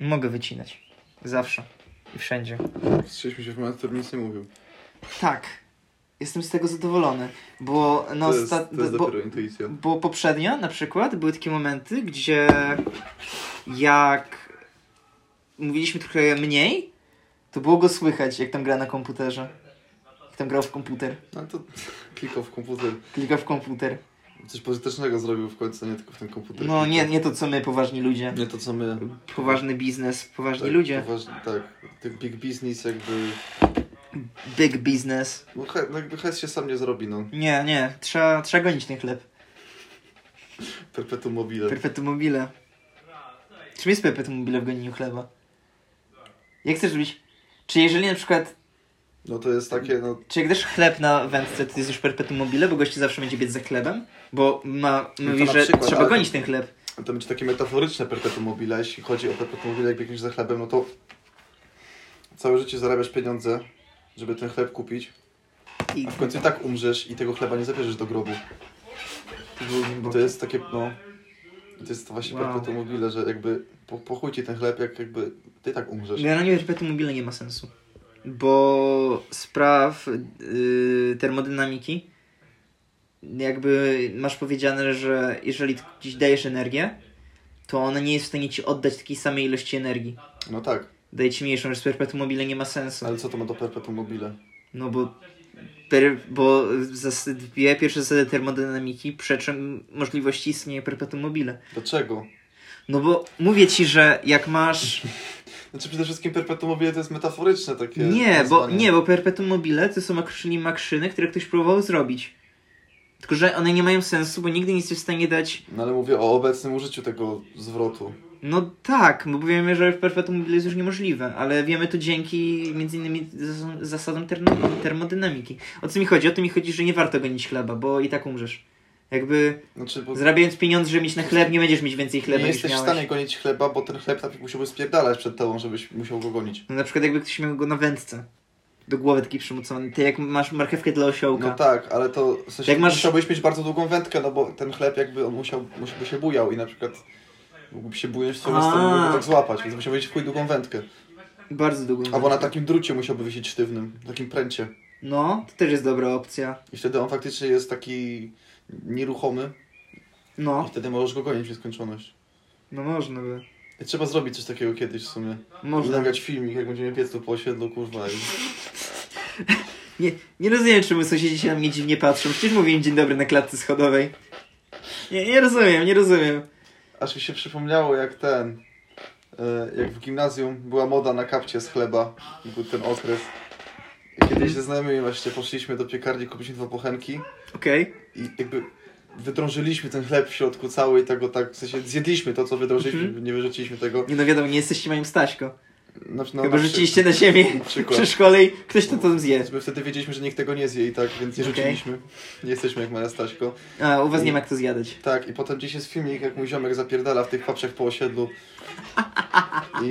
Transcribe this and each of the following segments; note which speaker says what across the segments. Speaker 1: Mogę wycinać. Zawsze. I wszędzie.
Speaker 2: Strzeliśmy się w moment, który nic nie mówił.
Speaker 1: Tak. Jestem z tego zadowolony, bo na
Speaker 2: to jest,
Speaker 1: ostat...
Speaker 2: to jest
Speaker 1: No, bo,
Speaker 2: dopiero intuicja.
Speaker 1: bo poprzednio na przykład były takie momenty, gdzie jak mówiliśmy trochę mniej, to było go słychać, jak tam gra na komputerze. Jak tam grał w komputer.
Speaker 2: No to klikał w komputer.
Speaker 1: Klika w komputer.
Speaker 2: Coś pożytecznego zrobił w końcu, nie tylko w ten komputer.
Speaker 1: No nie,
Speaker 2: klikał.
Speaker 1: nie to co my, poważni ludzie.
Speaker 2: tak. Nie to co my.
Speaker 1: Poważny biznes, poważni
Speaker 2: tak,
Speaker 1: ludzie.
Speaker 2: Poważnie, tak. Ten big business jakby...
Speaker 1: Big business.
Speaker 2: No, he, no jakby hejs się sam nie zrobi, no.
Speaker 1: Nie, nie, trzeba, trzeba gonić ten chleb.
Speaker 2: Perpetuum mobile.
Speaker 1: Perpetuum mobile. Czym jest perpetuum mobile w gonieniu chleba? Jak chcesz robić? Czy jeżeli na przykład,
Speaker 2: No to jest takie, no...
Speaker 1: czy jak dasz chleb na wędce, to jest już perpetuum mobile, bo goście zawsze będzie biec za chlebem? Bo ma,
Speaker 2: No to
Speaker 1: mówi,
Speaker 2: na
Speaker 1: że
Speaker 2: przykład,
Speaker 1: trzeba
Speaker 2: ale-
Speaker 1: gonić ten chleb.
Speaker 2: To będzie takie metaforyczne perpetuum mobile. a Jeśli chodzi o perpetuum mobile, jak biegniesz za chlebem, no to... Całe życie zarabiasz pieniądze, żeby ten chleb kupić.
Speaker 1: I
Speaker 2: A w końcu i tak umrzesz i tego chleba nie zabierzesz do grobu.
Speaker 1: to było
Speaker 2: I
Speaker 1: głębokie.
Speaker 2: to jest takie, no... To jest właśnie
Speaker 1: Wow.
Speaker 2: perpetuum mobile, że jakby... Po, pochuj ci ten chleb, jak jakby... Ty i tak umrzesz.
Speaker 1: Generalnie perpetuum mobile nie ma sensu. Bo spraw yy, termodynamiki jakby masz powiedziane, że jeżeli gdzieś dajesz energię, to ona nie jest w stanie ci oddać takiej samej ilości energii.
Speaker 2: No tak.
Speaker 1: Daje ci mniejszą, że perpetuum mobile nie ma sensu.
Speaker 2: Ale co to ma do perpetuum mobile?
Speaker 1: No bo, per, bo zas- dwie pierwsze zasady termodynamiki przeczą możliwości istnienia perpetuum mobile.
Speaker 2: Dlaczego?
Speaker 1: No bo mówię ci, że jak masz
Speaker 2: Znaczy przede wszystkim perpetuum mobile to jest metaforyczne takie
Speaker 1: Nie, bo,
Speaker 2: nazwanie.
Speaker 1: nie, bo perpetuum mobile to są makrzyni makrzyny, które ktoś próbował zrobić. Tylko, że one nie mają sensu, bo nigdy nie jesteś w stanie dać...
Speaker 2: No ale mówię o obecnym użyciu tego zwrotu.
Speaker 1: No tak, bo wiemy, że perpetuum mobile jest już niemożliwe, ale wiemy to dzięki między innymi zas- zasadom termo- termodynamiki. O co mi chodzi? O to mi chodzi, że nie warto gonić chleba, bo i tak umrzesz. Jakby
Speaker 2: Znaczy, bo
Speaker 1: zarabiając pieniądze, żeby mieć na chleb, nie będziesz mieć więcej chleba
Speaker 2: nie
Speaker 1: niż
Speaker 2: jesteś w
Speaker 1: miałeś.
Speaker 2: stanie gonić chleba, bo ten chleb tak musiałby spierdalać przed tobą, żebyś musiał go gonić.
Speaker 1: No, na przykład jakby ktoś miał go na wędce. Do głowy taki przymocowany. Ty jak masz marchewkę dla osiołka.
Speaker 2: No tak, ale to w sensie
Speaker 1: Jak masz-
Speaker 2: musiałbyś mieć bardzo długą wędkę, no bo ten chleb jakby on musiał, musiałby się bujał i na przykład mógłby się bujać w swoją
Speaker 1: A.
Speaker 2: stronę, mógłby go tak złapać, więc musiał mieć w chuj długą wędkę.
Speaker 1: Bardzo długo.
Speaker 2: Albo na takim drucie musiałby wisieć sztywnym, takim pręcie.
Speaker 1: No, to też jest dobra opcja.
Speaker 2: I wtedy on faktycznie jest taki nieruchomy i
Speaker 1: No,
Speaker 2: wtedy możesz go gonić w nieskończoność.
Speaker 1: no można by.
Speaker 2: I trzeba zrobić coś takiego kiedyś w sumie. Można
Speaker 1: Można.
Speaker 2: nagrać filmik, jak będziemy piec tu po osiedlu, kurwa. I...
Speaker 1: Nie, nie rozumiem, czemu sąsiedzi się na mnie dziwnie patrzą. Przecież mówiłem dzień dobry na klatce schodowej. Nie, nie rozumiem, nie rozumiem.
Speaker 2: Aż mi się przypomniało, jak ten. e, Jak w gimnazjum była moda na kapcie z chleba, i był ten okres. I Kiedyś ze znajomymi właśnie poszliśmy do piekarni, kupiliśmy dwa pochenki
Speaker 1: Okej.
Speaker 2: i jakby wydrążyliśmy ten chleb w środku cały i tego tak, w sensie zjedliśmy to, co wydrążyliśmy,
Speaker 1: Mhm.
Speaker 2: nie wyrzuciliśmy tego.
Speaker 1: Nie no wiadomo, nie jesteście moim Staśko.
Speaker 2: Na, na,
Speaker 1: Chyba
Speaker 2: No, na
Speaker 1: rzuciliście na ziemię
Speaker 2: Na przykład.
Speaker 1: przy szkole i ktoś to tam zje.
Speaker 2: Więc my wtedy wiedzieliśmy, że nikt tego nie zje i tak, więc nie
Speaker 1: Okej.
Speaker 2: rzuciliśmy. Nie jesteśmy jak Maria Staśko.
Speaker 1: A, u was nie ma kto zjadać.
Speaker 2: Tak, i potem gdzieś jest filmik, jak mój ziomek zapierdala w tych paprzech po osiedlu. I...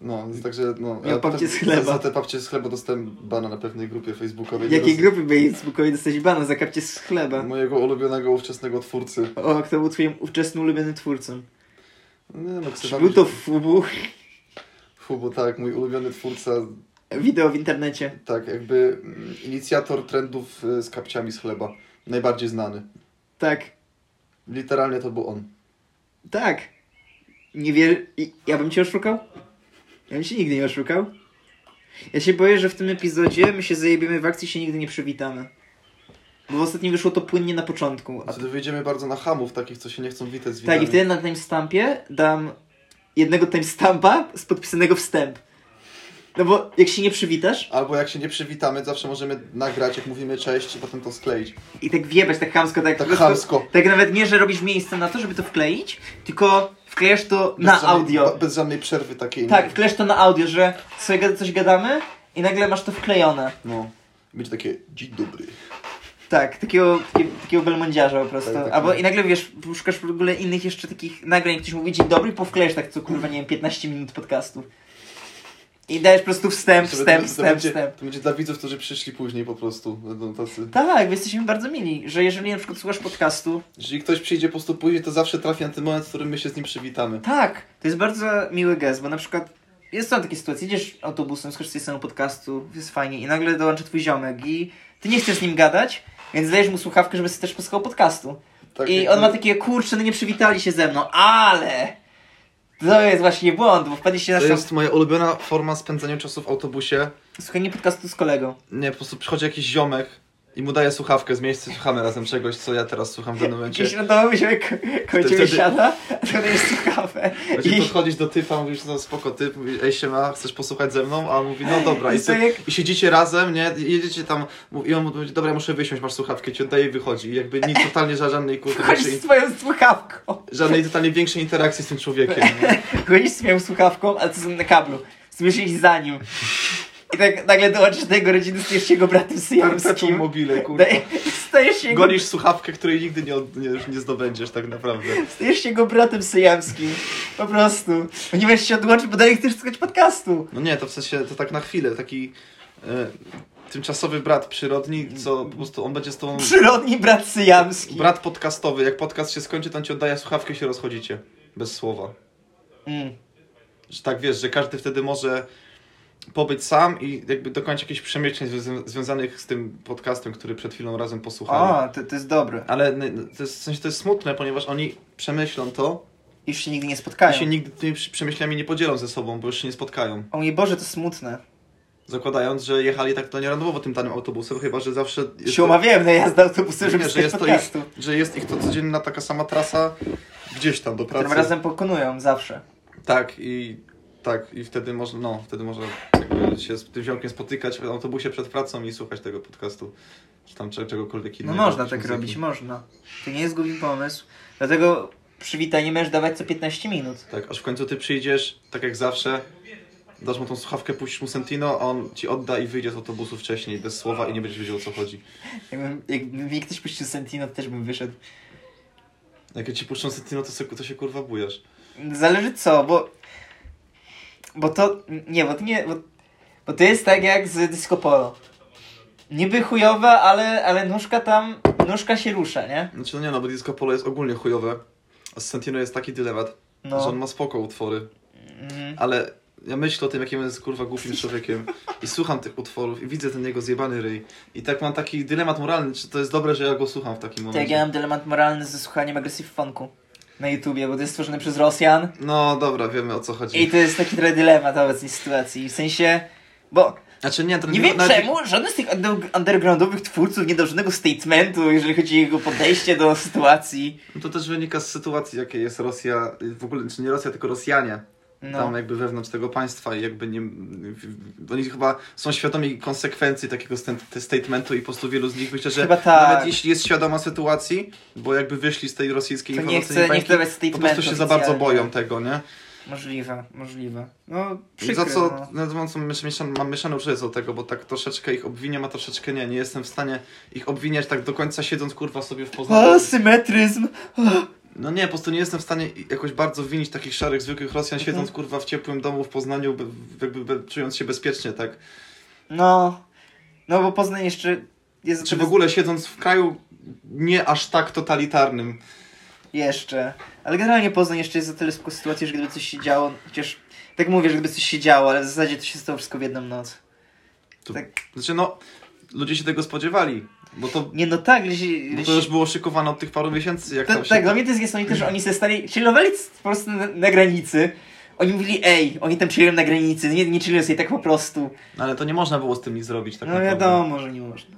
Speaker 2: No, więc także no...
Speaker 1: Miał
Speaker 2: a
Speaker 1: papcie
Speaker 2: potem
Speaker 1: z chleba.
Speaker 2: Za, za te papcie z chleba dostałem bana na pewnej grupie facebookowej.
Speaker 1: W
Speaker 2: Nie No.
Speaker 1: jakiej
Speaker 2: roz-
Speaker 1: grupy facebookowej dostać bana za kapcie z chleba?
Speaker 2: Mojego ulubionego ówczesnego twórcy.
Speaker 1: O, kto był twoim ówczesnym ulubionym twórcą?
Speaker 2: Nie no, chcę
Speaker 1: Czy
Speaker 2: wam-
Speaker 1: był to fubu?
Speaker 2: Fubu, tak, mój ulubiony twórca,
Speaker 1: Wideo w internecie.
Speaker 2: tak, jakby mm, inicjator trendów y, z kapciami z chleba. Najbardziej znany.
Speaker 1: Tak.
Speaker 2: Literalnie to był on.
Speaker 1: Tak. Nie wier... i- Ja bym cię oszukał? Ja bym się nigdy nie oszukał. Ja się boję, że w tym epizodzie my się zajebiemy w akcji i się nigdy nie przywitamy. Bo ostatnio wyszło to płynnie na początku. A
Speaker 2: Wtedy wyjdziemy bardzo na hamów, takich, co się nie chcą witać z
Speaker 1: tak, i
Speaker 2: widzami.
Speaker 1: wtedy na timestampie dam jednego timestampa z podpisanego wstęp. No bo jak się nie przywitasz
Speaker 2: Albo jak się nie przywitamy, zawsze możemy nagrać, jak mówimy cześć i potem to skleić.
Speaker 1: i tak wiebać tak chamsko, tak...
Speaker 2: Tak chamsko.
Speaker 1: Tak nawet nie, że robisz miejsce na to, żeby to wkleić, tylko wklejasz no to na
Speaker 2: żadnej,
Speaker 1: audio.
Speaker 2: ba- Bez żadnej przerwy takiej. no.
Speaker 1: Tak, wklejesz to na audio, że sobie gada- coś gadamy i nagle masz to wklejone.
Speaker 2: No. Będzie takie, dzień dobry.
Speaker 1: Tak, takiego, takiego, takiego belmondziarza po prostu.
Speaker 2: Tak, tak,
Speaker 1: Albo
Speaker 2: tak.
Speaker 1: i nagle wiesz, szukasz w ogóle innych jeszcze takich nagrań, ktoś mówi dzień dobry i powklejesz tak co kurwa, nie wiem, 15 minut podcastu. I dajesz po prostu wstęp,
Speaker 2: Żeby
Speaker 1: wstęp,
Speaker 2: to,
Speaker 1: wstęp,
Speaker 2: to, będzie,
Speaker 1: wstęp.
Speaker 2: to będzie dla widzów, którzy przyszli później po prostu. Będą tacy.
Speaker 1: Tak, wy jesteśmy bardzo mili, że jeżeli na przykład słuchasz podcastu,
Speaker 2: Jeżeli ktoś przyjdzie po prostu później, to zawsze trafi na ten moment, w którym my się z nim przywitamy.
Speaker 1: tak, to jest bardzo miły gest, bo na przykład jest tam takie sytuacje, idziesz autobusem, skorzystasz z samego podcastu, jest fajnie i nagle dołączy twój ziomek i ty nie chcesz z nim gadać, więc dajesz mu słuchawkę, żeby sobie też posłuchał podcastu.
Speaker 2: Tak,
Speaker 1: I
Speaker 2: jak
Speaker 1: on
Speaker 2: my-
Speaker 1: ma takie, kurczę, no nie przywitali się ze mną, ale to jest właśnie błąd, bo wpadliście na
Speaker 2: To
Speaker 1: naszą...
Speaker 2: jest moja ulubiona forma spędzania czasu w autobusie.
Speaker 1: słuchanie podcastu z kolegą.
Speaker 2: Nie, po prostu przychodzi jakiś ziomek i mu daje słuchawkę z miejsca, słuchamy razem czegoś, co ja teraz słucham w danym momencie.
Speaker 1: Gdzieś randomowy się koło
Speaker 2: Wtedy-
Speaker 1: ciebie
Speaker 2: wtedy-
Speaker 1: siada, a to jest ciekawe.
Speaker 2: Będzie
Speaker 1: I
Speaker 2: podchodzić Znaczy, do typa, mówisz, no spoko, typ, mówi, ej się ma, chcesz posłuchać ze mną? A on mówi, no dobra. I,
Speaker 1: To
Speaker 2: ty,
Speaker 1: jak-
Speaker 2: I siedzicie razem, nie? I Jedziecie tam mów- i on mówi, dobra, ja muszę wysiąść, masz słuchawkę, ci oddaje i wychodzi. I jakby nic totalnie ża- żadnej, kurwa,
Speaker 1: chodzisz
Speaker 2: większej-
Speaker 1: z twoją słuchawką.
Speaker 2: żadnej totalnie większej interakcji z tym człowiekiem. Nie?
Speaker 1: Chodzisz z twoją słuchawką, ale to są na kablu. Słyszysz za nim. I tak nagle dołączysz do jego rodziny, stajesz się jego bratem
Speaker 2: Perpetuum
Speaker 1: syjamskim.
Speaker 2: mobile, kurwa.
Speaker 1: Daj- Stajesz się jego,
Speaker 2: Gonisz słuchawkę, której nigdy nie, od, nie, nie zdobędziesz tak naprawdę.
Speaker 1: stajesz się jego bratem syjamskim. Po prostu. Ponieważ się odłączy, bo dalej chcesz słuchać podcastu.
Speaker 2: No nie, to w sensie, to tak na chwilę, taki e, tymczasowy brat przyrodni, co po prostu on będzie z tobą...
Speaker 1: Przyrodni brat syjamski.
Speaker 2: Brat podcastowy, jak podcast się skończy, to on ci oddaje słuchawkę i się rozchodzicie. Bez słowa.
Speaker 1: Mm.
Speaker 2: że tak wiesz, że każdy wtedy może pobyć sam i jakby dokończyć jakichś przemyśleń zwią- związanych z tym podcastem, który przed chwilą razem posłuchali.
Speaker 1: O, to, to jest dobre.
Speaker 2: Ale n- to jest, w sensie to jest smutne, ponieważ oni przemyślą to
Speaker 1: Już się nigdy nie
Speaker 2: i
Speaker 1: spotkają.
Speaker 2: się nigdy tymi przy- przemyśleniami nie podzielą ze sobą, bo już się nie spotkają.
Speaker 1: O mój Boże, to smutne.
Speaker 2: Zakładając, że jechali tak to nierandomowo tym danym autobusem, chyba że zawsze. Jest
Speaker 1: Się umawiałem na jazdę autobusem, żeby
Speaker 2: nie, że
Speaker 1: słuchać
Speaker 2: jest, to ich,
Speaker 1: podcastu.
Speaker 2: że jest ich to codzienna taka sama trasa gdzieś tam do
Speaker 1: Którym
Speaker 2: pracy.
Speaker 1: razem pokonują zawsze.
Speaker 2: Tak i tak i wtedy można, no, wtedy można jakby się z tym ziomkiem spotykać w autobusie przed pracą i słuchać tego podcastu, czy tam cze- czegokolwiek
Speaker 1: No
Speaker 2: innego.
Speaker 1: można
Speaker 2: jakiejś
Speaker 1: tak
Speaker 2: muzyki.
Speaker 1: robić, można. To nie jest głupi pomysł. Dlatego przywitanie możesz dawać co 15 minut.
Speaker 2: Tak, aż w końcu ty przyjdziesz, tak jak zawsze, dasz mu tą słuchawkę, puścisz mu Sentino, a on ci odda i wyjdzie z autobusu wcześniej, bez słowa i nie będziesz wiedział o co chodzi.
Speaker 1: Jakbym, jakby mi ktoś puścił Sentino, to też bym wyszedł.
Speaker 2: Jak ja ci puszczą Sentino, to, se, to się kurwa bujasz.
Speaker 1: Zależy co, bo... Bo to... Nie, bo to nie... Bo, bo to jest tak jak z Disco Polo. Niby chujowa, ale, ale nóżka tam... Nóżka się rusza, nie?
Speaker 2: Znaczy no nie no, bo disco polo jest ogólnie chujowe, a z Sentino jest taki dylemat, że on
Speaker 1: No.
Speaker 2: ma spoko utwory,
Speaker 1: Mhm.
Speaker 2: Ale ja myślę o tym, jakim on jest kurwa głupim człowiekiem i słucham tych utworów i widzę ten jego zjebany ryj. I tak mam taki dylemat moralny, czy to jest dobre, że ja go słucham w takim
Speaker 1: Tak, ja
Speaker 2: momencie.
Speaker 1: mam dylemat moralny ze słuchaniem agresyw funku na YouTubie, bo to jest stworzone przez Rosjan.
Speaker 2: No dobra, wiemy o co
Speaker 1: I
Speaker 2: chodzi.
Speaker 1: to jest taki trochę dylemat obecnej sytuacji. W sensie, bo
Speaker 2: Znaczy nie, to
Speaker 1: nie wiem
Speaker 2: nawet-
Speaker 1: czemu żaden z tych under- undergroundowych twórców nie dał żadnego statementu, jeżeli chodzi o jego podejście do sytuacji.
Speaker 2: To też wynika z sytuacji, jakiej jest Rosja, y, w ogóle, czy nie Rosja, tylko Rosjanie.
Speaker 1: No,
Speaker 2: Tam jakby wewnątrz tego państwa i jakby nie... w- w- Oni chyba są świadomi konsekwencji takiego stent- statementu i po prostu wielu z nich myślę, że
Speaker 1: Chyba tak.
Speaker 2: nawet jeśli jest świadoma sytuacji, bo jakby wyszli z tej rosyjskiej
Speaker 1: to nie
Speaker 2: informacyjnej
Speaker 1: chcę, nie
Speaker 2: bańki,
Speaker 1: chcę dawać
Speaker 2: po
Speaker 1: statementu.
Speaker 2: prostu się za bardzo
Speaker 1: oficjalnie.
Speaker 2: boją tego, nie?
Speaker 1: Możliwe, możliwe. No,
Speaker 2: I
Speaker 1: przykre,
Speaker 2: za co
Speaker 1: no.
Speaker 2: no. no, co mysz- mieszan, mam mieszane uczucie co do tego, bo tak troszeczkę ich obwiniam, a troszeczkę nie. Nie jestem w stanie ich obwiniać tak do końca siedząc kurwa sobie w Poznaniu.
Speaker 1: O, symetryzm!
Speaker 2: No nie, po prostu nie jestem w stanie jakoś bardzo winić takich szarych, zwykłych Rosjan
Speaker 1: Mhm.
Speaker 2: siedząc kurwa w ciepłym domu w Poznaniu, be, jakby be, czując się bezpiecznie, tak?
Speaker 1: No, no bo Poznań jeszcze jest...
Speaker 2: Czy w ogóle siedząc w kraju nie aż tak totalitarnym.
Speaker 1: Jeszcze. Ale generalnie Poznań jeszcze jest za tyle spoko sytuacji, że gdyby coś się działo, chociaż tak mówię, że gdyby coś się działo, ale w zasadzie to się stało wszystko w jedną noc.
Speaker 2: To-
Speaker 1: Tak.
Speaker 2: Znaczy no, ludzie się tego spodziewali, bo to,
Speaker 1: Nie no tak, jeśli...
Speaker 2: bo to już było szykowane od tych paru miesięcy, jak
Speaker 1: to,
Speaker 2: tam się...
Speaker 1: tak, dla mnie to jest niesamowite, że oni se stali, chillowali c- po prostu na, na granicy. Oni mówili, ej, oni tam chillują na granicy, nie, nie chillują sobie tak po prostu.
Speaker 2: No, Ale to nie można było z tym nic zrobić, tak
Speaker 1: no
Speaker 2: naprawdę.
Speaker 1: wiadomo, że nie można.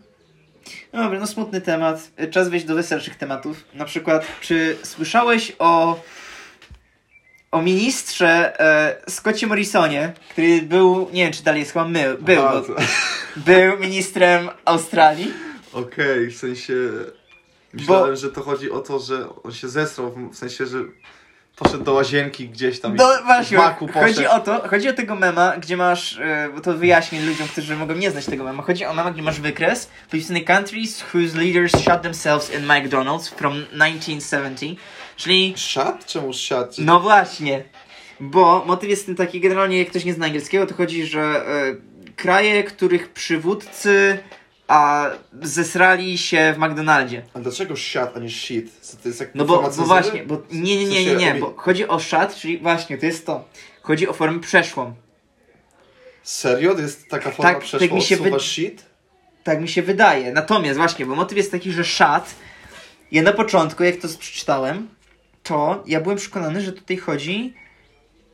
Speaker 1: No Dobra, no smutny temat. Y, Czas wejść do weselszych tematów. Na przykład, czy słyszałeś o o ministrze e, Scottie Morrisonie, który był, nie wiem czy dalej jest chyba my, był,
Speaker 2: A,
Speaker 1: bo,
Speaker 2: to-
Speaker 1: był ministrem Australii.
Speaker 2: Okej, w sensie. Myślałem, że to chodzi o to, że on się zesrał, w- w sensie, że poszedł do łazienki gdzieś tam. i
Speaker 1: No właśnie,
Speaker 2: w maku poszedł.
Speaker 1: chodzi o to, chodzi o tego mema, gdzie masz, e, bo to wyjaśnię ludziom, którzy mogą nie znać tego mema, chodzi o mema, gdzie masz wykres popisany countries whose leaders shot themselves in McDonald's from 1970, czyli
Speaker 2: Szat? Czemu szat?
Speaker 1: no właśnie, Bo motyw jest ten taki, generalnie jak ktoś nie zna angielskiego, to chodzi, że e, kraje, których przywódcy a zesrali się w McDonaldzie.
Speaker 2: A dlaczego siat, a nie shit? Co To jest jak
Speaker 1: No bo, bo
Speaker 2: informacyjny?
Speaker 1: właśnie, bo nie, nie,
Speaker 2: W
Speaker 1: nie, nie,
Speaker 2: sensie
Speaker 1: nie,
Speaker 2: obi-
Speaker 1: bo chodzi o szat, czyli właśnie, to jest to. Chodzi o formę przeszłą.
Speaker 2: Serio? To Jest taka forma
Speaker 1: tak mi
Speaker 2: przeszła tak
Speaker 1: się
Speaker 2: się
Speaker 1: wy-
Speaker 2: shit?
Speaker 1: Tak mi się wydaje. Natomiast właśnie, bo motyw jest taki, że szat, ja na początku, jak to przeczytałem, to ja byłem przekonany, że tutaj chodzi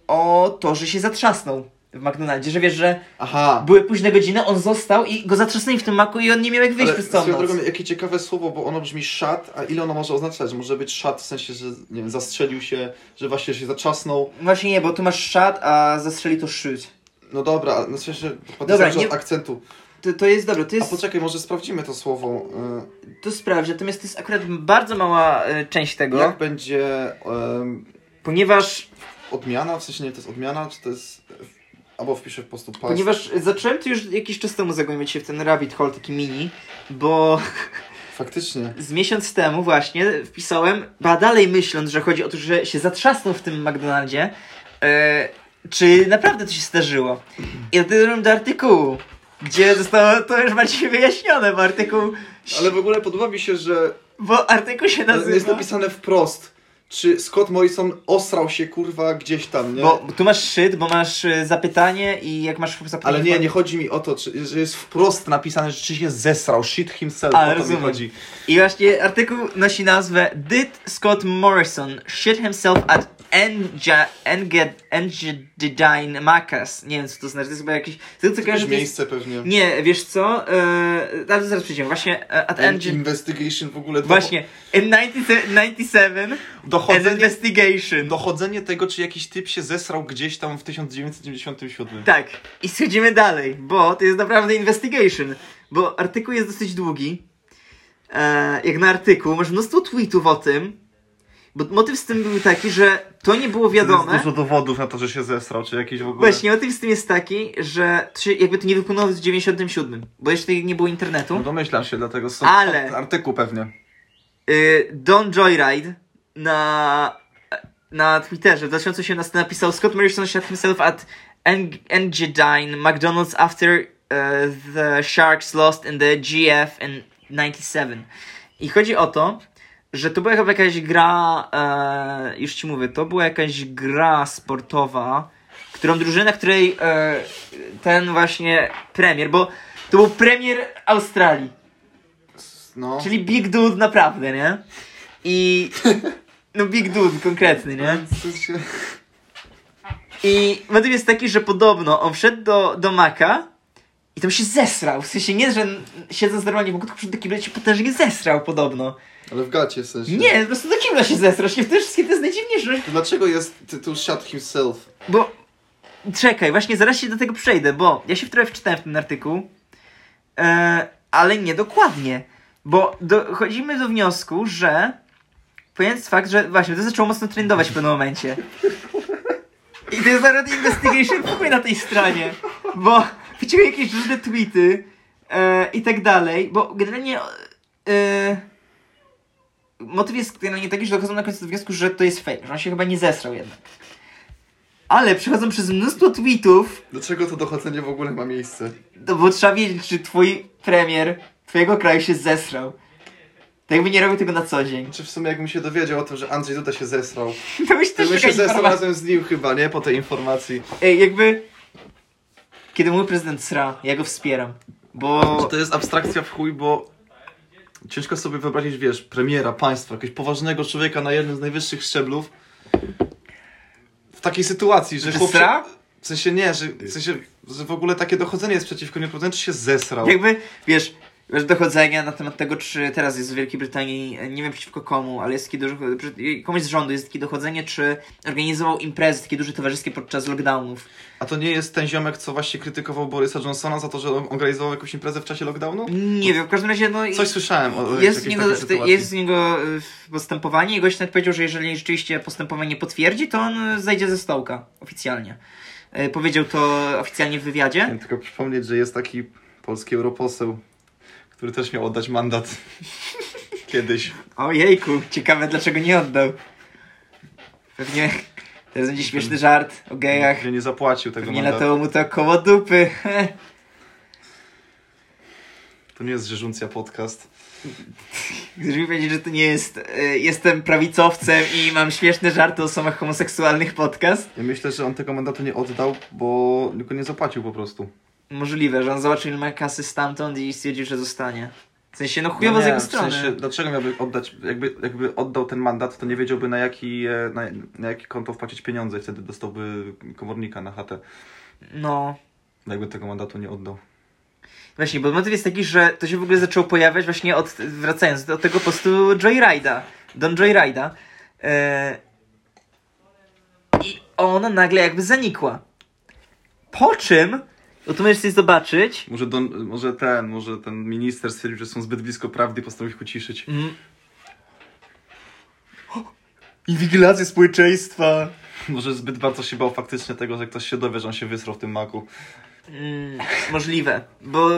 Speaker 1: o to, że się zatrzasnął w McDonaldzie, że wiesz, że
Speaker 2: Aha.
Speaker 1: były późne godziny, on został i go zatrzasnęli w tym maku i on nie miał jak wyjść
Speaker 2: Ale
Speaker 1: przez całą
Speaker 2: swoją
Speaker 1: noc.
Speaker 2: drogą, jakie ciekawe słowo, bo ono brzmi szat, a ile ono może oznaczać? Może być szat w sensie, że nie wiem, zastrzelił się, że właśnie się zaczasnął.
Speaker 1: Właśnie nie, bo tu masz szat, a zastrzeli to szyć.
Speaker 2: No dobra, no w sensie, bo to
Speaker 1: Dobra,
Speaker 2: zależy
Speaker 1: nie-
Speaker 2: od akcentu.
Speaker 1: To, to jest dobre, to
Speaker 2: A
Speaker 1: jest,
Speaker 2: poczekaj, może sprawdzimy to słowo. y,
Speaker 1: to sprawdź, natomiast to jest akurat bardzo mała e, część tego,
Speaker 2: Jak będzie em,
Speaker 1: ponieważ
Speaker 2: odmiana? W sensie, nie wiem, to jest odmiana, czy to jest... Albo wpiszę po prostu pas.
Speaker 1: Ponieważ zacząłem tu już jakiś czas temu zagłębiać się w ten rabbit hole taki mini, bo
Speaker 2: Faktycznie.
Speaker 1: z miesiąc temu właśnie wpisałem, ba dalej myśląc, że chodzi o to, że się zatrzasnął w tym McDonaldzie, e, czy naprawdę to się zdarzyło. I dotarłem do artykułu, gdzie zostało to już bardziej wyjaśnione, bo artykuł,
Speaker 2: Ale w ogóle podoba mi się, że
Speaker 1: bo artykuł się
Speaker 2: Ale jest
Speaker 1: nazywa...
Speaker 2: napisane wprost. Czy Scott Morrison osrał się kurwa gdzieś tam, nie?
Speaker 1: Bo bo tu masz szyt, bo masz e, zapytanie i jak masz zapytanie...
Speaker 2: Ale nie, nie chodzi mi o to, czy, że jest wprost napisane, że czy się zesrał, shit himself,
Speaker 1: Ale
Speaker 2: o to mi
Speaker 1: rozumiem.
Speaker 2: chodzi.
Speaker 1: I właśnie artykuł nosi nazwę Did Scott Morrison shit himself at Enja- Enge- Engadine Macas? Nie wiem co to znaczy, to jest chyba jakiś... To tylko
Speaker 2: Jakieś
Speaker 1: kojarzę, to jest...
Speaker 2: miejsce pewnie.
Speaker 1: Nie, wiesz co? Eee, zaraz, zaraz przyjdziemy. Właśnie e, at
Speaker 2: And
Speaker 1: Engadine...
Speaker 2: investigation w ogóle.
Speaker 1: Właśnie, in 97, an
Speaker 2: Dochodzenie,
Speaker 1: investigation.
Speaker 2: dochodzenie tego, czy jakiś typ się zesrał gdzieś tam w 1997.
Speaker 1: Tak, i schodzimy dalej, bo to jest naprawdę investigation. Bo artykuł jest dosyć długi. E, jak na artykuł, masz mnóstwo tweetów o tym. Bo motyw z tym był taki, że to nie było
Speaker 2: Jest
Speaker 1: wiadome.
Speaker 2: dużo dowodów na to, że się zesrał, czy jakiś w ogóle.
Speaker 1: Właśnie, motyw z tym jest taki, że to się jakby to nie wypłynęło w 97, bo jeszcze nie było internetu.
Speaker 2: No domyślam się, dlatego są
Speaker 1: Ale-
Speaker 2: artykuł pewnie.
Speaker 1: Y, Don Joyride na, na Twitterze w 2018 napisał Scott Morrison shot himself at Eng- Engadine McDonald's after uh, the Sharks lost in the GF in 97. I chodzi o to, że to była chyba jakaś gra, e, już ci mówię, to była jakaś gra sportowa, którą drużyna, której e, ten właśnie premier, bo to był premier Australii.
Speaker 2: No.
Speaker 1: Czyli Big Dude naprawdę, nie? I. No Big Dude konkretny, nie?
Speaker 2: W sensie-
Speaker 1: I motyw jest taki, że podobno on wszedł do, do Maka i tam się zesrał. W sensie nie, że n- siedząc normalnie w ogóle, tylko przed do kibla i się potężnie zesrał podobno.
Speaker 2: Ale w gacie w sensie.
Speaker 1: Nie, po prostu do kibla się zesrał. Się w tym wszystkim to jest najdziwniejsze.
Speaker 2: To dlaczego jest tytuł Shut Himself?
Speaker 1: Bo czekaj, właśnie zaraz się do tego przejdę, bo ja się wczoraj wczytałem w ten artykuł, e, ale nie dokładnie, bo dochodzimy do wniosku, że ponieważ fakt, że właśnie to zaczęło mocno trendować w pewnym momencie. I to jest nawet investigation w ogóle na tej stronie, bo wyciągnął jakieś różne tweety e, i tak dalej, bo generalnie e, motyw jest generalnie taki, że dochodzą na końcu do wniosku, że to jest fake, że on się chyba nie zesrał jednak. Ale przechodzą przez mnóstwo tweetów,
Speaker 2: Dlaczego to dochodzenie w ogóle ma miejsce?
Speaker 1: no bo trzeba wiedzieć, czy twój premier twojego kraju się zesrał. Tak jakby nie robił tego na co dzień.
Speaker 2: Czy Znaczy w sumie jakbym się dowiedział o tym, że Andrzej Duda się zesrał?
Speaker 1: To byś
Speaker 2: To
Speaker 1: też
Speaker 2: bym się
Speaker 1: jakaś
Speaker 2: zesrał
Speaker 1: informacja.
Speaker 2: razem z nim chyba, nie? Po tej informacji.
Speaker 1: Ej, jakby... Kiedy mój prezydent sra, ja go wspieram.
Speaker 2: To,
Speaker 1: Bo...
Speaker 2: to jest abstrakcja w chuj, bo ciężko sobie wyobrazić, wiesz, premiera państwa, jakiegoś poważnego człowieka na jednym z najwyższych szczeblów w takiej sytuacji, że
Speaker 1: Że
Speaker 2: chłop-
Speaker 1: sra?
Speaker 2: W sensie nie, że, w sensie, że w ogóle takie dochodzenie jest przeciwko niemu, czy się zesrał.
Speaker 1: Jakby, wiesz, wiesz, dochodzenia na temat tego, czy teraz jest w Wielkiej Brytanii, e, nie wiem przeciwko komu, ale jest takie duże, przy- komuś z rządu jest takie dochodzenie, czy organizował imprezy takie duże towarzyskie podczas lockdownów.
Speaker 2: A to nie jest ten ziomek, co właśnie krytykował Borysa Johnsona za to, że on organizował jakąś imprezę w czasie lockdownu?
Speaker 1: Nie wiem, w każdym razie, no... i-
Speaker 2: Coś słyszałem o, o
Speaker 1: Mm. Jest z,
Speaker 2: jakiejś
Speaker 1: niego,
Speaker 2: takiej
Speaker 1: w-
Speaker 2: sytuacji.
Speaker 1: jest z niego y, w- postępowanie i gość nawet powiedział, że jeżeli rzeczywiście postępowanie potwierdzi, to on y, zejdzie ze stołka oficjalnie. Y, Powiedział to oficjalnie w wywiadzie.
Speaker 2: Chciałem tylko przypomnieć, że jest taki polski europoseł, który też miał oddać mandat kiedyś.
Speaker 1: Ojejku, ciekawe dlaczego nie oddał. Pewnie Teraz będzie śmieszny żart o gejach.
Speaker 2: Nie, nie zapłacił tego
Speaker 1: Pewnie
Speaker 2: mandatu.
Speaker 1: latało mu to koło dupy.
Speaker 2: To nie jest Rzeżuncja podcast.
Speaker 1: Chcesz mi powiedzieć, że to nie jest y, jestem prawicowcem i mam śmieszne żarty o osobach homoseksualnych podcast?
Speaker 2: Ja myślę, że on tego mandatu nie oddał, bo tylko nie zapłacił po prostu.
Speaker 1: Możliwe, że on zobaczył ile ma kasy stamtąd i stwierdził, że zostanie. W sensie, no chujowo
Speaker 2: nie,
Speaker 1: z jego
Speaker 2: w
Speaker 1: strony.
Speaker 2: sensie, dlaczego miałby oddać, jakby, jakby oddał ten mandat, to nie wiedziałby na, jaki, e, na, na jakie konto wpłacić pieniądze i wtedy dostałby komornika na chatę.
Speaker 1: No.
Speaker 2: Jakby tego mandatu nie oddał.
Speaker 1: Właśnie, bo motyw jest taki, że to się w ogóle zaczęło pojawiać właśnie od, wracając do tego postu Joyride'a, Don Joyride'a. E, I ona nagle jakby zanikła. Po czym, bo tu możesz sobie zobaczyć,
Speaker 2: Może, don, może ten, może ten minister stwierdził, że są zbyt blisko prawdy i postanowił ich uciszyć.
Speaker 1: Mm. Inwigilacja społeczeństwa.
Speaker 2: Może zbyt bardzo się bał faktycznie tego, że ktoś się dowie, że on się wysrał w tym maku.
Speaker 1: Mm, możliwe, bo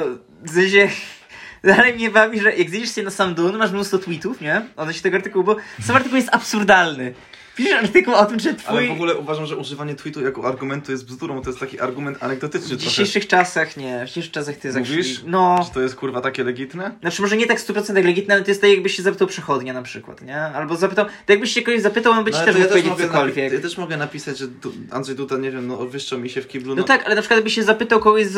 Speaker 1: w sensie dalej mnie bawi, że jak zjedziesz się na sam dół, no masz mnóstwo tweetów, nie? Odnośnie tego artykułu, bo sam artykuł jest absurdalny. Piszesz artykuł o tym, że twój...
Speaker 2: Ale w ogóle uważam, że używanie tweetu jako argumentu jest bzdurą, bo to jest taki argument anegdotyczny
Speaker 1: W
Speaker 2: trochę.
Speaker 1: dzisiejszych czasach nie, w dzisiejszych czasach to jest
Speaker 2: Mówisz?
Speaker 1: actually- No,
Speaker 2: Czy to jest kurwa takie legitne?
Speaker 1: znaczy może nie tak 100% legitne, ale to jest tak jakbyś się zapytał przechodnia na przykład, nie? Albo zapytał, tak jakbyś się kogoś zapytał, on by ci
Speaker 2: ale
Speaker 1: też
Speaker 2: to
Speaker 1: mógł powiedzieć
Speaker 2: No, mogę napi-
Speaker 1: cokolwiek.
Speaker 2: ja też mogę napisać, że du- Andrzej Duda, nie wiem, no wyszczał mi się w kiblu.
Speaker 1: No tak, ale na przykład jakbyś się zapytał kogoś z,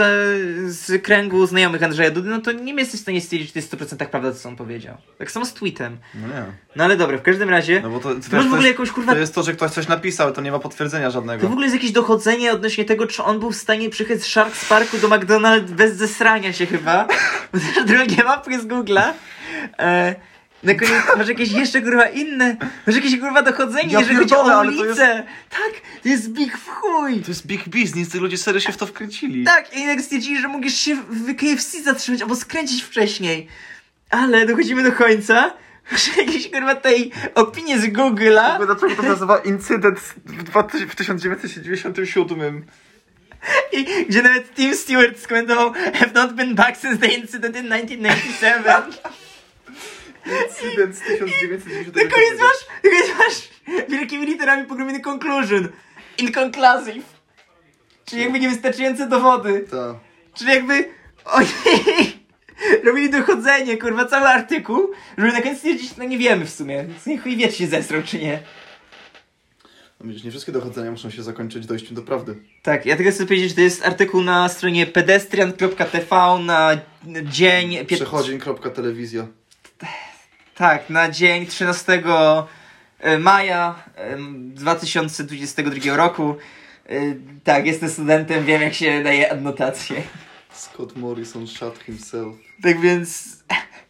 Speaker 1: z kręgu znajomych Andrzeja Dudy, no to nie jesteś w stanie stwierdzić, że to jest 100% prawda, co on powiedział. Tak samo z tweetem.
Speaker 2: No nie.
Speaker 1: No ale dobra, w każdym razie,
Speaker 2: No bo to, to,
Speaker 1: masz w
Speaker 2: to,
Speaker 1: ogóle
Speaker 2: jest,
Speaker 1: jakąś kurwa...
Speaker 2: to jest to, że ktoś coś napisał, to nie ma potwierdzenia
Speaker 1: To w
Speaker 2: żadnego.
Speaker 1: ogóle jest jakieś dochodzenie odnośnie tego, czy on był w stanie przyjechać z Sharks Parku do McDonald's bez zesrania się chyba. Bo też drugie mapy z Google'a. E, na koniec masz jakieś jeszcze kurwa inne, masz jakieś kurwa dochodzenie,
Speaker 2: Ja
Speaker 1: że chodzi
Speaker 2: pierdolę,
Speaker 1: o
Speaker 2: ale to
Speaker 1: ulicę. Tak, to jest big w chuj.
Speaker 2: To jest big business, ci ludzie serio się w to wkręcili.
Speaker 1: Tak, i jak stwierdzili, że mógłbyś się w KFC zatrzymać albo skręcić wcześniej. Ale dochodzimy do końca, że jakieś kurwa tej opinie z Google'a
Speaker 2: Dlaczego to się nazywa incydent w, dwa tyś- w 1997?
Speaker 1: I gdzie nawet Tim Stewart skomentował Have not been back since the incident in 1997.
Speaker 2: Incydent z 1997.
Speaker 1: Na koniec masz, na koniec masz wielkimi literami pogrubiony conclusion. Inconclusive. Czyli jakby niewystarczające dowody.
Speaker 2: Tak.
Speaker 1: Czyli jakby oni robili dochodzenie, kurwa, cały artykuł, żeby na koniec stwierdzić, no nie wiemy w sumie. Więc niech chuj wie, czy się zesrał, czy nie.
Speaker 2: No widzisz, nie wszystkie dochodzenia muszą się zakończyć dojściem do prawdy.
Speaker 1: Tak, ja tylko chcę powiedzieć, że to jest artykuł na stronie pedestrian.tv na dzień... pię-
Speaker 2: Przechodzień.telewizja.
Speaker 1: Tak, na dzień 13 maja em, 2022 roku. Y, Tak, jestem studentem, wiem jak się daje adnotacje.
Speaker 2: Scott Morrison shot himself.
Speaker 1: Tak więc...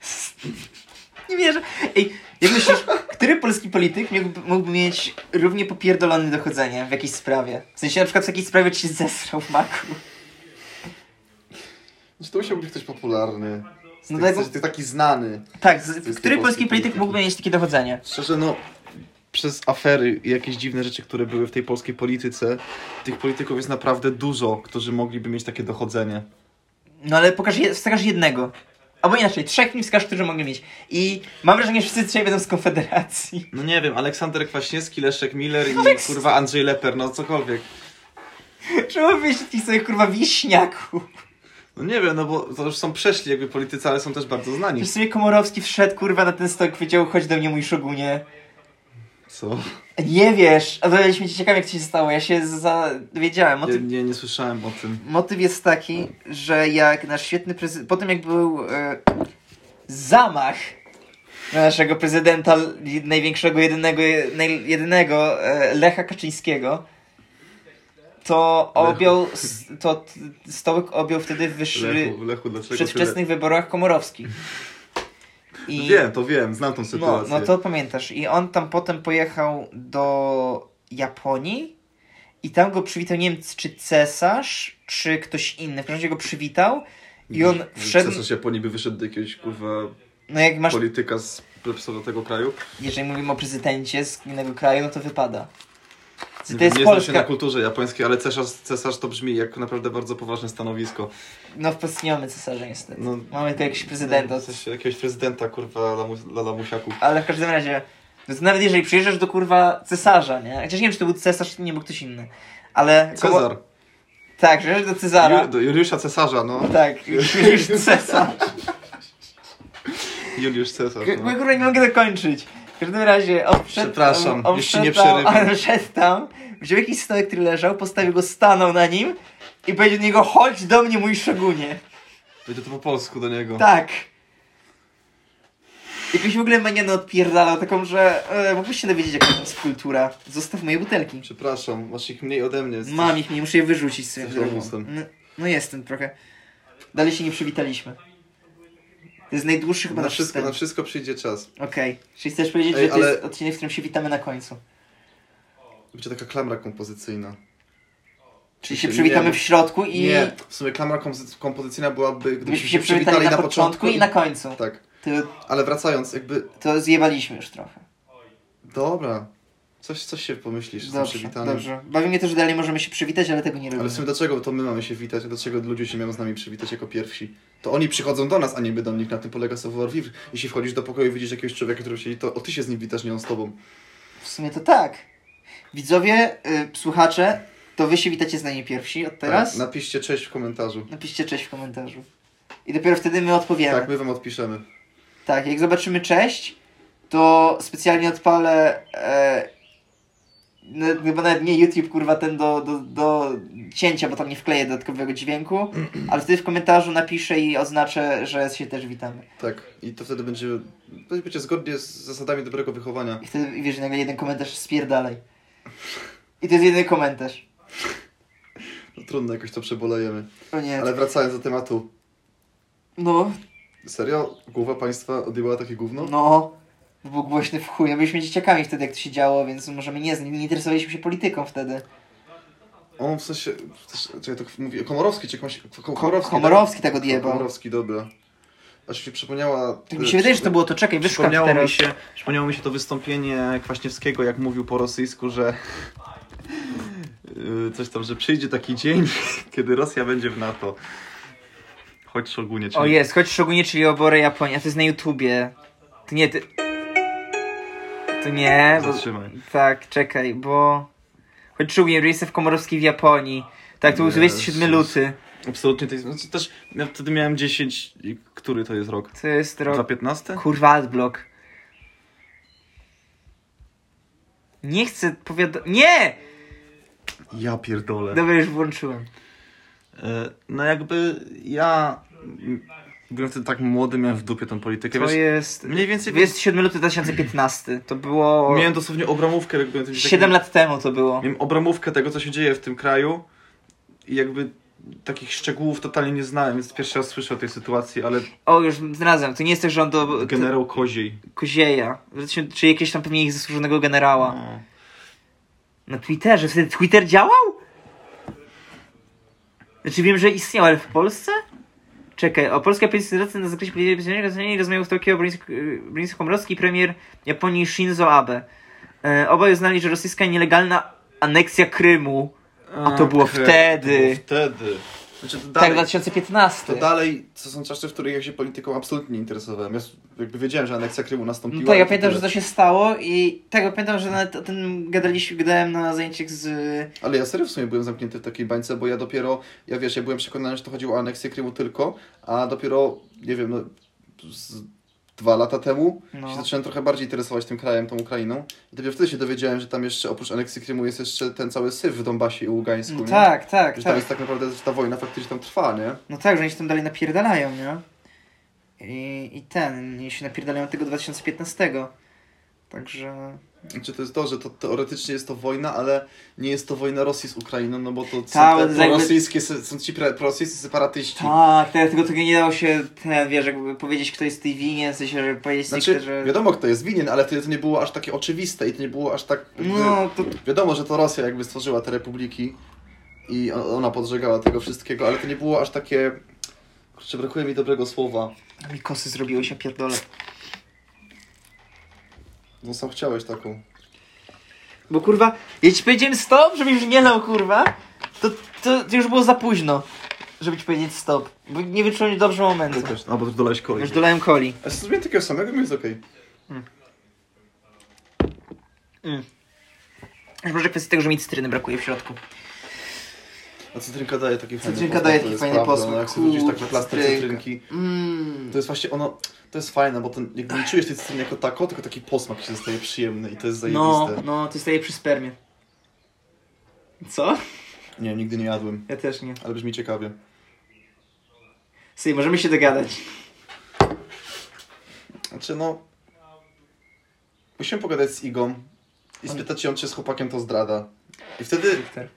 Speaker 1: Nie wierzę. Ej, jak myślisz, który polski polityk mógłby, mógłby mieć równie popierdolone dochodzenie w jakiejś sprawie? W sensie na przykład w takiej sprawie, czy się zesrał w maku.
Speaker 2: Znaczy to musiał być ktoś popularny. Z
Speaker 1: No
Speaker 2: tych,
Speaker 1: tak-
Speaker 2: z tych taki znany.
Speaker 1: Tak, z,
Speaker 2: jest
Speaker 1: który
Speaker 2: polski
Speaker 1: polski polityk
Speaker 2: polityk.
Speaker 1: mógłby mieć takie dochodzenie?
Speaker 2: Szczerze no, przez afery i jakieś dziwne rzeczy, które były w tej polskiej polityce, tych polityków jest naprawdę dużo, którzy mogliby mieć takie dochodzenie.
Speaker 1: No ale pokaż, je- wskaż jednego. Albo inaczej, trzech mi wskaż, którzy mogę mieć. I mam wrażenie, że wszyscy trzej będą z Konfederacji.
Speaker 2: No nie wiem, Aleksander Kwaśniewski, Leszek Miller i
Speaker 1: Aleks-
Speaker 2: kurwa Andrzej Leper, no cokolwiek.
Speaker 1: Czemu wyślij sobie kurwa wieśniaku?
Speaker 2: No nie wiem, no bo to już są przeszli jakby politycy, ale są też bardzo znani.
Speaker 1: Przecież sobie Komorowski wszedł kurwa na ten stok, powiedział chodź do mnie mój szogunie.
Speaker 2: Co?
Speaker 1: Nie wiesz, a dowiedzieliśmy się ciekawie jak ci się stało, ja się za- dowiedziałem.
Speaker 2: Nie,
Speaker 1: Motyw,
Speaker 2: nie, nie słyszałem o tym.
Speaker 1: motyw jest taki, że jak nasz świetny prezydent, po tym jak był e, zamach na naszego prezydenta, l- największego, jedynego, naj- jedynego e, Lecha Kaczyńskiego, to
Speaker 2: Lechu.
Speaker 1: objął, s- to t- stołek objął wtedy wyższy...
Speaker 2: Lechu, Lechu, dlaczego
Speaker 1: w przedwczesnych wyborach komorowskich. I
Speaker 2: Wiem, to wiem, znam tą
Speaker 1: no,
Speaker 2: sytuację.
Speaker 1: no to pamiętasz. I on tam potem pojechał do Japonii i tam go przywitał nie wiem, czy cesarz, czy ktoś inny. W każdym razie go przywitał i on wszedł.
Speaker 2: Cesarz Japonii by wyszedł do jakiegoś kurwa
Speaker 1: No jak masz.
Speaker 2: polityka z plepsowatego kraju.
Speaker 1: Jeżeli mówimy o prezydencie z innego kraju, no to wypada.
Speaker 2: Nie
Speaker 1: To
Speaker 2: wiem,
Speaker 1: jest
Speaker 2: nie znam się na
Speaker 1: Polska.
Speaker 2: kulturze japońskiej, ale cesarz, cesarz to brzmi jak naprawdę bardzo poważne stanowisko.
Speaker 1: No w Polsce nie mamy cesarza niestety.
Speaker 2: No,
Speaker 1: Mamy tu jakiś prezydent.
Speaker 2: W sensie jakiegoś prezydenta, kurwa, lamu, dla lamusiaków.
Speaker 1: Ale w każdym razie No to nawet jeżeli przyjeżdżasz do kurwa cesarza, nie? Chociaż nie wiem, czy to był cesarz, czy nie był ktoś inny. Ale. koło-
Speaker 2: Cezar.
Speaker 1: Tak, przyjeżdżasz do Cezara.
Speaker 2: Ju, do Juliusza Cesarza, no.
Speaker 1: Tak, już cesarz.
Speaker 2: Juliusz Cesarz.
Speaker 1: K-
Speaker 2: No.
Speaker 1: Kurwa, nie mogę dokończyć. W każdym razie, on wszedł
Speaker 2: Przepraszam,
Speaker 1: on, on
Speaker 2: już ci nie
Speaker 1: wszedł tam-
Speaker 2: przerywam.
Speaker 1: On wszedł tam, wziął jakiś stołek, który leżał, postawił go, stanął na nim i powiedział do niego, chodź do mnie, mój szogunie.
Speaker 2: Będzie to po polsku do niego.
Speaker 1: Tak. Jakoś w ogóle manianę odpierdalał, taką, że e, mógłbyś się dowiedzieć, jaka tam jest kultura. Zostaw moje butelki.
Speaker 2: Przepraszam, masz ich mniej ode mnie.
Speaker 1: Mam ich, nie muszę je wyrzucić z
Speaker 2: Jesteś
Speaker 1: drogą.
Speaker 2: lamusem.
Speaker 1: No, no jestem trochę. Dalej się nie przywitaliśmy. To jest najdłuższy chyba
Speaker 2: Na wszystko, na
Speaker 1: nasz
Speaker 2: wszystko przyjdzie czas.
Speaker 1: wstęp. Okej, czyli chcesz powiedzieć,
Speaker 2: Ej,
Speaker 1: że to
Speaker 2: ale-
Speaker 1: jest odcinek, w którym się witamy na końcu.
Speaker 2: Będzie taka klamra kompozycyjna.
Speaker 1: Czyli się
Speaker 2: Nie
Speaker 1: przywitamy
Speaker 2: wiem.
Speaker 1: w środku i
Speaker 2: Nie, w sumie klamra kompozy- kompozycyjna byłaby,
Speaker 1: gdybyśmy się przywitali na, początku i na końcu.
Speaker 2: Tak,
Speaker 1: To,
Speaker 2: ale wracając, jakby...
Speaker 1: to zjebaliśmy już trochę.
Speaker 2: Dobra, coś, coś się pomyślisz z tym
Speaker 1: Dobrze,
Speaker 2: przywitaniem.
Speaker 1: dobrze. Bawi mnie to, że dalej możemy się przywitać, ale tego nie robimy.
Speaker 2: Ale w sumie dlaczego to my mamy się witać, a dlaczego ludzie się mają z nami przywitać jako pierwsi? To oni przychodzą do nas, a nie my do nich. Na tym polega savoir vivre. Jeśli wchodzisz do pokoju i widzisz jakiegoś człowieka, który siedzi, to o ty się z nim witasz, nie on z tobą.
Speaker 1: W sumie to tak. Widzowie, y, słuchacze, to wy się witacie z nami pierwsi od teraz.
Speaker 2: Tak, napiszcie cześć w komentarzu.
Speaker 1: Napiszcie cześć w komentarzu. I dopiero wtedy my odpowiemy.
Speaker 2: Tak,
Speaker 1: Tak,
Speaker 2: my wam odpiszemy.
Speaker 1: jak zobaczymy cześć, to specjalnie odpalę. E, no, chyba nawet nie YouTube, kurwa, ten do, do, do cięcia, bo tam nie wkleję dodatkowego dźwięku. Ale wtedy w komentarzu napiszę i oznaczę, że się też witamy.
Speaker 2: Tak, i to wtedy będzie, będzie zgodnie z zasadami dobrego wychowania.
Speaker 1: I wtedy wiesz, nagle jeden komentarz spierdalaj. I to jest jedyny komentarz.
Speaker 2: No, trudno, jakoś to przebolejemy.
Speaker 1: O nie.
Speaker 2: Ale wracając do tematu.
Speaker 1: No,
Speaker 2: Serio? Głowa państwa odjęła takie gówno?
Speaker 1: No, to był głośny w chuj. My byliśmy dzieciakami wtedy, jak to się działo, więc możemy nie znać. Nie interesowaliśmy się polityką wtedy.
Speaker 2: On w sensie... Też, czekaj, to mówię, Komorowski, czy jakąś... Ko- Komorowski,
Speaker 1: Komorowski tak
Speaker 2: tak?
Speaker 1: odjebał.
Speaker 2: Komorowski, dobra. Aż mi przypomniała...
Speaker 1: Tak mi się wydaje, że to było to. Czekaj, wyszukam
Speaker 2: E, Przypomniało mi,
Speaker 1: teraz.
Speaker 2: się, przypomniało mi się to wystąpienie Kwaśniewskiego, jak mówił po rosyjsku, że yy, coś tam, że przyjdzie taki dzień, kiedy Rosja będzie w NATO. Choć szogunie, czyli...
Speaker 1: O jest, choć szczególnie, czyli oborę Japonii. A to jest na YouTubie. To nie, ty... To nie, bo...
Speaker 2: Zatrzymaj.
Speaker 1: Tak, czekaj, bo... Choć szczególnie, byli w Komorowskiej w Japonii. Tak, to był
Speaker 2: Jezus.
Speaker 1: 27 luty.
Speaker 2: Absolutnie to jest... Znaczy też, ja wtedy miałem 10... i Który to jest rok?
Speaker 1: To jest rok...
Speaker 2: 2015?
Speaker 1: Kurwa, adblock. Nie chcę powiadom... Nie!
Speaker 2: Ja pierdolę.
Speaker 1: Dobra, już włączyłem.
Speaker 2: E, No jakby ja... m, Byłem wtedy tak młody, miałem w dupie tą politykę,
Speaker 1: To
Speaker 2: wiesz?
Speaker 1: jest.
Speaker 2: Mniej więcej...
Speaker 1: 27 lutego 2015. To było.
Speaker 2: Miałem dosłownie obramówkę, jak byłem tym
Speaker 1: 7 lat temu to było.
Speaker 2: Miałem obramówkę tego, co się dzieje w tym kraju i jakby takich szczegółów totalnie nie znałem, więc pierwszy raz słyszę o tej sytuacji, ale
Speaker 1: O, już znalazłem. To nie jest też rząd do.
Speaker 2: generał Koziej.
Speaker 1: Kozieja. Wreszcie- Czy jakiegoś tam pewnie ich zasłużonego generała.
Speaker 2: No.
Speaker 1: Na Twitterze. Wtedy Twitter działał? Znaczy wiem, że istniał, ale w Polsce? Czekaj, o Polska 500 razy na zakresie polityki bezpieczeństwa rozmawiał w Tokio Brińsko-Komorowski premier Japonii Shinzo Abe. E, obaj uznali, że rosyjska nielegalna aneksja Krymu. A to było
Speaker 2: Okej,
Speaker 1: wtedy.
Speaker 2: E, To było wtedy. Znaczy to dalej,
Speaker 1: Tak, 2015.
Speaker 2: to tak dalej to są czasy, w których ja się polityką absolutnie nie interesowałem. Ja s- jakby wiedziałem, że aneksja Krymu nastąpiła.
Speaker 1: No tak,
Speaker 2: i
Speaker 1: ja
Speaker 2: to
Speaker 1: pamiętam, że
Speaker 2: tyle.
Speaker 1: to się stało i tak, ja pamiętam, że nawet o tym gadaliśmy, gadałem na zajęciach z...
Speaker 2: Ale ja serio w sumie byłem zamknięty w takiej bańce, bo ja dopiero, ja wiesz, ja byłem przekonany, że to chodziło o aneksję Krymu tylko, a dopiero, nie wiem, no, z dwa lata temu
Speaker 1: No.
Speaker 2: się zacząłem trochę bardziej interesować tym krajem, tą Ukrainą. I dopiero wtedy się dowiedziałem, że tam jeszcze, oprócz aneksji Krymu, jest jeszcze ten cały syf w Donbasie i Ługańsku,
Speaker 1: No
Speaker 2: nie?
Speaker 1: tak, tak,
Speaker 2: Że tam
Speaker 1: tak.
Speaker 2: jest tak naprawdę, że ta wojna faktycznie tam trwa, nie?
Speaker 1: No tak, że oni się tam dalej napierdalają, nie? I, i ten, i się napierdalają tego 2015. Także...
Speaker 2: Znaczy to jest to, że to teoretycznie jest to wojna, ale nie jest to wojna Rosji z Ukrainą, no bo to są
Speaker 1: Ta,
Speaker 2: te
Speaker 1: jakby-
Speaker 2: prorosyjskie, se- są ci pre- prorosyjscy separatyści.
Speaker 1: Tak, teraz tego, tego nie dało się, ten, wiesz, jakby powiedzieć, kto jest tej winien, w sensie, że powiedzieć
Speaker 2: Znaczy,
Speaker 1: że...
Speaker 2: wiadomo kto jest winien, ale wtedy to nie było aż takie oczywiste i to nie było aż tak... jakby-
Speaker 1: No, to
Speaker 2: Wiadomo, że to Rosja jakby stworzyła te republiki i o- ona podżegała tego wszystkiego, ale to nie było aż takie... Kurczę, brakuje mi dobrego słowa.
Speaker 1: mi kosy zrobiły się, pierdolę.
Speaker 2: No sam chciałeś taką.
Speaker 1: Bo kurwa, ja ci powiedziałem stop, żebyś już nie lał, kurwa, to, to, to już było za późno, żeby ci powiedzieć stop. Bo nie wyczułem dobrze momentu.
Speaker 2: Znaczy, A, bo też dolałeś kolej.
Speaker 1: Już dolałem coli.
Speaker 2: A z takiego samego mi jest okej.
Speaker 1: Mm. Może kwestia tego, że mi cytryny brakuje w środku.
Speaker 2: A cytrynka daje taki fajny
Speaker 1: Cytrynka daje
Speaker 2: to
Speaker 1: taki
Speaker 2: jest
Speaker 1: fajny
Speaker 2: prawda,
Speaker 1: posmak.
Speaker 2: no, Jak sobie wrzucisz tak na
Speaker 1: Kurczę,
Speaker 2: plaster
Speaker 1: cytrynka.
Speaker 2: cytrynki,
Speaker 1: Mm.
Speaker 2: to jest właśnie ono, to jest fajne, bo ten, jakby nie czujesz tej cytryny jako tako, tylko taki posmak się zostaje przyjemny i to jest
Speaker 1: No,
Speaker 2: zajebiste.
Speaker 1: no, to staje przy spermie. Co?
Speaker 2: Nie, nigdy nie jadłem,
Speaker 1: Ja też nie.
Speaker 2: ale brzmi ciekawie.
Speaker 1: Słuchaj, możemy się dogadać.
Speaker 2: Znaczy no, musimy pogadać z Igą i spytać ją, czy z chłopakiem to zdrada. I wtedy
Speaker 1: Wiktor.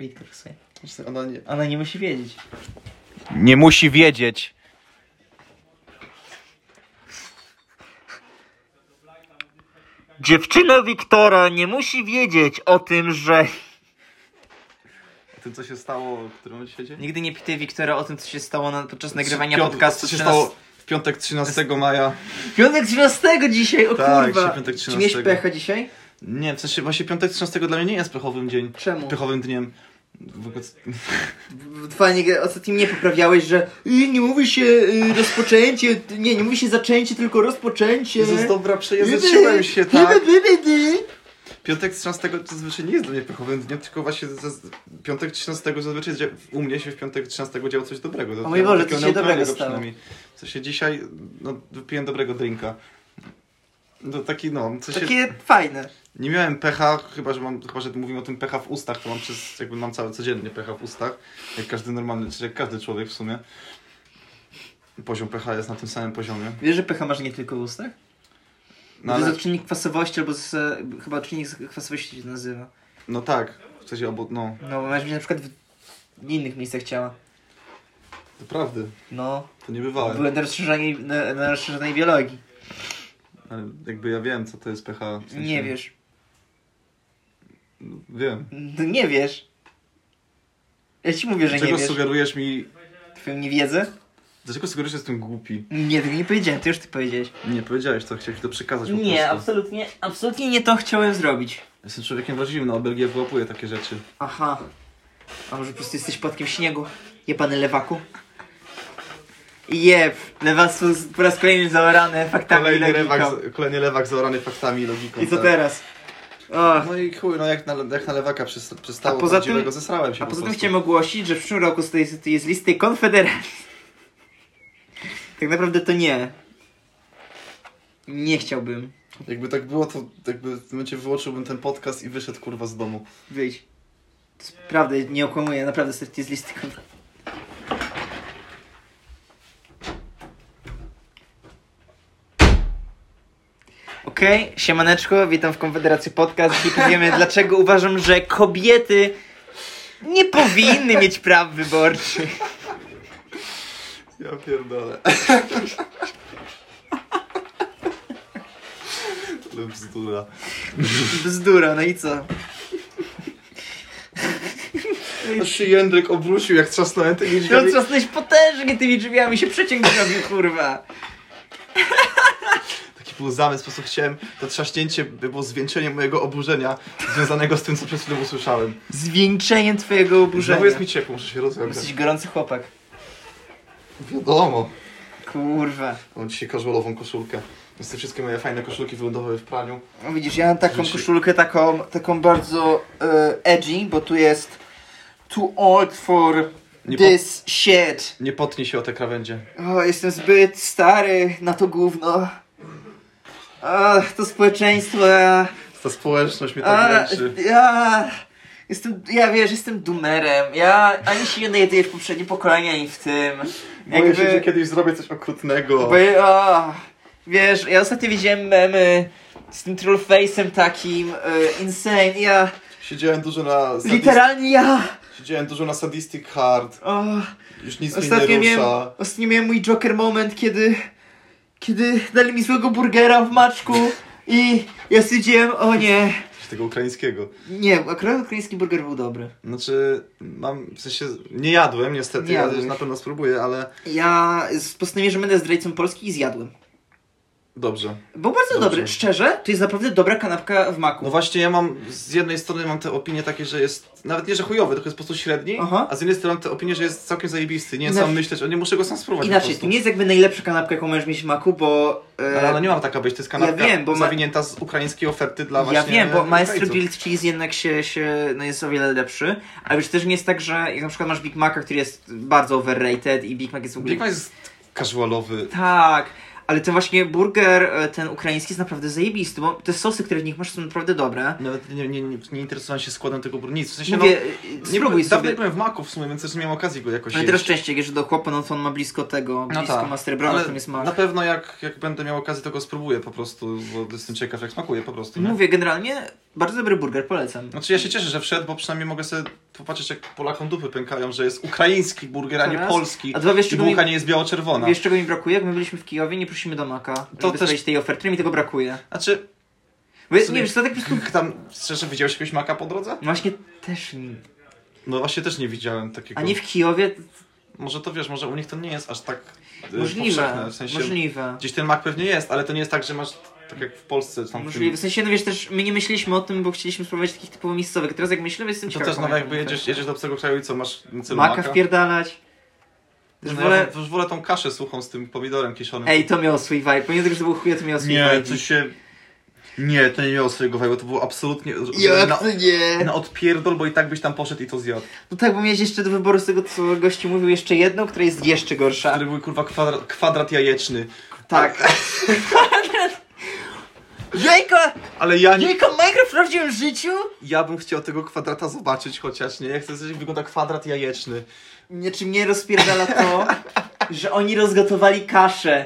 Speaker 1: Wiktor, słuchaj.
Speaker 2: Właśnie ona nie...
Speaker 1: Ona nie musi wiedzieć.
Speaker 2: nie musi wiedzieć.
Speaker 1: Dziewczyna Wiktora nie musi wiedzieć o tym, że...
Speaker 2: O tym, co się stało, w którym się dzieje?
Speaker 1: Nigdy nie pytaj Wiktora o tym, co się stało na, podczas nagrywania
Speaker 2: Piąt-
Speaker 1: podcastu.
Speaker 2: Co się
Speaker 1: 13
Speaker 2: stało w piątek 13 maja?
Speaker 1: Piątek 13 dzisiaj, o
Speaker 2: Tak,
Speaker 1: kurwa.
Speaker 2: dzisiaj piątek
Speaker 1: Czy miałeś
Speaker 2: 13.
Speaker 1: pecha dzisiaj?
Speaker 2: Nie, w sensie właśnie piątek 13 dla mnie nie jest pechowym dzień.
Speaker 1: Czemu?
Speaker 2: Pechowym dniem. W ogóle...
Speaker 1: Fajnie, ostatnio mnie poprawiałeś, że y, nie mówi się y, rozpoczęcie, t- nie, nie mówi się zaczęcie, tylko rozpoczęcie.
Speaker 2: Jezus, dobra, przejęzyczyłem się, tak? Piątek 13 zazwyczaj nie jest dla mnie pechowym dniem, tylko właśnie zaz... piątek 13 zazwyczaj dzia... u mnie się w piątek 13 działo coś dobrego. No
Speaker 1: O mój Boże,
Speaker 2: Takiego
Speaker 1: co się dobrego
Speaker 2: neutralnego
Speaker 1: stało?
Speaker 2: przynajmniej. W sensie dzisiaj, no, wypiłem dobrego drinka. No taki, no, w sensie...
Speaker 1: Takie fajne.
Speaker 2: Nie miałem pecha, chyba że, mam, chyba że mówimy o tym pecha w ustach, to mam przez, jakby mam cały codziennie pecha w ustach, jak każdy normalny, czy jak każdy człowiek w sumie. Poziom pecha jest na tym samym poziomie.
Speaker 1: Wiesz, że pecha masz nie tylko w ustach?
Speaker 2: No,
Speaker 1: To znaczy-
Speaker 2: ale,
Speaker 1: jest odczynnik kwasowości, albo z, chyba odczynnik z- kwasowości się nazywa.
Speaker 2: no tak, w sensie obu, no,
Speaker 1: No, bo masz być na przykład w innych miejscach ciała.
Speaker 2: to prawdy,
Speaker 1: No,
Speaker 2: to nie bywałem.
Speaker 1: byłem na rozszerzonej, na, na rozszerzonej biologii.
Speaker 2: Ale jakby ja wiem, co to jest pecha. W sensie,
Speaker 1: Nie wiesz.
Speaker 2: Wiem.
Speaker 1: No, Nie wiesz. Ja ci mówię, że nie
Speaker 2: Dlaczego
Speaker 1: wiesz.
Speaker 2: sugerujesz mi,
Speaker 1: Twoją niewiedzę?
Speaker 2: dlaczego sugerujesz, że jestem głupi?
Speaker 1: Nie, tego nie powiedziałem, to już ty powiedziałeś.
Speaker 2: Nie, powiedziałeś to, chciałeś mi to przekazać po
Speaker 1: Nie,
Speaker 2: prostu.
Speaker 1: absolutnie, absolutnie nie to chciałem zrobić.
Speaker 2: Jestem człowiekiem wrażliwym, no, na obelgie wyłapuję takie rzeczy.
Speaker 1: Aha. A może po prostu jesteś płatkiem śniegu? Jebany lewaku? Jeb, lewactwo z- po raz kolejny zaorane faktami Tak, i
Speaker 2: Kolejny
Speaker 1: logiką.
Speaker 2: lewak, kolejny lewak zaorany faktami i logiką.
Speaker 1: I co
Speaker 2: tak.
Speaker 1: teraz? Och.
Speaker 2: No i chuj, no jak na, jak na lewaka przys- przystało,
Speaker 1: A
Speaker 2: a
Speaker 1: poza
Speaker 2: poza
Speaker 1: tym-
Speaker 2: dziwego zesrałem się
Speaker 1: A
Speaker 2: po
Speaker 1: poza tym
Speaker 2: prostu.
Speaker 1: chciałem ogłosić, że w przyszłym roku z tej z tej- jest listy konfederacji. Tak naprawdę to nie. Nie chciałbym.
Speaker 2: Jakby tak było, to jakby w tym momencie wyłączyłbym ten podcast i wyszedł kurwa z domu.
Speaker 1: Wyjdź. To jest prawda, nie okłamuję, naprawdę serce z listy kontra. Okej, siemaneczko, witam w Konfederacji Podcast i powiemy dlaczego uważam, że kobiety nie powinny mieć praw wyborczych.
Speaker 2: Ja pierdolę. Ale bzdura.
Speaker 1: Bzdura, no i co?
Speaker 2: Aż się Jędrek obrócił jak trzasnąłem tymi
Speaker 1: Ty
Speaker 2: drzwiami.
Speaker 1: otrzasnąłeś potężnie tymi drzwiami, się przeciąg zrobił, kurwa.
Speaker 2: Taki był zamysł, po prostu chciałem, to trzaśnięcie było zwieńczeniem mojego oburzenia związanego z tym, co przed chwilą usłyszałem.
Speaker 1: Zwieńczeniem twojego
Speaker 2: Znowu
Speaker 1: oburzenia.
Speaker 2: jest mi ciepło, muszę się rozwiązać.
Speaker 1: Jesteś gorący chłopak.
Speaker 2: Wiadomo.
Speaker 1: Kurwa.
Speaker 2: Mam dzisiaj casualową koszulkę. Więc te wszystkie moje fajne koszulki wylądowały w praniu.
Speaker 1: No widzisz, ja mam taką
Speaker 2: Że się-
Speaker 1: koszulkę, taką, taką bardzo e, edgy, bo tu jest too old for
Speaker 2: Nie po-
Speaker 1: this shit.
Speaker 2: Nie potnij się o te krawędzie.
Speaker 1: O, jestem zbyt stary na to gówno. Ach, to społeczeństwo, ja...
Speaker 2: Ta społeczność mnie tak
Speaker 1: A,
Speaker 2: męczy.
Speaker 1: ja... Jestem, ja wiesz, jestem dumerem. Ja ani się nie najduję w poprzednie pokolenia, ani w tym.
Speaker 2: Boję się, że kiedyś zrobię coś okrutnego.
Speaker 1: Bo, ja- a, wiesz, ja ostatnio widziałem memy z tym trollface'em takim, e, insane, ja...
Speaker 2: Siedziałem dużo na sadist...
Speaker 1: Literalnie ja!
Speaker 2: Siedziałem dużo na sadistic hard.
Speaker 1: O,
Speaker 2: Już nic
Speaker 1: ostatnio,
Speaker 2: mnie nie
Speaker 1: miałem,
Speaker 2: rusza.
Speaker 1: ostatnio miałem mój Joker moment, kiedy, kiedy dali mi złego burgera w maczku i ja stwierdziłem, o nie.
Speaker 2: Tego ukraińskiego.
Speaker 1: Nie, akurat ukraiński burger był dobry.
Speaker 2: Znaczy, mam, w sensie, nie jadłem niestety,
Speaker 1: Nie
Speaker 2: nie ale
Speaker 1: jadłeś.
Speaker 2: na pewno spróbuję, ale
Speaker 1: Ja z- postanowiłem, że będę zdrajcą Polski i zjadłem.
Speaker 2: Dobrze.
Speaker 1: Był bardzo
Speaker 2: Dobrze.
Speaker 1: dobry. Szczerze, to jest naprawdę dobra kanapka w maku.
Speaker 2: No właśnie ja mam, z jednej strony mam te opinie takie, że jest, nawet nie, że chujowy, tylko jest po prostu średni,
Speaker 1: Aha.
Speaker 2: a z jednej strony te opinie, że jest całkiem zajebisty, nie
Speaker 1: Inaczej-
Speaker 2: sam myśleć, o nie muszę go sam spróbować
Speaker 1: Inaczej,
Speaker 2: po
Speaker 1: to
Speaker 2: prostu.
Speaker 1: nie jest jakby najlepsza kanapka, jaką możesz mieć w maku, bo... e,
Speaker 2: Ale ona nie mam taka być, to jest kanapka
Speaker 1: Ja wiem, bo ma-
Speaker 2: zawinięta z ukraińskiej oferty dla
Speaker 1: ja
Speaker 2: właśnie
Speaker 1: wiem, bo Maestro
Speaker 2: Ukraińców.
Speaker 1: Grilled Cheese jednak się, się no jest o wiele lepszy, ale wiesz, też nie jest tak, że jak na przykład masz Big Maca, który jest bardzo overrated i Big Mac jest w ogóle...
Speaker 2: Big Mac jest casualowy.
Speaker 1: Tak, ale ten właśnie burger, e, ten ukraiński jest naprawdę zajebisty, bo te sosy, które w nich masz są naprawdę dobre.
Speaker 2: Nawet nie, nie, nie, nie interesowałem się składem tego burnicy. W sensie,
Speaker 1: Mówię,
Speaker 2: no,
Speaker 1: e,
Speaker 2: nie
Speaker 1: spróbuj
Speaker 2: byłem, dawno
Speaker 1: sobie.
Speaker 2: nie byłem w Maku w sumie, więc też nie miałem okazji go jakoś
Speaker 1: No i
Speaker 2: jeść.
Speaker 1: teraz szczęście, że do chłopa, no to on ma blisko tego, blisko
Speaker 2: tak,
Speaker 1: Master Brona,
Speaker 2: ale
Speaker 1: tam jest
Speaker 2: Na
Speaker 1: mak.
Speaker 2: pewno jak, jak będę miał okazję, to go spróbuję po prostu, bo jestem ciekaw jak smakuje po prostu. Nie?
Speaker 1: Mówię, generalnie bardzo dobry burger, polecam.
Speaker 2: Znaczy ja się cieszę, że wszedł, bo przynajmniej mogę sobie popatrzeć jak Polakom dupy pękają, że jest ukraiński burger, a nie
Speaker 1: Teraz-
Speaker 2: polski.
Speaker 1: A dwa wiesz,
Speaker 2: I
Speaker 1: czego mi,
Speaker 2: bułka nie jest biało-czerwona.
Speaker 1: wiesz, czego mi brakuje? Jak my byliśmy w Kijowie, nie prosimy do maka, to żeby
Speaker 2: też-
Speaker 1: też... tej oferty, mi tego brakuje.
Speaker 2: Znaczy,
Speaker 1: Bo,
Speaker 2: sumie-
Speaker 1: nie wiesz, to tak po prostu...
Speaker 2: k- tam szczerze widziałeś jakiegoś maka po drodze?
Speaker 1: Właśnie też nie.
Speaker 2: No właśnie też nie widziałem takiego.
Speaker 1: A nie w Kijowie?
Speaker 2: Może to wiesz, może u nich to nie jest aż tak e,
Speaker 1: Możliwe,
Speaker 2: powszechne. W sensie,
Speaker 1: możliwe.
Speaker 2: Gdzieś ten mak pewnie jest, ale to nie jest tak, że masz tak jak w Polsce. Tam w
Speaker 1: Możliwe. W sensie, no wiesz, też my nie myśleliśmy o tym, bo chcieliśmy spróbować takich typowo miejscowych. Teraz jak myślimy, jestem
Speaker 2: tym, to
Speaker 1: ciekaw.
Speaker 2: też no,
Speaker 1: pamiętam,
Speaker 2: jakby
Speaker 1: że-
Speaker 2: jedziesz, jedziesz do obcego kraju i co, masz na celu
Speaker 1: tak. Maka
Speaker 2: maka?
Speaker 1: wpierdalać. Też
Speaker 2: no,
Speaker 1: wolę...
Speaker 2: ja już wolę tą kaszę suchą z tym pomidorem kiszonym.
Speaker 1: Ej, no- to miało swój vibe. Pomimo tego, że to był chuj, to miało swój
Speaker 2: nie,
Speaker 1: vibe.
Speaker 2: to się... Nie, to nie miało swojego vibe'u, to było absolutnie...
Speaker 1: Jak
Speaker 2: na,
Speaker 1: to nie?
Speaker 2: na odpierdol, bo i tak byś tam poszedł i to zjadł.
Speaker 1: No tak, bo miałeś jeszcze do wyboru z tego, co gości mówił, jeszcze jedną, która jest jeszcze gorsza.
Speaker 2: Który był kurwa kwadrat, kwadrat jajeczny.
Speaker 1: Tak. Jejka!
Speaker 2: Ale ja nie...
Speaker 1: Jejka Minecraft w prawdziwym życiu?
Speaker 2: Ja bym chciał tego kwadrata zobaczyć chociaż, nie? Jak chcę zobaczyć, jak wygląda kwadrat jajeczny.
Speaker 1: Nie, czy mnie rozpierdala to, że oni rozgotowali kaszę.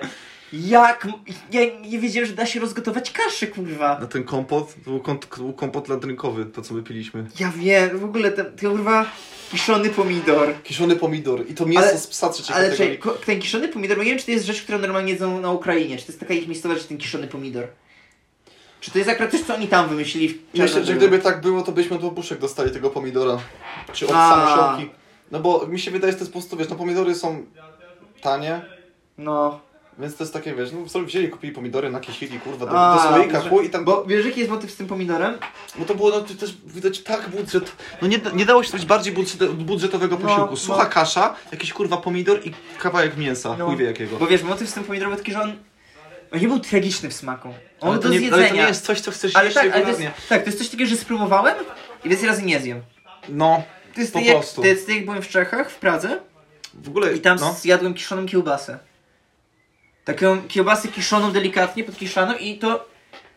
Speaker 1: Jak? m- Ja nie wiedziałem, że da się rozgotować kaszę, kurwa.
Speaker 2: Na ten kompot, to był, kont, to był kompot landrynkowy, to co my piliśmy.
Speaker 1: Ja wiem, w ogóle ten, ten kurwa kiszony pomidor.
Speaker 2: Kiszony pomidor i to mięso
Speaker 1: Ale-
Speaker 2: z psa trzeciej
Speaker 1: Ale
Speaker 2: kategorii.
Speaker 1: czekaj, ko- ten kiszony pomidor, bo nie wiem, czy to jest rzecz, którą normalnie jedzą na Ukrainie. Czy to jest taka ich miejscowa, że ten kiszony pomidor? Czy to jest akurat coś, co oni tam wymyślili w
Speaker 2: Myślę, że
Speaker 1: Czarnobylu?
Speaker 2: gdyby tak było, to byśmy od babuszek dostali tego pomidora. Czy od
Speaker 1: A.
Speaker 2: samoszonki. No bo mi się wydaje, że to jest po prostu, wiesz, no pomidory są tanie,
Speaker 1: No.
Speaker 2: więc to jest takie, wiesz, no sobie wzięli, kupili pomidory, nakisili, kurwa, do,
Speaker 1: A,
Speaker 2: do słoika,
Speaker 1: że-
Speaker 2: chuj i tam, bo,
Speaker 1: Bo wiesz, jaki jest motyw z tym pomidorem?
Speaker 2: bo to było no, to też widać tak budżet, no nie, nie dało się zrobić bardziej budżet, budżetowego
Speaker 1: No,
Speaker 2: posiłku.
Speaker 1: no.
Speaker 2: Sucha kasza, jakiś kurwa pomidor i kawałek mięsa,
Speaker 1: No.
Speaker 2: chuj wie jakiego.
Speaker 1: Bo wiesz, motyw z tym pomidorem był taki, że on... On nie był tragiczny w smaku. On
Speaker 2: ale,
Speaker 1: był
Speaker 2: to
Speaker 1: do
Speaker 2: nie, ale to nie
Speaker 1: zjedzenia.
Speaker 2: jest coś, co chcesz
Speaker 1: Ale
Speaker 2: jeść
Speaker 1: tak, ale to jest,
Speaker 2: regularnie.
Speaker 1: tak, to jest coś takiego, że spróbowałem i więcej razy nie zjem.
Speaker 2: No,
Speaker 1: To jest
Speaker 2: Po
Speaker 1: tak jak,
Speaker 2: prostu.
Speaker 1: to jest tak jak byłem w Czechach, w Pradze
Speaker 2: w ogóle,
Speaker 1: i tam
Speaker 2: no.
Speaker 1: zjadłem kiszoną kiełbasę. Taką kiełbasę kiszoną delikatnie, podkiszaną i to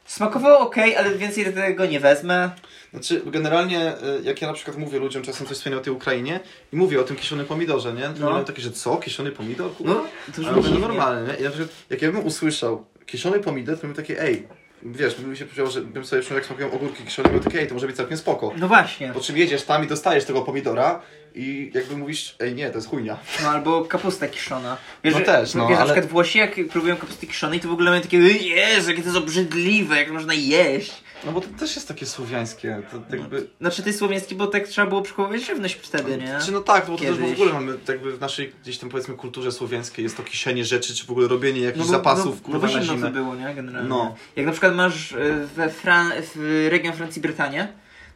Speaker 1: smakowało ok, ale więcej tego nie wezmę.
Speaker 2: Znaczy, generalnie, y, jak ja na przykład mówię ludziom czasem coś wspomnę o tej Ukrainie i mówię o tym kiszonym pomidorze, nie? To
Speaker 1: No.
Speaker 2: no. mają takie, że co? Kiszony pomidor? Kurwa.
Speaker 1: No, to już
Speaker 2: Ale to
Speaker 1: było
Speaker 2: normalne, nie? I na przykład, jak ja bym usłyszał kiszony pomidor, to bym takie, ej, wiesz, bym się powiedział, że bym sobie przypomniał, jak smakują ogórki kiszone, bym takie, ej, to może być całkiem spoko.
Speaker 1: No właśnie.
Speaker 2: Po czym jedziesz tam i dostajesz tego pomidora i jakby mówisz, ej, nie, to jest chujnia.
Speaker 1: No albo kapusta kiszona. Wiesz,
Speaker 2: No
Speaker 1: że-
Speaker 2: też, no,
Speaker 1: Wiesz, na
Speaker 2: ale-
Speaker 1: przykład Włosi jak próbują kapusty kiszonej, to w ogóle mają takie Jezu, jakie to jest obrzydliwe, jak można jeść.
Speaker 2: No bo to też jest takie słowiańskie, to jakby...
Speaker 1: Znaczy ty słowiański, bo tak trzeba było przechowywać żywność wtedy, nie?
Speaker 2: Czy no tak, bo to też
Speaker 1: Kiedyś.
Speaker 2: w ogóle mamy jakby w naszej gdzieś tam powiedzmy kulturze słowiańskiej jest to kiszenie rzeczy, czy w ogóle robienie jakichś
Speaker 1: bo-
Speaker 2: zapasów,
Speaker 1: no,
Speaker 2: kurwa,
Speaker 1: no,
Speaker 2: na
Speaker 1: no
Speaker 2: zimę.
Speaker 1: to było, nie? Generalnie.
Speaker 2: No.
Speaker 1: Jak na przykład masz y, we Fran- w region Francji Brytanię,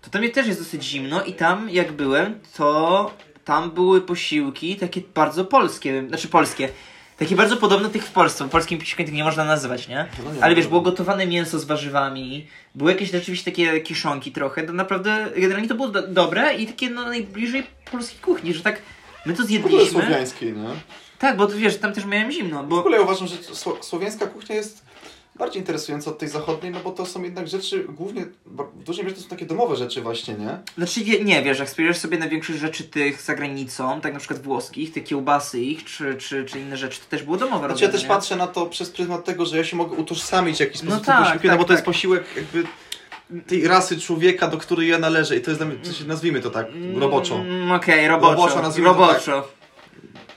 Speaker 1: to tam też jest dosyć zimno i tam jak byłem, to tam były posiłki takie bardzo polskie, znaczy polskie. Takie bardzo podobne do tych w Polsce, bo polskim posiłkiem tych nie można nazywać, nie?
Speaker 2: No nie,
Speaker 1: Ale wiesz,
Speaker 2: no.
Speaker 1: było gotowane mięso z warzywami, były jakieś rzeczywiście takie kiszonki trochę, to naprawdę, generalnie to było do- dobre i takie no, najbliżej polskiej kuchni, że tak my to
Speaker 2: W ogóle
Speaker 1: zjedliśmy.
Speaker 2: słowiańskiej, nie?
Speaker 1: Tak, bo tu wiesz, tam też miałem zimno,
Speaker 2: W
Speaker 1: bo...
Speaker 2: ogóle ja uważam, że sło- słowiańska kuchnia jest bardziej interesująca od tej zachodniej, no bo to są jednak rzeczy, głównie ba- w dużej mierze to są takie domowe rzeczy właśnie, nie?
Speaker 1: Znaczy wie- nie, wiesz, jak spojrzysz sobie na większość rzeczy tych za granicą, tak na przykład włoskich, te kiełbasy ich, czy, czy, czy inne rzeczy, to też było domowe
Speaker 2: Znaczy ja
Speaker 1: robione,
Speaker 2: też
Speaker 1: nie?
Speaker 2: patrzę na to przez pryzmat tego, że ja się mogę utożsamić w jakiś
Speaker 1: No
Speaker 2: sposób no
Speaker 1: tak,
Speaker 2: posiłkiem,
Speaker 1: tak,
Speaker 2: no bo to jest
Speaker 1: tak.
Speaker 2: posiłek jakby tej rasy człowieka, do której ja należę i to jest dla mnie, w sensie nazwijmy to tak, roboczo,
Speaker 1: Mm, Okej, roboczo.
Speaker 2: Roboczo,
Speaker 1: Roboczo,
Speaker 2: nazwijmy to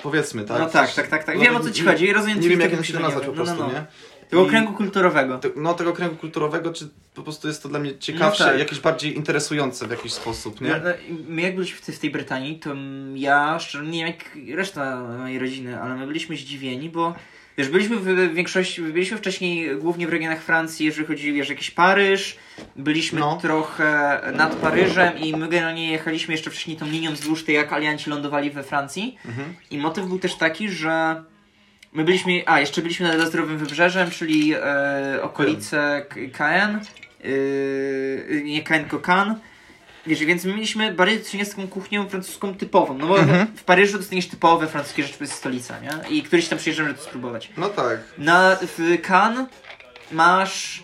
Speaker 2: powiedzmy, tak?
Speaker 1: No tak, tak, tak, tak.
Speaker 2: No
Speaker 1: Wiem,
Speaker 2: to
Speaker 1: o co ci
Speaker 2: nie-
Speaker 1: chodzi i rozumiem,
Speaker 2: Nie
Speaker 1: co
Speaker 2: wiem,
Speaker 1: ty
Speaker 2: jak to
Speaker 1: myślisz,
Speaker 2: się to
Speaker 1: nie
Speaker 2: nazwać
Speaker 1: wiem.
Speaker 2: po
Speaker 1: No, no,
Speaker 2: prostu,
Speaker 1: no.
Speaker 2: nie?
Speaker 1: Tego
Speaker 2: I-
Speaker 1: kręgu kulturowego.
Speaker 2: te- No tego kręgu kulturowego, czy po prostu jest to dla mnie ciekawsze,
Speaker 1: tak.
Speaker 2: jakieś bardziej interesujące w jakiś sposób,
Speaker 1: No,
Speaker 2: nie?
Speaker 1: no, i My jak byliśmy w tej, w tej Brytanii, to mm, ja szczerze nie wiem jak reszta mojej rodziny, ale my byliśmy zdziwieni, bo Wiesz, byliśmy w- w większości, byliśmy wcześniej głównie w regionach Francji, jeżeli chodzi, wiesz, jakiś Paryż, byliśmy
Speaker 2: No.
Speaker 1: trochę nad Paryżem i my generalnie jechaliśmy jeszcze wcześniej tą linią wzdłuż tej, jak alianci lądowali we Francji.
Speaker 2: Mhm.
Speaker 1: I motyw był też taki, że my byliśmy, a jeszcze byliśmy nad Lazdrowym Wybrzeżem, czyli e, okolice K- Caen, e, nie Caen, tylko Cannes. Wiesz, więc my mieliśmy bardziej do czynienia z taką kuchnią francuską typową, no bo
Speaker 2: Mhm.
Speaker 1: w Paryżu dostaniesz typowe francuskie rzeczy, bo jest stolica, nie? I któryś tam przyjeżdżamy, żeby to spróbować.
Speaker 2: No tak.
Speaker 1: Na, w Cannes masz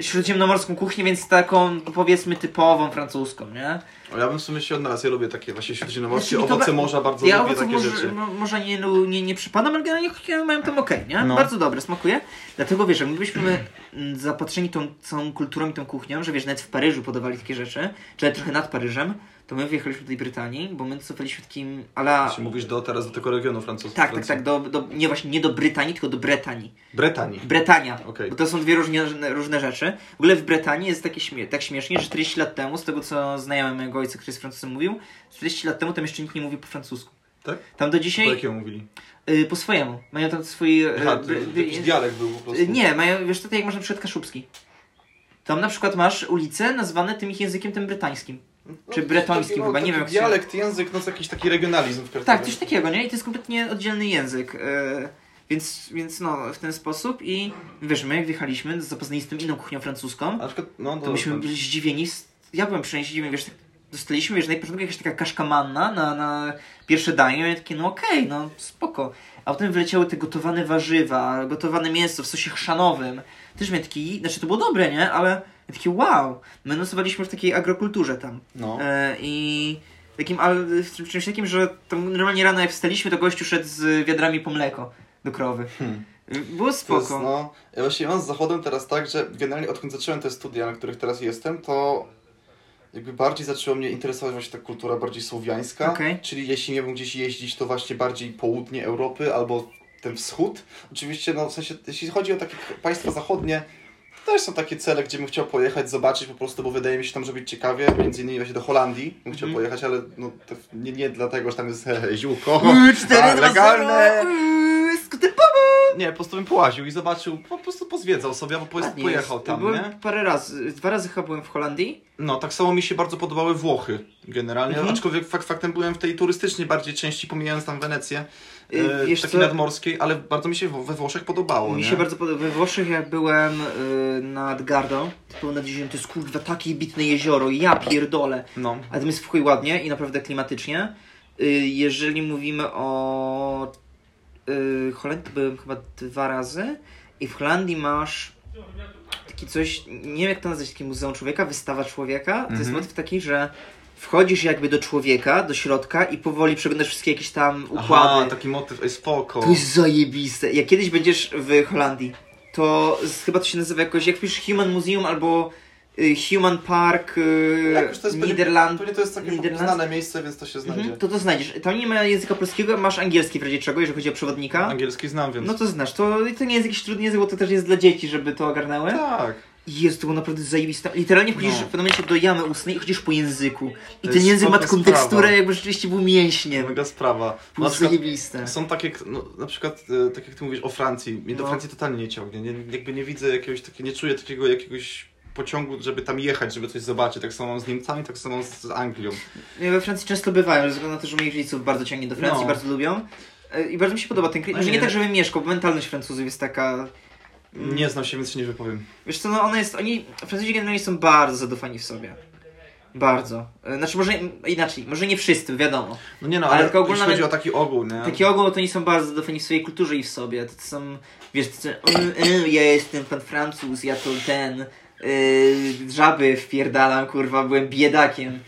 Speaker 1: śródziemnomorską kuchnię, więc taką powiedzmy typową francuską, nie?
Speaker 2: Ale No Ja bym w sumie się odnalazł. Ja lubię takie właśnie śródziemnomorskie
Speaker 1: Znaczy, to
Speaker 2: owoce
Speaker 1: be-
Speaker 2: morza, bardzo
Speaker 1: Ja
Speaker 2: lubię
Speaker 1: owoce
Speaker 2: takie
Speaker 1: może,
Speaker 2: rzeczy.
Speaker 1: mo- może nie, lu- nie, nie przypadam, ale generalnie kuchnie mają tam okej, nie?
Speaker 2: No.
Speaker 1: Bardzo dobre, smakuje. Dlatego wiesz, że my byliśmy mm, zapatrzeni tą całą kulturą i tą kuchnią, że wiesz, nawet w Paryżu podawali takie rzeczy, czy nawet trochę nad Paryżem, to my wyjechaliśmy do tej Brytanii, bo my cofaliśmy takim ala...
Speaker 2: Jeśli mówisz do, teraz do tego regionu francuskiego.
Speaker 1: Tak, tak, tak, do, do, nie właśnie, nie do Brytanii, tylko do Bretanii.
Speaker 2: Bretanii.
Speaker 1: Bretania.
Speaker 2: Okej.
Speaker 1: Bo to są dwie różne, różne rzeczy. W ogóle w Bretanii jest takie śmie- tak śmiesznie, że 40 lat temu, z tego co znajomy mojego ojca, który jest Francuzem, mówił, 40 lat temu tam jeszcze nikt nie mówił po francusku.
Speaker 2: Tak?
Speaker 1: Tam do
Speaker 2: Po
Speaker 1: dzisiaj
Speaker 2: jakiemu mówili?
Speaker 1: y, po swojemu. Mają tam swój. y,
Speaker 2: Aha, to,
Speaker 1: bry-
Speaker 2: to jakiś
Speaker 1: y,
Speaker 2: dialekt był po prostu.
Speaker 1: y, nie, mają, wiesz, to tak jak masz na przykład Kaszubski. Tam na przykład masz ulice nazwane tym ich językiem, tym brytańskim.
Speaker 2: No,
Speaker 1: czy
Speaker 2: jakiś
Speaker 1: bretoński
Speaker 2: taki, no,
Speaker 1: chyba, nie
Speaker 2: taki
Speaker 1: wiem, jak się-
Speaker 2: Dialekt, język, no to jakiś taki regionalizm w
Speaker 1: Tak, coś takiego, nie? I to jest kompletnie oddzielny język. y, więc, więc no, w ten sposób i wiesz, my jak wjechaliśmy, zapoznali z tą inną kuchnią francuską,
Speaker 2: Na przykład, no
Speaker 1: to myśmy byli zdziwieni. s- Ja byłem przynajmniej zdziwiony, wiesz, tak dostaliśmy, wiesz, na początku jakaś taka kaszkamanna na, na pierwsze danie, ja takie, no okej, no spoko. A potem wyleciały te gotowane warzywa, gotowane mięso w sosie chrzanowym. Też miałem taki, znaczy to było dobre, nie? Ale ja takie wow. My nocowaliśmy w takiej agrokulturze tam.
Speaker 2: No.
Speaker 1: E, I takim, ale w czym- czymś takim, że tam normalnie rano jak wstaliśmy, to gościu szedł z wiadrami po mleko do krowy.
Speaker 2: Hmm.
Speaker 1: Było
Speaker 2: To jest,
Speaker 1: spoko.
Speaker 2: no, ja właśnie mam z Zachodem teraz tak, że generalnie odkąd zacząłem te studia, na których teraz jestem, to jakby bardziej zaczęła mnie interesować właśnie ta kultura bardziej słowiańska,
Speaker 1: Okej.
Speaker 2: czyli jeśli nie wiem gdzieś jeździć, to właśnie bardziej południe Europy albo ten wschód. Oczywiście, no w sensie, jeśli chodzi o takie k- państwa zachodnie, to też są takie cele, gdzie bym chciał pojechać, zobaczyć po prostu, bo wydaje mi się tam, żeby być ciekawie, między innymi właśnie do Holandii bym chciał
Speaker 1: Mhm.
Speaker 2: pojechać, ale no, to nie, nie dlatego, że tam jest he, he, ziółko,
Speaker 1: Uuu, 4
Speaker 2: tak,
Speaker 1: dwa,
Speaker 2: legalne,
Speaker 1: zero, uuu, skutek
Speaker 2: nie, po prostu bym połaził i zobaczył, po prostu pozwiedzał sobie, albo po,
Speaker 1: Ładnie
Speaker 2: pojechał
Speaker 1: jest.
Speaker 2: tam,
Speaker 1: byłem
Speaker 2: nie?
Speaker 1: parę razy, dwa razy chyba byłem w Holandii.
Speaker 2: No, tak samo mi się bardzo podobały Włochy generalnie,
Speaker 1: Mhm.
Speaker 2: aczkolwiek fakt faktem byłem w tej turystycznej bardziej części, pomijając tam Wenecję,
Speaker 1: Yy,
Speaker 2: e,
Speaker 1: wiesz
Speaker 2: takiej
Speaker 1: co?
Speaker 2: nadmorskiej, ale bardzo mi się wo- we Włoszech podobało,
Speaker 1: Mi
Speaker 2: nie?
Speaker 1: się bardzo podoba. We Włoszech jak byłem y, nad Gardą, to było nad jeziorem, to jest kurwa takie bitne jezioro, ja pierdolę.
Speaker 2: No,
Speaker 1: A tam jest w chuj ładnie i naprawdę klimatycznie. Y, jeżeli mówimy o y, Holandii, to byłem chyba dwa razy. I w Holandii masz taki coś, nie wiem jak to nazwać, takie muzeum człowieka, wystawa człowieka. To jest
Speaker 2: Mhm.
Speaker 1: motyw taki, że wchodzisz jakby do człowieka, do środka i powoli przeglądasz wszystkie jakieś tam układy.
Speaker 2: Aha, taki motyw, ej, spoko.
Speaker 1: To jest zajebiste. Jak kiedyś będziesz w Holandii, to z, chyba to się nazywa jakoś, jak pisz Human Museum albo y, Human Park y,
Speaker 2: Jak Tak, już to jest pewnie-
Speaker 1: Niderland,
Speaker 2: Pewnie to jest takie
Speaker 1: Niderland-
Speaker 2: znane miejsce, więc to się znajdzie.
Speaker 1: mhm, to to znajdziesz. Tam nie ma języka polskiego, masz angielski w razie czego, jeżeli chodzi o przewodnika.
Speaker 2: Angielski znam, Tak, więc...
Speaker 1: No to znasz, to, to nie jest jakiś trudny język, bo to też jest dla dzieci, żeby to ogarnęły.
Speaker 2: tak.
Speaker 1: I Jest to było naprawdę zajebiste. Literalnie wchodzisz
Speaker 2: No.
Speaker 1: w pewnym momencie do jamy ustnej i chodzisz po języku. I
Speaker 2: To
Speaker 1: ten
Speaker 2: jest
Speaker 1: język ma
Speaker 2: spoko
Speaker 1: taką
Speaker 2: sprawa.
Speaker 1: teksturę, jakby rzeczywiście był mięśniem.
Speaker 2: Mega sprawa.
Speaker 1: Było
Speaker 2: Na przykład
Speaker 1: zajebiste.
Speaker 2: Są takie, no, na przykład, e, tak jak ty mówisz o Francji, mnie do
Speaker 1: No.
Speaker 2: Francji totalnie nie ciągnie, nie, jakby nie widzę jakiegoś, takie, nie czuję takiego jakiegoś pociągu, żeby tam jechać, żeby coś zobaczyć, tak samo mam z Niemcami, tak samo z z Anglią.
Speaker 1: Ja We Francji często bywają, ze względu na to, że moich rodziców bardzo ciągnie do Francji,
Speaker 2: No.
Speaker 1: bardzo lubią. E, I bardzo mi się podoba ten kraj.
Speaker 2: No
Speaker 1: Może nie
Speaker 2: nie.
Speaker 1: tak, żebym mieszkał, bo mentalność Francuzów jest taka... mm,
Speaker 2: Nie znam się, więc się nie wypowiem.
Speaker 1: Wiesz co, no ona jest... Oni... Francuzi generalnie są bardzo zadufani w sobie. Bardzo. E, Znaczy może inaczej, może nie wszyscy, wiadomo.
Speaker 2: No nie no,
Speaker 1: Ale
Speaker 2: ale,
Speaker 1: tylko ogólna-
Speaker 2: jeśli chodzi o taki ogół, nie?
Speaker 1: Taki ogół to oni No. są bardzo zadufani w swojej kulturze i w sobie. To są, wiesz, to są, "Mm, mm, ja jestem pan Francuz, ja to ten, yy, żaby wpierdalam, kurwa, byłem biedakiem.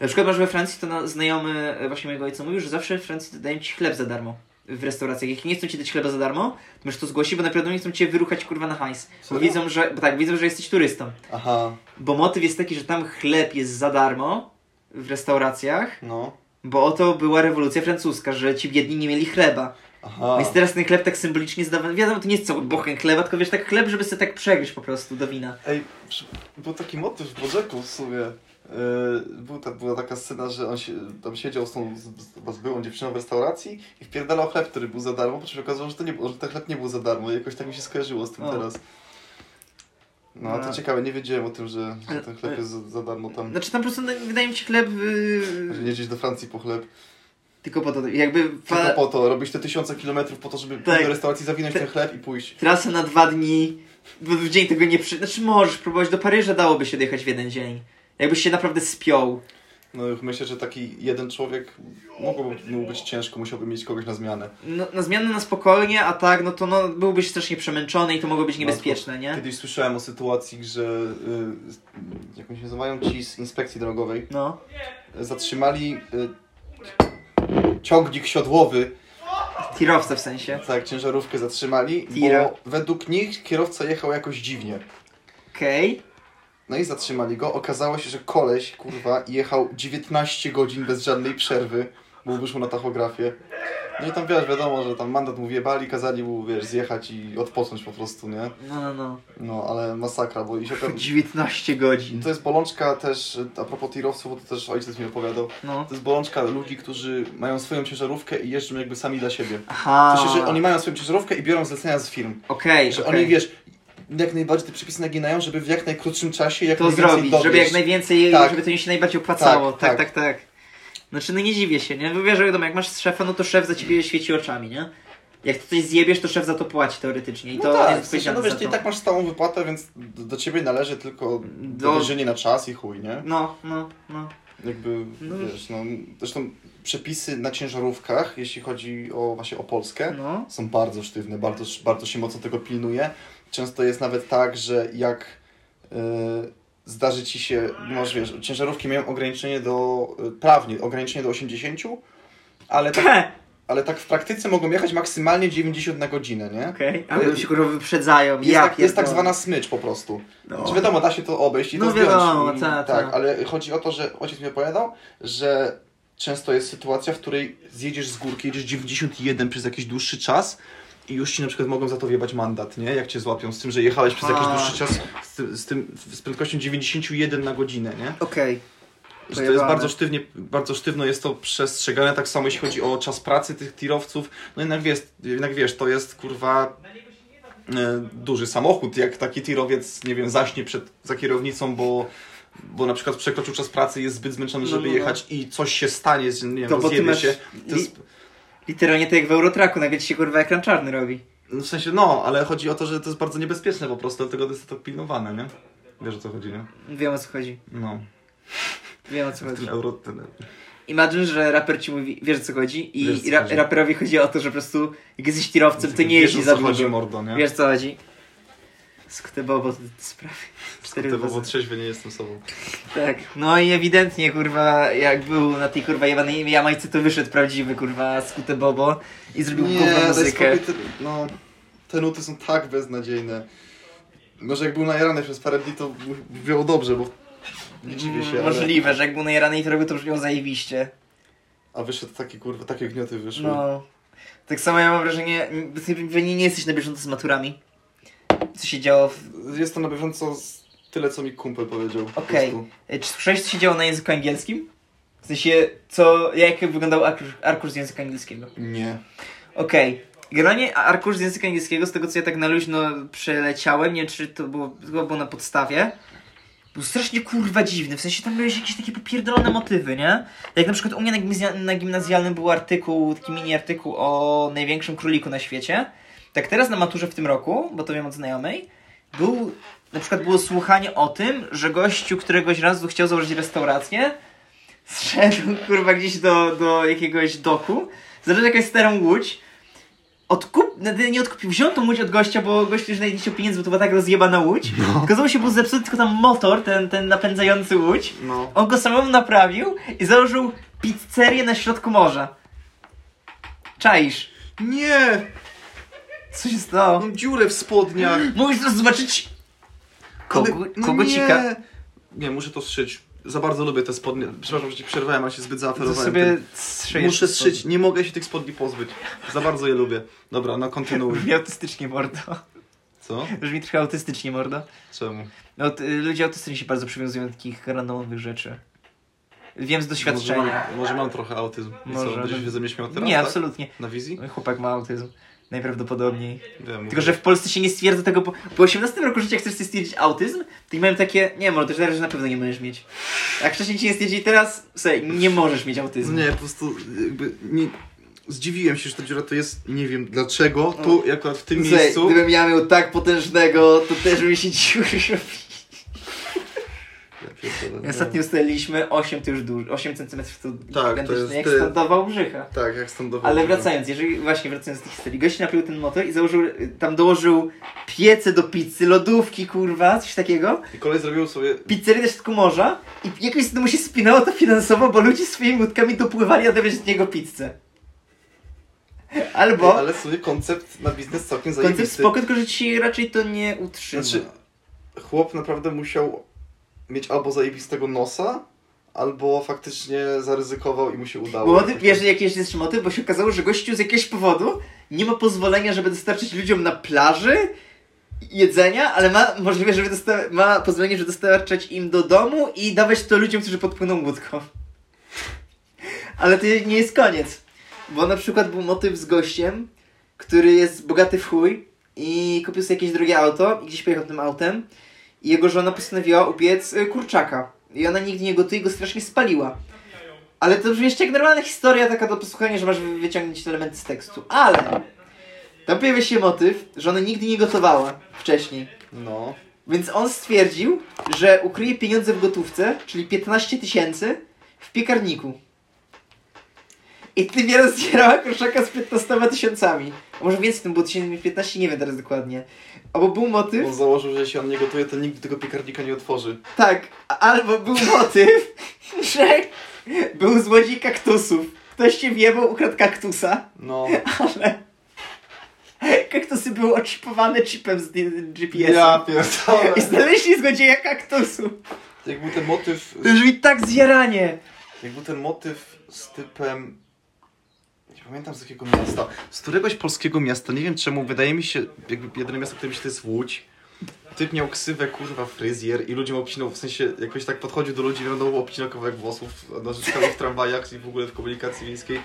Speaker 1: Na przykład masz we Francji, to na, znajomy e, właśnie mojego ojca mówił, że zawsze w Francji dają ci chleb za darmo w restauracjach. Jak nie chcą ci dać chleba za darmo, to możesz to zgłosić, bo naprawdę nie chcą cię wyruchać, kurwa, na hajs. Bo
Speaker 2: Serio?
Speaker 1: widzą, że, bo tak, widzą, że jesteś turystą.
Speaker 2: Aha,
Speaker 1: Bo motyw jest taki, że tam chleb jest za darmo w restauracjach,
Speaker 2: no,
Speaker 1: bo oto była rewolucja francuska, że ci biedni nie mieli chleba.
Speaker 2: aha.
Speaker 1: Więc teraz ten chleb tak symbolicznie zdawany. Wiadomo, to nie jest cały bochen chleba, tylko wiesz, tak chleb, żeby sobie tak przegryźć po prostu do wina.
Speaker 2: Ej, przy- był taki motyw w Bożeku w sumie. Yy, był ta, była taka scena, że on się, tam siedział z tą z, z, z byłą dziewczyną w restauracji i wpierdalał chleb, który był za darmo, po czym się okazało, że, to nie, było- że ten chleb nie był za darmo. Jakoś tak mi się skojarzyło z tym
Speaker 1: O.
Speaker 2: teraz. No, a to
Speaker 1: No.
Speaker 2: ciekawe, nie wiedziałem o tym, że, że ten
Speaker 1: Ale-
Speaker 2: chleb jest za, za darmo tam.
Speaker 1: Znaczy tam po prostu no, wydaje mi się chleb...
Speaker 2: Że
Speaker 1: Yy,
Speaker 2: nie jeździć do Francji po chleb.
Speaker 1: tylko po to, jakby fa-
Speaker 2: Tylko po to, robić te tysiące kilometrów po to, żeby pójść
Speaker 1: Tak.
Speaker 2: do restauracji, zawinąć
Speaker 1: Te-
Speaker 2: ten chleb i pójść.
Speaker 1: trasa na dwa dni, bo w dzień tego nie przy... Znaczy możesz próbować, do Paryża dałoby się dojechać w jeden dzień. Jakbyś się naprawdę spiął.
Speaker 2: No już myślę, że taki jeden człowiek mogłoby mu być ciężko, musiałby mieć kogoś na zmianę.
Speaker 1: No, na zmianę na spokojnie, a tak, no to no, byłbyś strasznie przemęczony i to mogło
Speaker 2: No,
Speaker 1: być niebezpieczne, nie?
Speaker 2: Kiedyś słyszałem o sytuacji, że y, jak oni się nazywają ci z inspekcji drogowej,
Speaker 1: No.
Speaker 2: y, zatrzymali y, ciągnik siodłowy,
Speaker 1: Tirowca w sensie.
Speaker 2: tak, ciężarówkę zatrzymali,
Speaker 1: Tira.
Speaker 2: bo według nich kierowca jechał jakoś dziwnie.
Speaker 1: Okej.
Speaker 2: No i zatrzymali go. Okazało się, że koleś, kurwa, jechał 19 godzin bez żadnej przerwy, bo wyszło na tachografię. No i tam, wiesz, wiadomo, że tam mandat mu wjebali, kazali mu, wiesz, zjechać i odpocząć po prostu, nie?
Speaker 1: No, no, no.
Speaker 2: No, ale masakra, bo i się okazało...
Speaker 1: 19 godzin.
Speaker 2: To jest bolączka też, a propos tirowców, bo to też ojciec mi opowiadał.
Speaker 1: No.
Speaker 2: To jest bolączka ludzi, którzy mają swoją ciężarówkę i jeżdżą jakby sami dla siebie.
Speaker 1: Aha.
Speaker 2: W sensie, że oni mają swoją ciężarówkę i biorą zlecenia z firm.
Speaker 1: Okej,
Speaker 2: Że
Speaker 1: okej.
Speaker 2: oni, wiesz, jak najbardziej te przepisy naginają, żeby w jak najkrótszym czasie, jak
Speaker 1: to
Speaker 2: najwięcej
Speaker 1: zrobić, żeby
Speaker 2: dowieść.
Speaker 1: jak najwięcej,
Speaker 2: Tak.
Speaker 1: żeby to im się najbardziej opłacało. Tak,
Speaker 2: Tak,
Speaker 1: tak, tak.
Speaker 2: tak.
Speaker 1: Znaczy, no nie dziwię się, nie? Wiesz, że wiadomo, jak masz szefa, no to szef za ciebie świeci oczami, nie? Jak ty coś zjebiesz, to szef za to płaci teoretycznie i
Speaker 2: No
Speaker 1: to
Speaker 2: tak,
Speaker 1: jest
Speaker 2: w sensie, no
Speaker 1: odpowiedzialny
Speaker 2: wiesz,
Speaker 1: za
Speaker 2: ty i
Speaker 1: to.
Speaker 2: tak masz stałą wypłatę, więc do, do ciebie należy tylko
Speaker 1: Do-
Speaker 2: dowiezienie na czas i chuj, nie?
Speaker 1: No, no, no.
Speaker 2: Jakby,
Speaker 1: No.
Speaker 2: wiesz, no, zresztą przepisy na ciężarówkach, jeśli chodzi o właśnie o Polskę,
Speaker 1: No.
Speaker 2: są bardzo sztywne, bardzo, bardzo się mocno tego pilnuje. Często jest nawet tak, że jak e, zdarzy ci się, masz wiesz, ciężarówki mają ograniczenie do, y, prawnie, ograniczenie do 80, ale tak,
Speaker 1: Okej,
Speaker 2: ale tak w praktyce mogą jechać maksymalnie 90 na godzinę, nie?
Speaker 1: ale już się kurwa wyprzedzają.
Speaker 2: Jest,
Speaker 1: ja
Speaker 2: tak, jest tak
Speaker 1: pierdolę.
Speaker 2: zwana smycz po prostu.
Speaker 1: No.
Speaker 2: Czy wiadomo, da się to obejść i
Speaker 1: No
Speaker 2: to zdjąć.
Speaker 1: wiadomo,
Speaker 2: i,
Speaker 1: ta, ta.
Speaker 2: tak, ale chodzi o to, że ojciec mi opowiadał, że często jest sytuacja, w której zjedziesz z górki, jedziesz 91 przez jakiś dłuższy czas i już ci na przykład mogą za to wjebać mandat, nie? Jak cię złapią z tym, że jechałeś przez jakiś
Speaker 1: A.
Speaker 2: dłuższy czas z, tym, z, tym, z prędkością 91 na godzinę, nie?
Speaker 1: Okej.
Speaker 2: Że to jest
Speaker 1: Pojebane.
Speaker 2: bardzo sztywnie, bardzo sztywno jest to przestrzegane, tak samo jeśli chodzi o czas pracy tych tirowców. No jednak wiesz, jednak wiesz to jest kurwa e, duży samochód, jak taki tirowiec, nie wiem, zaśnie przed, za kierownicą, bo, bo na przykład przekroczył czas pracy, jest zbyt zmęczony,
Speaker 1: No,
Speaker 2: żeby
Speaker 1: no, no.
Speaker 2: jechać i coś się stanie, z- nie wiem,
Speaker 1: To
Speaker 2: to
Speaker 1: bo ty
Speaker 2: rozjebie
Speaker 1: masz
Speaker 2: się. To
Speaker 1: li-
Speaker 2: jest,
Speaker 1: Literalnie tak jak w Eurotraku, nagle ci się kurwa ekran czarny robi.
Speaker 2: no w sensie, no, ale chodzi o to, że to jest bardzo niebezpieczne po prostu, dlatego jest to pilnowane, nie? Wiesz o co chodzi, nie?
Speaker 1: Wiem o co chodzi.
Speaker 2: No,
Speaker 1: Wiem o co chodzi.
Speaker 2: ten euro, ten...
Speaker 1: Imagine, że raper ci mówi, wiesz o co chodzi?
Speaker 2: Wiesz, o
Speaker 1: I
Speaker 2: co
Speaker 1: ra-
Speaker 2: chodzi.
Speaker 1: raperowi chodzi o to, że po prostu jak jesteś tirowcem, to nie
Speaker 2: wiesz,
Speaker 1: jeździ
Speaker 2: o
Speaker 1: za
Speaker 2: co chodzi,
Speaker 1: długo.
Speaker 2: mordo, nie?
Speaker 1: Wiesz co chodzi? Skutybowo do sprawy. Cztery
Speaker 2: Ty,
Speaker 1: dwa
Speaker 2: bo trzeźwy nie jestem sobą.
Speaker 1: Tak. No i ewidentnie, kurwa, jak był na tej kurwa jebanej Jamajce, to wyszedł prawdziwy, kurwa, skute Bobo i zrobił
Speaker 2: Nie,
Speaker 1: gówno
Speaker 2: to jest
Speaker 1: muzykę.
Speaker 2: kobiety, no, te nuty są tak beznadziejne. Może jak był najarany przez parę dni, to było dobrze, bo nie dziwię się,
Speaker 1: Mm,
Speaker 2: ale...
Speaker 1: Możliwe, że jak był najranej to robił, to brzmiał zajebiście.
Speaker 2: A wyszedł taki, kurwa, takie gnioty wyszły.
Speaker 1: No. Tak samo ja mam wrażenie, ty pewnie nie jesteś na bieżąco z maturami. Co się działo w...
Speaker 2: Jestem na bieżąco z tyle, co mi kumpel powiedział. po
Speaker 1: Okej.
Speaker 2: prostu.
Speaker 1: E, Czy słyszałeś, co się działo na języku angielskim? W sensie, co, jak wyglądał arkusz, arkusz z języka angielskiego?
Speaker 2: Nie.
Speaker 1: Okej. Generalnie arkusz z języka angielskiego, z tego co ja tak na luźno przeleciałem, nie wiem czy to było, chyba było na podstawie, był strasznie kurwa dziwny. W sensie tam były jakieś takie popierdolone motywy, nie? Tak Jak na przykład u mnie na, gimnazja- na gimnazjalnym był artykuł, taki mini artykuł o największym króliku na świecie. Tak teraz na maturze w tym roku, bo to wiem od znajomej, był, na przykład było słuchanie o tym, że gościu któregoś razu chciał założyć restaurację, zszedł kurwa gdzieś do, do jakiegoś doku, zaczął jakąś starą łódź, odkup, znaczy nie odkupił, wziął tą łódź od gościa, bo gość już nawet nie chciał pieniędzy, bo to była tak rozjebana łódź. Okazało się, był zepsuty tylko tam motor, ten, ten napędzający łódź.
Speaker 2: No.
Speaker 1: On go samemu naprawił i założył pizzerię na środku morza. Czaisz?
Speaker 2: Nie!
Speaker 1: Co się stało?
Speaker 2: Mam dziurę w spodniach.
Speaker 1: Mówisz teraz zobaczyć kogo,
Speaker 2: Ale- no
Speaker 1: kogocika.
Speaker 2: Nie. nie, muszę to zszyć. Za bardzo lubię te spodnie. Przepraszam, że ci przerwałem, ale się zbyt
Speaker 1: To
Speaker 2: zaaferowałem.
Speaker 1: sobie
Speaker 2: tym.
Speaker 1: strzyjesz.
Speaker 2: Muszę zszyć, nie mogę się tych spodni pozbyć. Za bardzo je lubię. Dobra, no kontynuuj.
Speaker 1: Brzmi autystycznie, mordo.
Speaker 2: Co?
Speaker 1: Brzmi trochę autystycznie, mordo.
Speaker 2: Czemu?
Speaker 1: No, t- ludzie autystyczni się bardzo przywiązują do takich randomowych rzeczy. Wiem z
Speaker 2: Może
Speaker 1: doświadczenia.
Speaker 2: mam, może mam trochę autyzm. I
Speaker 1: Może,
Speaker 2: co, będziesz
Speaker 1: no.
Speaker 2: się ze mnie śmiał teraz,
Speaker 1: Nie,
Speaker 2: tak?
Speaker 1: absolutnie.
Speaker 2: Na wizji?
Speaker 1: Mój chłopak ma autyzm. Najprawdopodobniej.
Speaker 2: Wiem,
Speaker 1: Tylko, że w Polsce się nie stwierdza tego, bo po 18 roku życia chcesz sobie stwierdzić autyzm, to i mają takie, nie może, też teraz na pewno nie możesz mieć. Jak wcześniej ci nie stwierdzili, teraz, sobie, nie możesz mieć autyzmu.
Speaker 2: Nie, po prostu jakby nie... Zdziwiłem się, że ta dziura to jest, nie wiem dlaczego, tu
Speaker 1: No.
Speaker 2: akurat w tym
Speaker 1: Słuchaj,
Speaker 2: miejscu.
Speaker 1: Gdybym ja miał tak potężnego, to też bym się dziwił. że-
Speaker 2: Ja pierdolę, nie.
Speaker 1: Ostatnio ustaliliśmy 8 to już dużo, 8 cm to
Speaker 2: to
Speaker 1: identyczne,
Speaker 2: jest
Speaker 1: jak
Speaker 2: tyle.
Speaker 1: startował brzycha.
Speaker 2: Tak, jak stąd dochodzę.
Speaker 1: Ale wracając, jeżeli właśnie wracając do tej historii, gość napił ten motor i założył, tam dołożył piece do pizzy, lodówki, kurwa, coś takiego.
Speaker 2: I kolej zrobił sobie
Speaker 1: pizzerię na środku morza i jakoś mu się spinało to finansowo, bo ludzie swoimi łódkami dopływali odebrać od niego pizzę.
Speaker 2: Bo...
Speaker 1: Albo
Speaker 2: Ale sobie koncept na biznes całkiem zajebisty.
Speaker 1: koncept spoko, tylko że ci raczej to nie utrzyma.
Speaker 2: Znaczy, chłop naprawdę musiał mieć albo zajebistego nosa, albo faktycznie zaryzykował i mu się udało.
Speaker 1: bo motyw, wiesz jakiś jest motyw, bo się okazało, że gościu z jakiegoś powodu nie ma pozwolenia, żeby dostarczyć ludziom na plaży jedzenia, ale ma możliwe, żeby dosta- ma pozwolenie, żeby dostarczać im do domu i dawać to ludziom, którzy podpłyną łódką. Ale to nie jest koniec. Bo na przykład był motyw z gościem, który jest bogaty w chuj i kupił sobie jakieś drogie auto i gdzieś pojechał tym autem i jego żona postanowiła upiec y, kurczaka. I ona nigdy nie gotuje i go strasznie spaliła. Ale to brzmi jeszcze jak normalna historia taka do posłuchania, że masz wy- wyciągnąć elementy z tekstu. Ale tam pojawia się motyw, że ona nigdy nie gotowała wcześniej.
Speaker 2: No.
Speaker 1: Więc on stwierdził, że ukryje pieniądze w gotówce, czyli 15 tysięcy, w piekarniku. I ty mnie rozdzierała kurczaka z 15 tysiącami. A może więcej, no tym było 1015, nie wiem teraz dokładnie. Albo był motyw,
Speaker 2: On założył, że jeśli on nie gotuje, to nigdy tego piekarnika nie otworzy.
Speaker 1: tak, a- albo był motyw, że był złodziej kaktusów. Ktoś cię wjebał, ukradł kaktusa.
Speaker 2: No.
Speaker 1: Ale kaktusy były oczipowane chipem z GPS.
Speaker 2: Ja
Speaker 1: Ja.
Speaker 2: pierdolę.
Speaker 1: I znaleźli złodzieja kaktusu.
Speaker 2: Jak był ten motyw...
Speaker 1: To już mi tak zjaranie.
Speaker 2: Jak był ten motyw z typem... Nie pamiętam z jakiego miasta. Z któregoś polskiego miasta. Nie wiem czemu. Wydaje mi się, jakby jedyne miasto, które mi się to jest Łódź. Typ miał ksywę, kurwa, fryzjer i ludziom obcinał, w sensie jakoś tak podchodził do ludzi, wiadomo, obcinał kawałek włosów, narzeczkał ich w tramwajach i w ogóle w komunikacji miejskiej.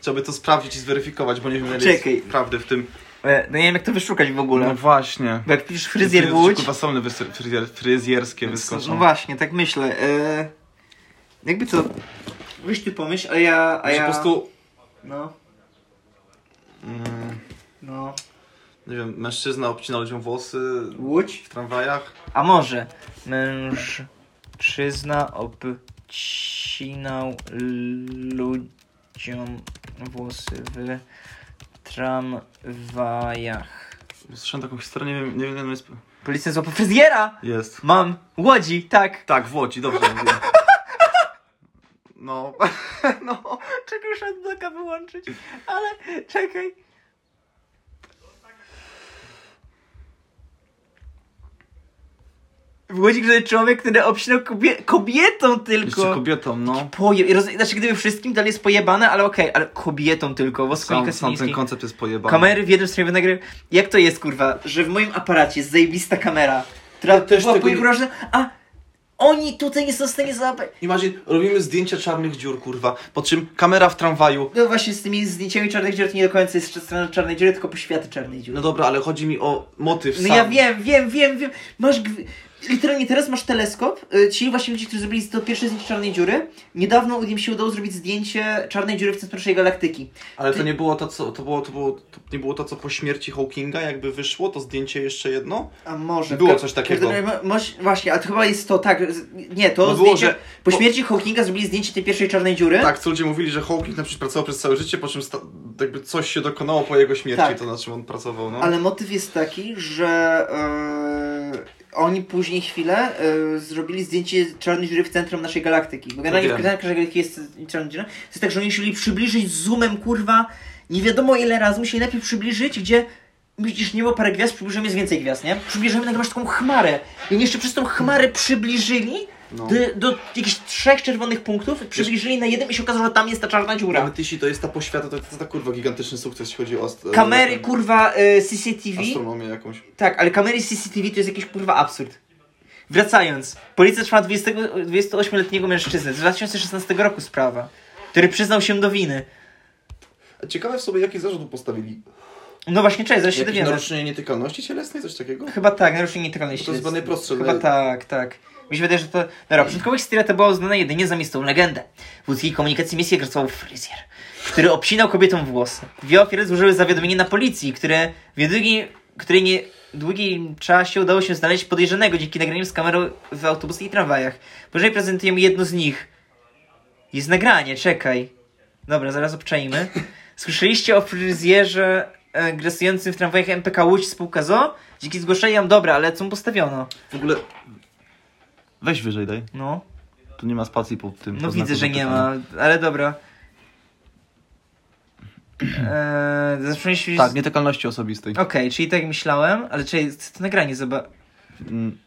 Speaker 2: Trzeba by to sprawdzić i zweryfikować, bo nie wiem, ile
Speaker 1: Czekaj.
Speaker 2: jest prawdy w tym.
Speaker 1: E, No nie wiem jak to wyszukać w ogóle.
Speaker 2: No właśnie.
Speaker 1: Bo jak piszesz fryzjer w
Speaker 2: Kurwa,
Speaker 1: Łódź...
Speaker 2: Kurwa, salony wys- fryzjer, fryzjerskie
Speaker 1: No
Speaker 2: wyskoczą.
Speaker 1: właśnie, tak myślę. E, jakby to... Weź ty pomyśl, a ja... A
Speaker 2: Że
Speaker 1: ja...
Speaker 2: po prostu,
Speaker 1: No,
Speaker 2: mm,
Speaker 1: no.
Speaker 2: nie wiem, mężczyzna obcina ludziom włosy
Speaker 1: Łódź?
Speaker 2: w tramwajach.
Speaker 1: A może mężczyzna obcinał ludziom włosy w tramwajach.
Speaker 2: Słyszałem taką historię, nie wiem, nie wiem, nie jest...
Speaker 1: Policja złapał fryzjera!
Speaker 2: Jest.
Speaker 1: Mam! Łodzi, tak!
Speaker 2: Tak, w Łodzi, dobrze. mówię. No,
Speaker 1: No, czekaj, już odbloka wyłączyć, ale czekaj. W Łodzi gdzie człowiek, który obcinał kobie- kobietą tylko.
Speaker 2: jeszcze kobietom, no.
Speaker 1: Poje... Roz... Znaczy, gdyby wszystkim dalej jest pojebane, ale okej, ale kobietom tylko, bo
Speaker 2: Sam,
Speaker 1: skąd
Speaker 2: sam ten koncept jest pojebany.
Speaker 1: Kamery w jednym stronie nagry. Jak to jest, kurwa, że w moim aparacie jest zajebista kamera, która
Speaker 2: Ja też
Speaker 1: też była
Speaker 2: tego nie-
Speaker 1: pojegrożna, a oni tutaj nie są w stanie załapać.
Speaker 2: Imagine, robimy zdjęcia czarnych dziur, kurwa. Po czym kamera w tramwaju.
Speaker 1: No właśnie, z tymi zdjęciami czarnych dziur to nie do końca jest strona czarnej dziury, tylko poświaty czarnej dziury.
Speaker 2: No dobra, ale chodzi mi o motyw
Speaker 1: No
Speaker 2: sam.
Speaker 1: ja wiem, wiem, wiem, wiem. Masz. gw- Literalnie teraz masz teleskop. Y, Ci właśnie ludzie, którzy zrobili to pierwsze zdjęcie czarnej dziury, niedawno im się udało zrobić zdjęcie czarnej dziury w centrum naszej galaktyki.
Speaker 2: Ale to nie było to, co. To było, to było, to nie było to, co po śmierci Hawkinga, jakby wyszło, to zdjęcie jeszcze jedno.
Speaker 1: A może.
Speaker 2: Było
Speaker 1: Ka-
Speaker 2: coś takiego.
Speaker 1: każdym razie mo- moś- właśnie, a to chyba jest to, tak. z- Nie, to
Speaker 2: No było,
Speaker 1: zdjęcie.
Speaker 2: że-
Speaker 1: Po
Speaker 2: bo-
Speaker 1: śmierci Hawkinga zrobili zdjęcie tej pierwszej czarnej dziury.
Speaker 2: Tak, co ludzie mówili, że Hawking na przykład pracował przez całe życie, po czym sta- jakby coś się dokonało po jego śmierci,
Speaker 1: Tak.
Speaker 2: to na czym on pracował, no.
Speaker 1: Ale motyw jest taki, że e, oni później chwilę e, zrobili zdjęcie czarnej dziury w centrum naszej galaktyki. Bo generalnie
Speaker 2: No wiem.
Speaker 1: w centrum naszej galaktyki jest czarna dziura. To jest tak, że oni musieli przybliżyć z zoomem, kurwa, nie wiadomo ile razy, musieli najpierw przybliżyć, gdzie widzisz niebo, parę gwiazd, przybliżymy, jest więcej gwiazd, nie? Przybliżymy, nagle masz taką chmarę. I oni jeszcze przez tą chmarę przybliżyli
Speaker 2: No.
Speaker 1: do, do jakichś trzech czerwonych punktów, przybliżyli na jednym i się okazało, że tam jest ta czarna dziura.
Speaker 2: Nawet e, jeśli to jest ta poświata, to jest ta kurwa gigantyczny sukces, jeśli chodzi o. ast-
Speaker 1: Kamery, kurwa, e, CCTV.
Speaker 2: Astronomię jakąś.
Speaker 1: Tak, ale kamery CCTV to jest jakiś kurwa absurd. Wracając, policja trzyma 20 28-letniego mężczyznę z 2016 roku sprawa, który przyznał się do winy.
Speaker 2: Ciekawe w sobie, jaki zarzut mu postawili.
Speaker 1: No właśnie, cześć, zaraz się
Speaker 2: Jakieś
Speaker 1: dowiemy.
Speaker 2: naruszenie nietykalności cielesnej, coś takiego?
Speaker 1: Chyba tak, naruszenie nietykalności.
Speaker 2: To jest chyba najprostsze,
Speaker 1: Chyba
Speaker 2: le-
Speaker 1: tak, tak. Mi się wydaje, że to... Dobra, początkowo historia ta była uznana jedynie za miejscową legendę. W ludzkiej komunikacji misję grasował fryzjer, który obcinał kobietom włosy. Dwie ofiary złożyły zawiadomienie na policji, które w niedługim... której nie... długim czasie udało się znaleźć podejrzanego dzięki nagraniom z kamerą w autobusach i tramwajach. Później prezentujemy jedno z nich. Jest nagranie, czekaj. Dobra, zaraz obczajmy. Słyszeliście o fryzjerze e, grasującym w tramwajach MPK Łódź spółka ZO? Dzięki zgłoszeniom, dobra, ale co mu postawiono?
Speaker 2: W ogóle
Speaker 3: Weź wyżej daj.
Speaker 1: No,
Speaker 3: Tu nie ma spacji pod tym.
Speaker 1: no
Speaker 3: pod
Speaker 1: widzę,
Speaker 3: znakiem
Speaker 1: że nie
Speaker 3: zapytania.
Speaker 1: ma, ale dobra. Eee, zaczęliśmy...
Speaker 3: Tak, nietykalności osobistej.
Speaker 1: Okej, czyli tak myślałem, ale czy to nagranie zobacz...
Speaker 3: Mm.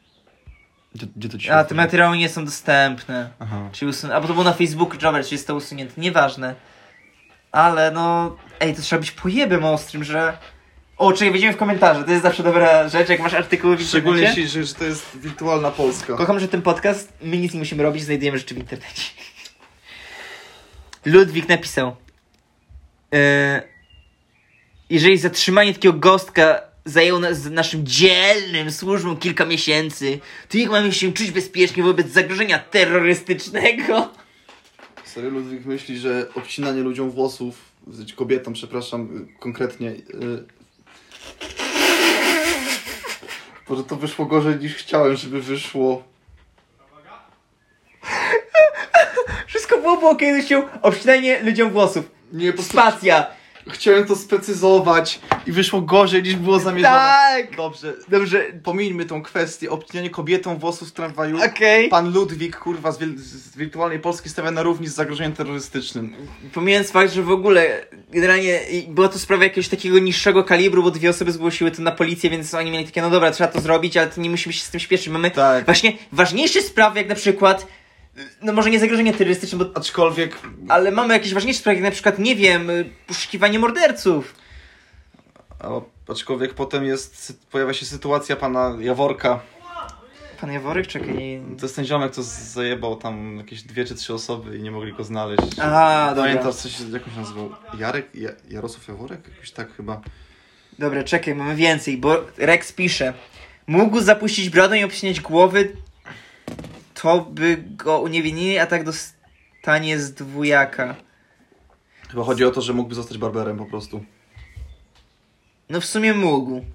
Speaker 3: Gdzie, gdzie to ci się
Speaker 1: A, te
Speaker 3: otworzy?
Speaker 1: materiały nie są dostępne.
Speaker 3: Aha.
Speaker 1: Czyli usun... Albo to było na Facebooku, dobra, czy jest to usunięte, nieważne. Ale no, ej, to trzeba być pojebem ostrym, że... O, czyli widzimy w komentarze, to jest zawsze dobra rzecz, jak masz artykuły w
Speaker 2: szczególnie,
Speaker 1: internecie.
Speaker 2: jeśli, że, że to jest wirtualna Polska.
Speaker 1: No. Kocham, że ten podcast, my nic nie musimy robić, znajdujemy rzeczy w internecie. Ludwik napisał. E, jeżeli zatrzymanie takiego gostka zajęło nas, naszym dzielnym służbom kilka miesięcy, to jak mamy się czuć bezpiecznie wobec zagrożenia terrorystycznego?
Speaker 2: Serio Ludwik myśli, że obcinanie ludziom włosów, znaczy kobietom, przepraszam, y, konkretnie. y, Może to wyszło gorzej niż chciałem, żeby wyszło.
Speaker 1: Wszystko było było kiedyś się obcinanie ludziom włosów.
Speaker 2: Nie, po prostu
Speaker 1: Spacja!
Speaker 2: chciałem to sprecyzować i wyszło gorzej niż było zamierzone.
Speaker 1: Tak!
Speaker 2: Dobrze,
Speaker 1: Dobrze,
Speaker 2: pomińmy tą kwestię. Obcinanie kobietom włosów w tramwaju.
Speaker 1: okej.
Speaker 2: Pan Ludwik, kurwa, z, wiel- z wirtualnej Polski stawia na równi z zagrożeniem terrorystycznym.
Speaker 1: Pomijając fakt, że w ogóle generalnie i- była to sprawa jakiegoś takiego niższego kalibru, bo dwie osoby zgłosiły to na policję, więc oni mieli takie, no dobra, trzeba to zrobić, ale to nie musimy się z tym śpieszyć. Mamy
Speaker 2: Tak.
Speaker 1: właśnie ważniejsze sprawy, jak na przykład, y, no może nie zagrożenie terrorystyczne, bo,
Speaker 2: Aczkolwiek
Speaker 1: ale mamy jakieś ważniejsze sprawy, jak na przykład, nie wiem, y, poszukiwanie morderców.
Speaker 2: A, aczkolwiek potem jest, sy- pojawia się sytuacja pana Jaworka.
Speaker 1: Pan Jaworek, czekaj. nie-
Speaker 2: To jest ten ziomek, co z- zajebał tam jakieś dwie czy trzy osoby i nie mogli go znaleźć.
Speaker 1: A, dobra.
Speaker 2: Pamiętasz coś, jak on się nazywał? Jarek? Ja, Jarosław Jaworek? Jakoś tak chyba.
Speaker 1: Dobra, czekaj, mamy więcej, bo Rex pisze. Mógł zapuścić brodę i obcinać głowy, to by go uniewinnili, a tak dostanie z dwójaka.
Speaker 2: Chyba chodzi o to, że mógłby zostać barberem po prostu.
Speaker 1: No w sumie mógł.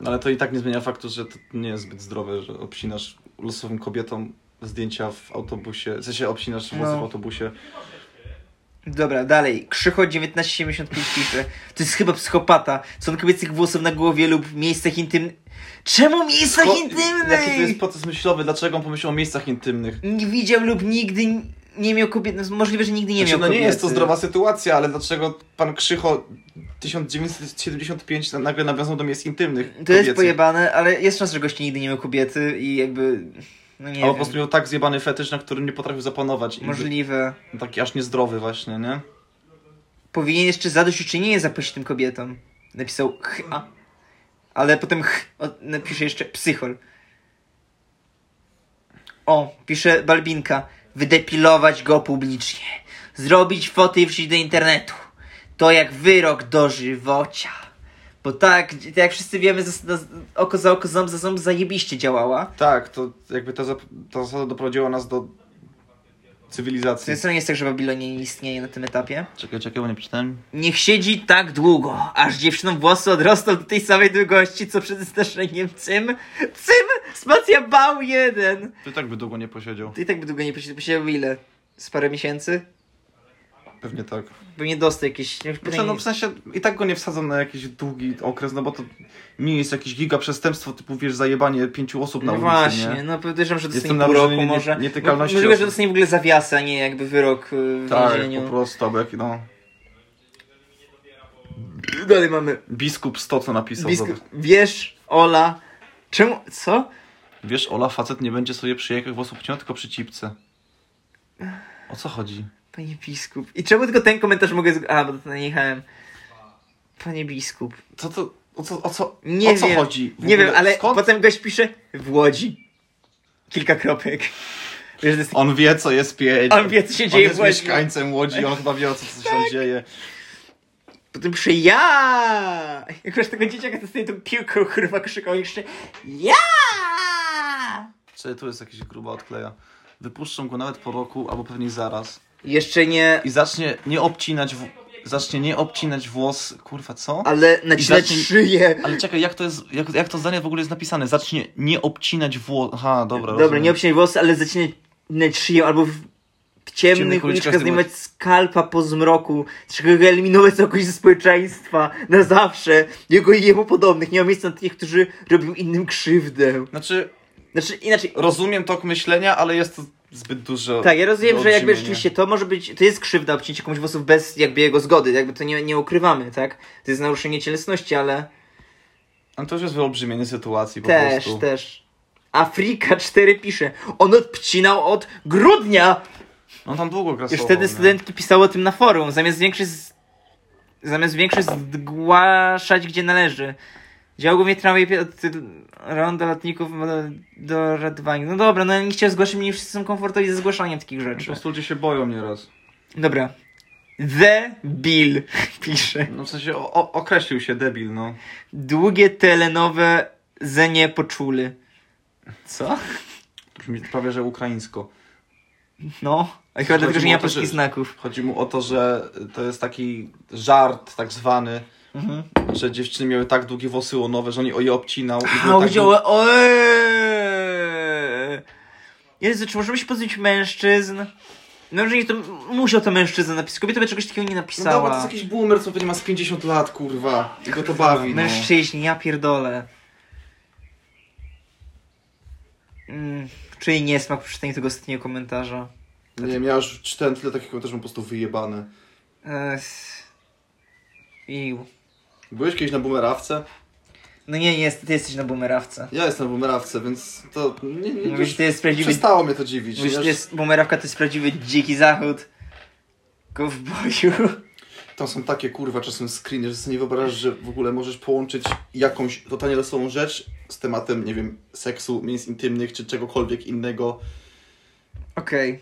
Speaker 2: No, ale to i tak nie zmienia faktu, że to nie jest zbyt zdrowe, że obcinasz losowym kobietom zdjęcia w autobusie. W sensie obcinasz włosy
Speaker 1: No.
Speaker 2: w autobusie.
Speaker 1: Dobra, dalej. Krzycho 1975 pisze. To jest chyba psychopata. Są kobiecych włosów na głowie lub miejscach intymnych. Czemu miejscach
Speaker 2: Ko- Jaki to
Speaker 1: intymnych?
Speaker 2: jest proces myślowy? Dlaczego on pomyślał o miejscach intymnych?
Speaker 1: Nie widział lub nigdy n- nie miał kobiet. No, możliwe, że nigdy nie
Speaker 2: Nie
Speaker 1: miał
Speaker 2: znaczy, no nie
Speaker 1: kobiety.
Speaker 2: jest to zdrowa sytuacja, ale dlaczego pan Krzycho 1975 na- nagle nawiązał do miejsc intymnych?
Speaker 1: To jest
Speaker 2: kobiecych?
Speaker 1: pojebane, ale jest szansa, że gości nigdy nie miał kobiety i jakby. No nie
Speaker 2: A po
Speaker 1: wiem.
Speaker 2: prostu miał tak zjebany fetysz, na którym nie potrafił zapanować. I
Speaker 1: Możliwe.
Speaker 2: był Taki aż niezdrowy właśnie, nie?
Speaker 1: Powinien jeszcze zadośćuczynienie zapłacić tym kobietom. Napisał ch, a. Ale potem ch, o, napisze jeszcze psychol. O, pisze Balbinka. Wydepilować go publicznie. Zrobić foty i wrzucić do internetu. To jak wyrok dożywocia. Bo tak, tak jak wszyscy wiemy, zas- zas- oko za oko, ząb za ząb zajebiście działała.
Speaker 2: Tak, to jakby ta, zap- ta zasada doprowadziła nas do
Speaker 1: Z
Speaker 2: cywilizacji.
Speaker 1: tej strony jest tak, że Babilonie nie istnieje na tym etapie.
Speaker 3: Czekaj, czekaj, bo nie przeczytałem.
Speaker 1: Niech siedzi tak długo, aż dziewczynom włosy odrosną do tej samej długości, co przed zdarzeniem cym. Cym! Spacja bał jeden!
Speaker 3: Ty tak by długo nie posiedział.
Speaker 1: To i tak by długo nie posiedział, posiedział ile? Z parę miesięcy?
Speaker 2: Pewnie tak.
Speaker 1: Bo nie dostał jakieś... nie-
Speaker 2: Znaczy, no w sensie i tak go nie wsadzą na jakiś długi okres, no bo to nie jest jakieś giga przestępstwo typu, wiesz, zajebanie pięciu osób
Speaker 1: no
Speaker 2: na ulicy,
Speaker 1: właśnie,
Speaker 2: nie?
Speaker 1: no podejrzewam, że
Speaker 2: Jestem
Speaker 1: dostanie
Speaker 2: na
Speaker 1: pół roku
Speaker 2: wrażenie nie-
Speaker 1: może.
Speaker 2: nietykalności
Speaker 1: Możliwe, że
Speaker 2: osób.
Speaker 1: dostanie w ogóle zawiasę, a nie jakby wyrok y, w
Speaker 2: Tak, po
Speaker 1: więzieniu.
Speaker 2: prostu, albo jak, no...
Speaker 1: Dalej mamy
Speaker 3: Biskup 100 co napisał.
Speaker 1: biskup.
Speaker 3: zobacz.
Speaker 1: Wiesz, Ola... Czemu? Co?
Speaker 3: Wiesz, Ola, facet nie będzie sobie przyjechał włosów obcinał, tylko przy cipce. O co chodzi?
Speaker 1: Panie biskup. I czemu tylko ten komentarz mogę... z- A, bo to nie jechałem. Panie biskup.
Speaker 2: Co to, o co, o co,
Speaker 1: Nie
Speaker 2: o co
Speaker 1: wiem.
Speaker 2: chodzi? W
Speaker 1: Nie
Speaker 2: ogóle
Speaker 1: wiem, ale
Speaker 2: skąd
Speaker 1: potem gość pisze w Łodzi. kilka kropek. Wiesz, to jest...
Speaker 3: On wie, co jest pięć.
Speaker 1: On wie, co się
Speaker 3: On
Speaker 1: dzieje
Speaker 3: jest
Speaker 1: Tak. w Łodzi.
Speaker 3: mieszkańcem Łodzi, on chyba wie, o co, co się tam dzieje.
Speaker 1: Potem przy ja! Jak już tego dzieciaka to stoi tą piłką, kurwa, krzykał jeszcze ja!
Speaker 3: Czy tu jest jakiś gruba odkleja. Wypuszczą go nawet po roku, albo pewnie zaraz.
Speaker 1: Jeszcze nie,
Speaker 3: I zacznie nie obcinać, w... zacznie nie obcinać włos. Kurwa, co?
Speaker 1: ale nacinać
Speaker 3: zacznij-
Speaker 1: szyję.
Speaker 3: Ale czekaj, jak to jest, jak, jak to zdanie w ogóle jest napisane? Zacznie nie obcinać włos. Aha, dobra.
Speaker 1: Dobra,
Speaker 3: rozumiem.
Speaker 1: nie obcinać włosy, ale zacinać szyję albo w, w ciemnych
Speaker 3: uliczkach
Speaker 1: uliczkach
Speaker 3: zdejmować-
Speaker 1: zdejmować skalpa po zmroku. Trzeba go eliminować z jakoś ze społeczeństwa na zawsze. Jego i jemu podobnych. Nie ma miejsca na tych, którzy robią innym krzywdę.
Speaker 3: Znaczy,
Speaker 1: Znaczy, inaczej,
Speaker 3: rozumiem tok myślenia, ale jest to zbyt dużo.
Speaker 1: Tak, ja rozumiem,
Speaker 3: do
Speaker 1: że jakby
Speaker 3: odrzymienia.
Speaker 1: rzeczywiście to może być, to jest krzywda obcięcie komuś włosów bez jakby jego zgody, jakby to nie, nie ukrywamy, tak? To jest naruszenie cielesności, ale
Speaker 3: Ale No to już jest wyolbrzymienie sytuacji po
Speaker 1: też,
Speaker 3: prostu.
Speaker 1: też. Afrika 4 pisze, on odpcinał od grudnia!
Speaker 3: On No tam długo grasował.
Speaker 1: Już wtedy
Speaker 3: nie?
Speaker 1: studentki pisały o tym na forum, zamiast większość, z- zamiast większość zgłaszać gdzie należy. Działo głównie tramwaj pie- od y, rond do lotników do, do ratowania. No dobra, no nikt się zgłasza, mnie wszyscy są komfortowi ze zgłaszaniem takich
Speaker 3: Po
Speaker 1: rzeczy.
Speaker 3: prostu ludzie się boją nieraz.
Speaker 1: Dobra. The Bill pisze.
Speaker 3: No w sensie o, o, określił się debil, no.
Speaker 1: Długie telenowe zenie poczuli. Co?
Speaker 3: Brzmi prawie, że ukraińsko.
Speaker 1: No. A chyba dlatego, że nie ma polskich znaków.
Speaker 3: Chodzi mu o to, że to jest taki żart tak zwany,
Speaker 1: Mhm.
Speaker 3: że dziewczyny miały tak długie włosy łonowe, że on je obcinał. i
Speaker 1: A,
Speaker 3: były tak
Speaker 1: chodziło o... o- Jezu, czy możemy się pozbyć mężczyzn? No, że nie, to musiał to mężczyzna napisać. Kobieta by czegoś takiego nie
Speaker 3: No dobra, to
Speaker 1: napisała.
Speaker 3: jest jakiś boomer, co pewnie ma z 50 lat, kurwa. I go to bawi, no.
Speaker 1: Mężczyźni, ja pierdolę. Mm, czyli niesmak po przeczytaniu tego ostatniego komentarza. no,
Speaker 2: Nie wiem, ja już czytałem tyle takich komentarzy, mam po prostu wyjebane.
Speaker 1: Ech. Iu.
Speaker 2: Byłeś kiedyś na bumerawce?
Speaker 1: No nie, nie, ty jesteś na bumerawce.
Speaker 2: Ja jestem na bumerawce, więc to... Nie, nie,
Speaker 1: Mówisz,
Speaker 2: już
Speaker 1: że to jest prawdziwy...
Speaker 2: przestało mnie to dziwić.
Speaker 1: Mówisz,
Speaker 2: Ja
Speaker 1: że to
Speaker 2: już-
Speaker 1: jest bumerawka, to jest prawdziwy dziki zachód. Kowboju.
Speaker 2: Tam są takie kurwa czasem screeny, że sobie nie wyobrażasz, że w ogóle możesz połączyć jakąś totalnie losową rzecz z tematem, nie wiem, seksu, miejsc intymnych czy czegokolwiek innego.
Speaker 1: Okej.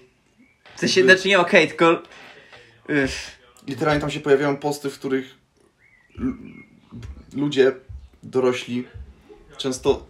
Speaker 1: W sensie, znaczy nie okej, tylko... Uff.
Speaker 2: Literalnie tam się pojawiają posty, w których l- ludzie dorośli często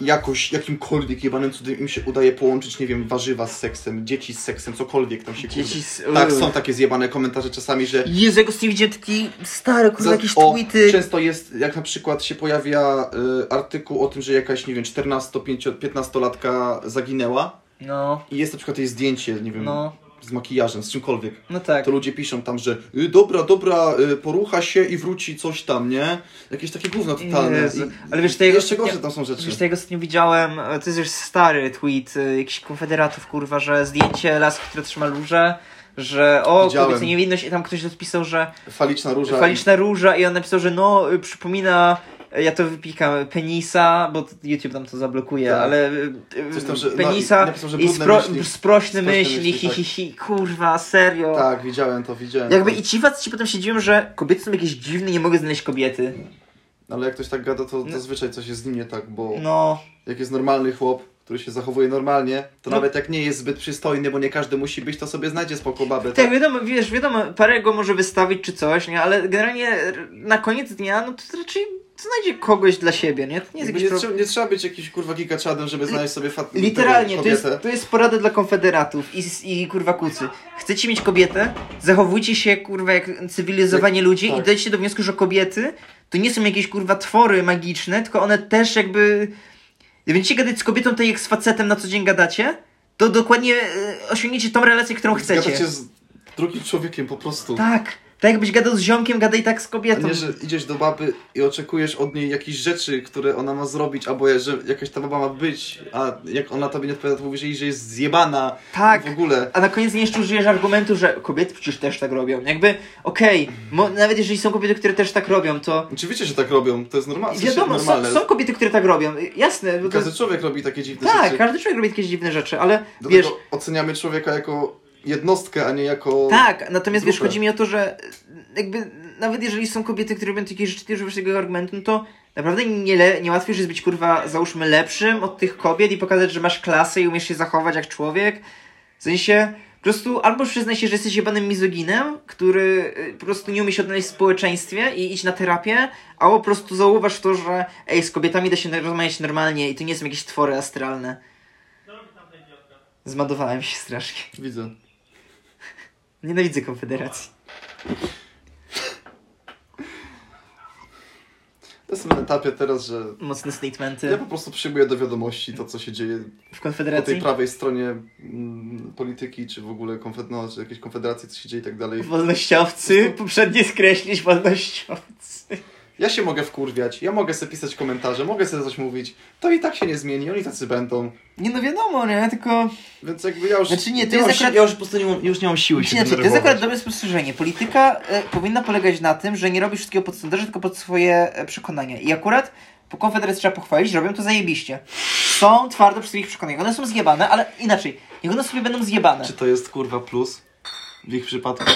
Speaker 2: jakoś, jakimkolwiek jebanym cudem im się udaje połączyć, nie wiem, warzywa z seksem, dzieci z seksem, cokolwiek tam się
Speaker 1: Dzieci
Speaker 2: kurwa-
Speaker 1: z...
Speaker 2: Tak, są takie zjebane komentarze czasami, że
Speaker 1: Jezu, jak ostatnio widziałem taki stary, kurwa,
Speaker 2: Za-
Speaker 1: jakieś
Speaker 2: o,
Speaker 1: tweety.
Speaker 2: Często jest, jak na przykład się pojawia y, artykuł o tym, że jakaś, nie wiem, 14-15-latka zaginęła
Speaker 1: No,
Speaker 2: i jest na przykład jej zdjęcie, nie wiem,
Speaker 1: no,
Speaker 2: z makijażem, z czymkolwiek.
Speaker 1: no tak.
Speaker 2: To ludzie piszą tam, że y, dobra, dobra, y, porucha się i wróci coś tam, nie? Jakieś takie gówno totalne.
Speaker 1: Jezu.
Speaker 2: I,
Speaker 1: Ale wiesz,
Speaker 2: i
Speaker 1: to jego-
Speaker 2: jeszcze gorsze
Speaker 1: nie-
Speaker 2: tam są rzeczy.
Speaker 1: Wiesz, tego ostatnio widziałem, e, to jest już stary tweet e, jakichś konfederatów, kurwa, że zdjęcie laski, które trzyma róże, że o,
Speaker 2: Widziałem.
Speaker 1: kobieca niewinność i tam ktoś odpisał, że
Speaker 2: Faliczna róża.
Speaker 1: faliczna róża i on napisał, że no, y, przypomina, y, ja to wypikam, penisa, bo t- YouTube nam to zablokuje,
Speaker 2: Tak.
Speaker 1: ale y, y,
Speaker 2: Coś tam, że- no,
Speaker 1: penisa
Speaker 2: i napisał, że
Speaker 1: i
Speaker 2: brudne
Speaker 1: spro,
Speaker 2: myśli.
Speaker 1: sprośne myśli,
Speaker 2: myśli,
Speaker 1: hi,
Speaker 2: tak.
Speaker 1: hi, hi, kurwa, serio.
Speaker 2: I, tak, widziałem to, widziałem.
Speaker 1: Jakby
Speaker 2: to.
Speaker 1: i ci facet ci potem się dziwią, że kobiety są jakieś dziwne, nie mogę znaleźć kobiety.
Speaker 2: Ale jak ktoś tak gada, to
Speaker 1: No.
Speaker 2: zazwyczaj coś jest z nim nie tak, bo...
Speaker 1: No,
Speaker 2: jak jest normalny chłop, który się zachowuje normalnie, to
Speaker 1: No.
Speaker 2: nawet jak nie jest zbyt przystojny, bo nie każdy musi być, to sobie znajdzie spoko babę.
Speaker 1: tak wiadomo, wiesz, wiadomo, parę go może wystawić czy coś, nie, ale generalnie r- na koniec dnia, no to raczej znajdzie kogoś dla siebie, nie? To nie jest
Speaker 2: Jakby
Speaker 1: jakiś
Speaker 2: nie,
Speaker 1: problem.
Speaker 2: trzeba, nie trzeba być jakimś kurwa gigaczadem, żeby znaleźć sobie fat...
Speaker 1: Literalnie,
Speaker 2: tego
Speaker 1: to jest,
Speaker 2: kobietę.
Speaker 1: to jest porada dla konfederatów i, i kurwa kucy. Chcecie mieć kobietę? Zachowujcie się kurwa jak cywilizowani ludzie
Speaker 2: tak.
Speaker 1: i dojdźcie do wniosku, że kobiety to nie są jakieś kurwa twory magiczne, tylko one też jakby... Gdy będziecie gadać z kobietą, tak jak z facetem na co dzień gadacie, to dokładnie e, osiągniecie tą relację, którą
Speaker 2: Zgadza
Speaker 1: chcecie.
Speaker 2: się z drugim człowiekiem po prostu.
Speaker 1: Tak, tak jakbyś gadał z ziomkiem, gadaj tak z
Speaker 2: A
Speaker 1: kobietą.
Speaker 2: nie, że idziesz do baby i oczekujesz od niej jakichś rzeczy, które ona ma zrobić, albo że jakaś ta baba ma być, a jak ona tobie nie odpowiada, to mówisz jej, że jest zjebana
Speaker 1: Tak.
Speaker 2: w ogóle.
Speaker 1: A na koniec nie jeszcze użyjesz argumentu, że kobiety przecież też tak robią. Jakby, okej, mo- nawet jeżeli są kobiety, które też tak robią, to
Speaker 2: Oczywiście, że tak robią, to jest norma- w sensie
Speaker 1: Wiadomo, są, są
Speaker 2: normalne.
Speaker 1: kobiety, które tak robią. Jasne, bo to
Speaker 2: Każdy
Speaker 1: jest...
Speaker 2: człowiek robi takie dziwne rzeczy.
Speaker 1: Tak, każdy człowiek robi jakieś dziwne rzeczy, ale
Speaker 2: Do
Speaker 1: wiesz.
Speaker 2: tego oceniamy człowieka jako jednostkę, a nie jako.
Speaker 1: Tak, natomiast wiesz,
Speaker 2: Grupę.
Speaker 1: e, chodzi mi o to, że jakby nawet jeżeli są kobiety, które robią takie rzeczy, ty używasz tego argumentu, no to Naprawdę nie, le- nie łatwiej jest być kurwa, załóżmy, lepszym od tych kobiet i pokazać, że masz klasę i umiesz się zachować jak człowiek. W sensie, po prostu albo przyznaj się, że jesteś jebanym mizoginem, który y, po prostu nie umie się odnaleźć w społeczeństwie i idź na terapię, albo po prostu zauważ to, że ej, z kobietami da się na- rozmawiać normalnie i to nie są jakieś twory astralne. Zmadowałem się strasznie.
Speaker 2: Widzę.
Speaker 1: Nienawidzę Konfederacji.
Speaker 2: Ja jestem na etapie teraz, że
Speaker 1: Mocne statementy
Speaker 2: ja po prostu przyjmuję do wiadomości to, co się dzieje
Speaker 1: w
Speaker 2: po tej
Speaker 1: Konfederacji.
Speaker 2: prawej stronie mm, polityki, czy w ogóle konfed- no, czy jakiejś konfederacji, co się dzieje i tak dalej.
Speaker 1: Wolnościowcy, poprzednie skreślić wolnościowcy.
Speaker 2: Ja się mogę wkurwiać, ja mogę sobie pisać komentarze, mogę sobie coś mówić, to i tak się nie zmieni, oni tacy będą.
Speaker 1: Nie no wiadomo, nie? Tylko...
Speaker 2: Więc jakby ja już...
Speaker 1: Znaczy nie, to
Speaker 3: Ja
Speaker 1: jest
Speaker 3: już,
Speaker 1: akurat...
Speaker 3: ja już po prostu nie mam, już nie mam siły się
Speaker 1: Inaczej, znaczy, to jest
Speaker 3: denerwować.
Speaker 1: akurat dobre spostrzeżenie. Polityka e, powinna polegać na tym, że nie robisz wszystkiego pod sondaże, tylko pod swoje e, przekonania. I akurat po Konfederacji trzeba pochwalić, robią to zajebiście. Są twardo przy swoich przekonaniach. One są zjebane, ale inaczej. Niech one sobie będą zjebane.
Speaker 3: Czy to jest kurwa plus w ich przypadku?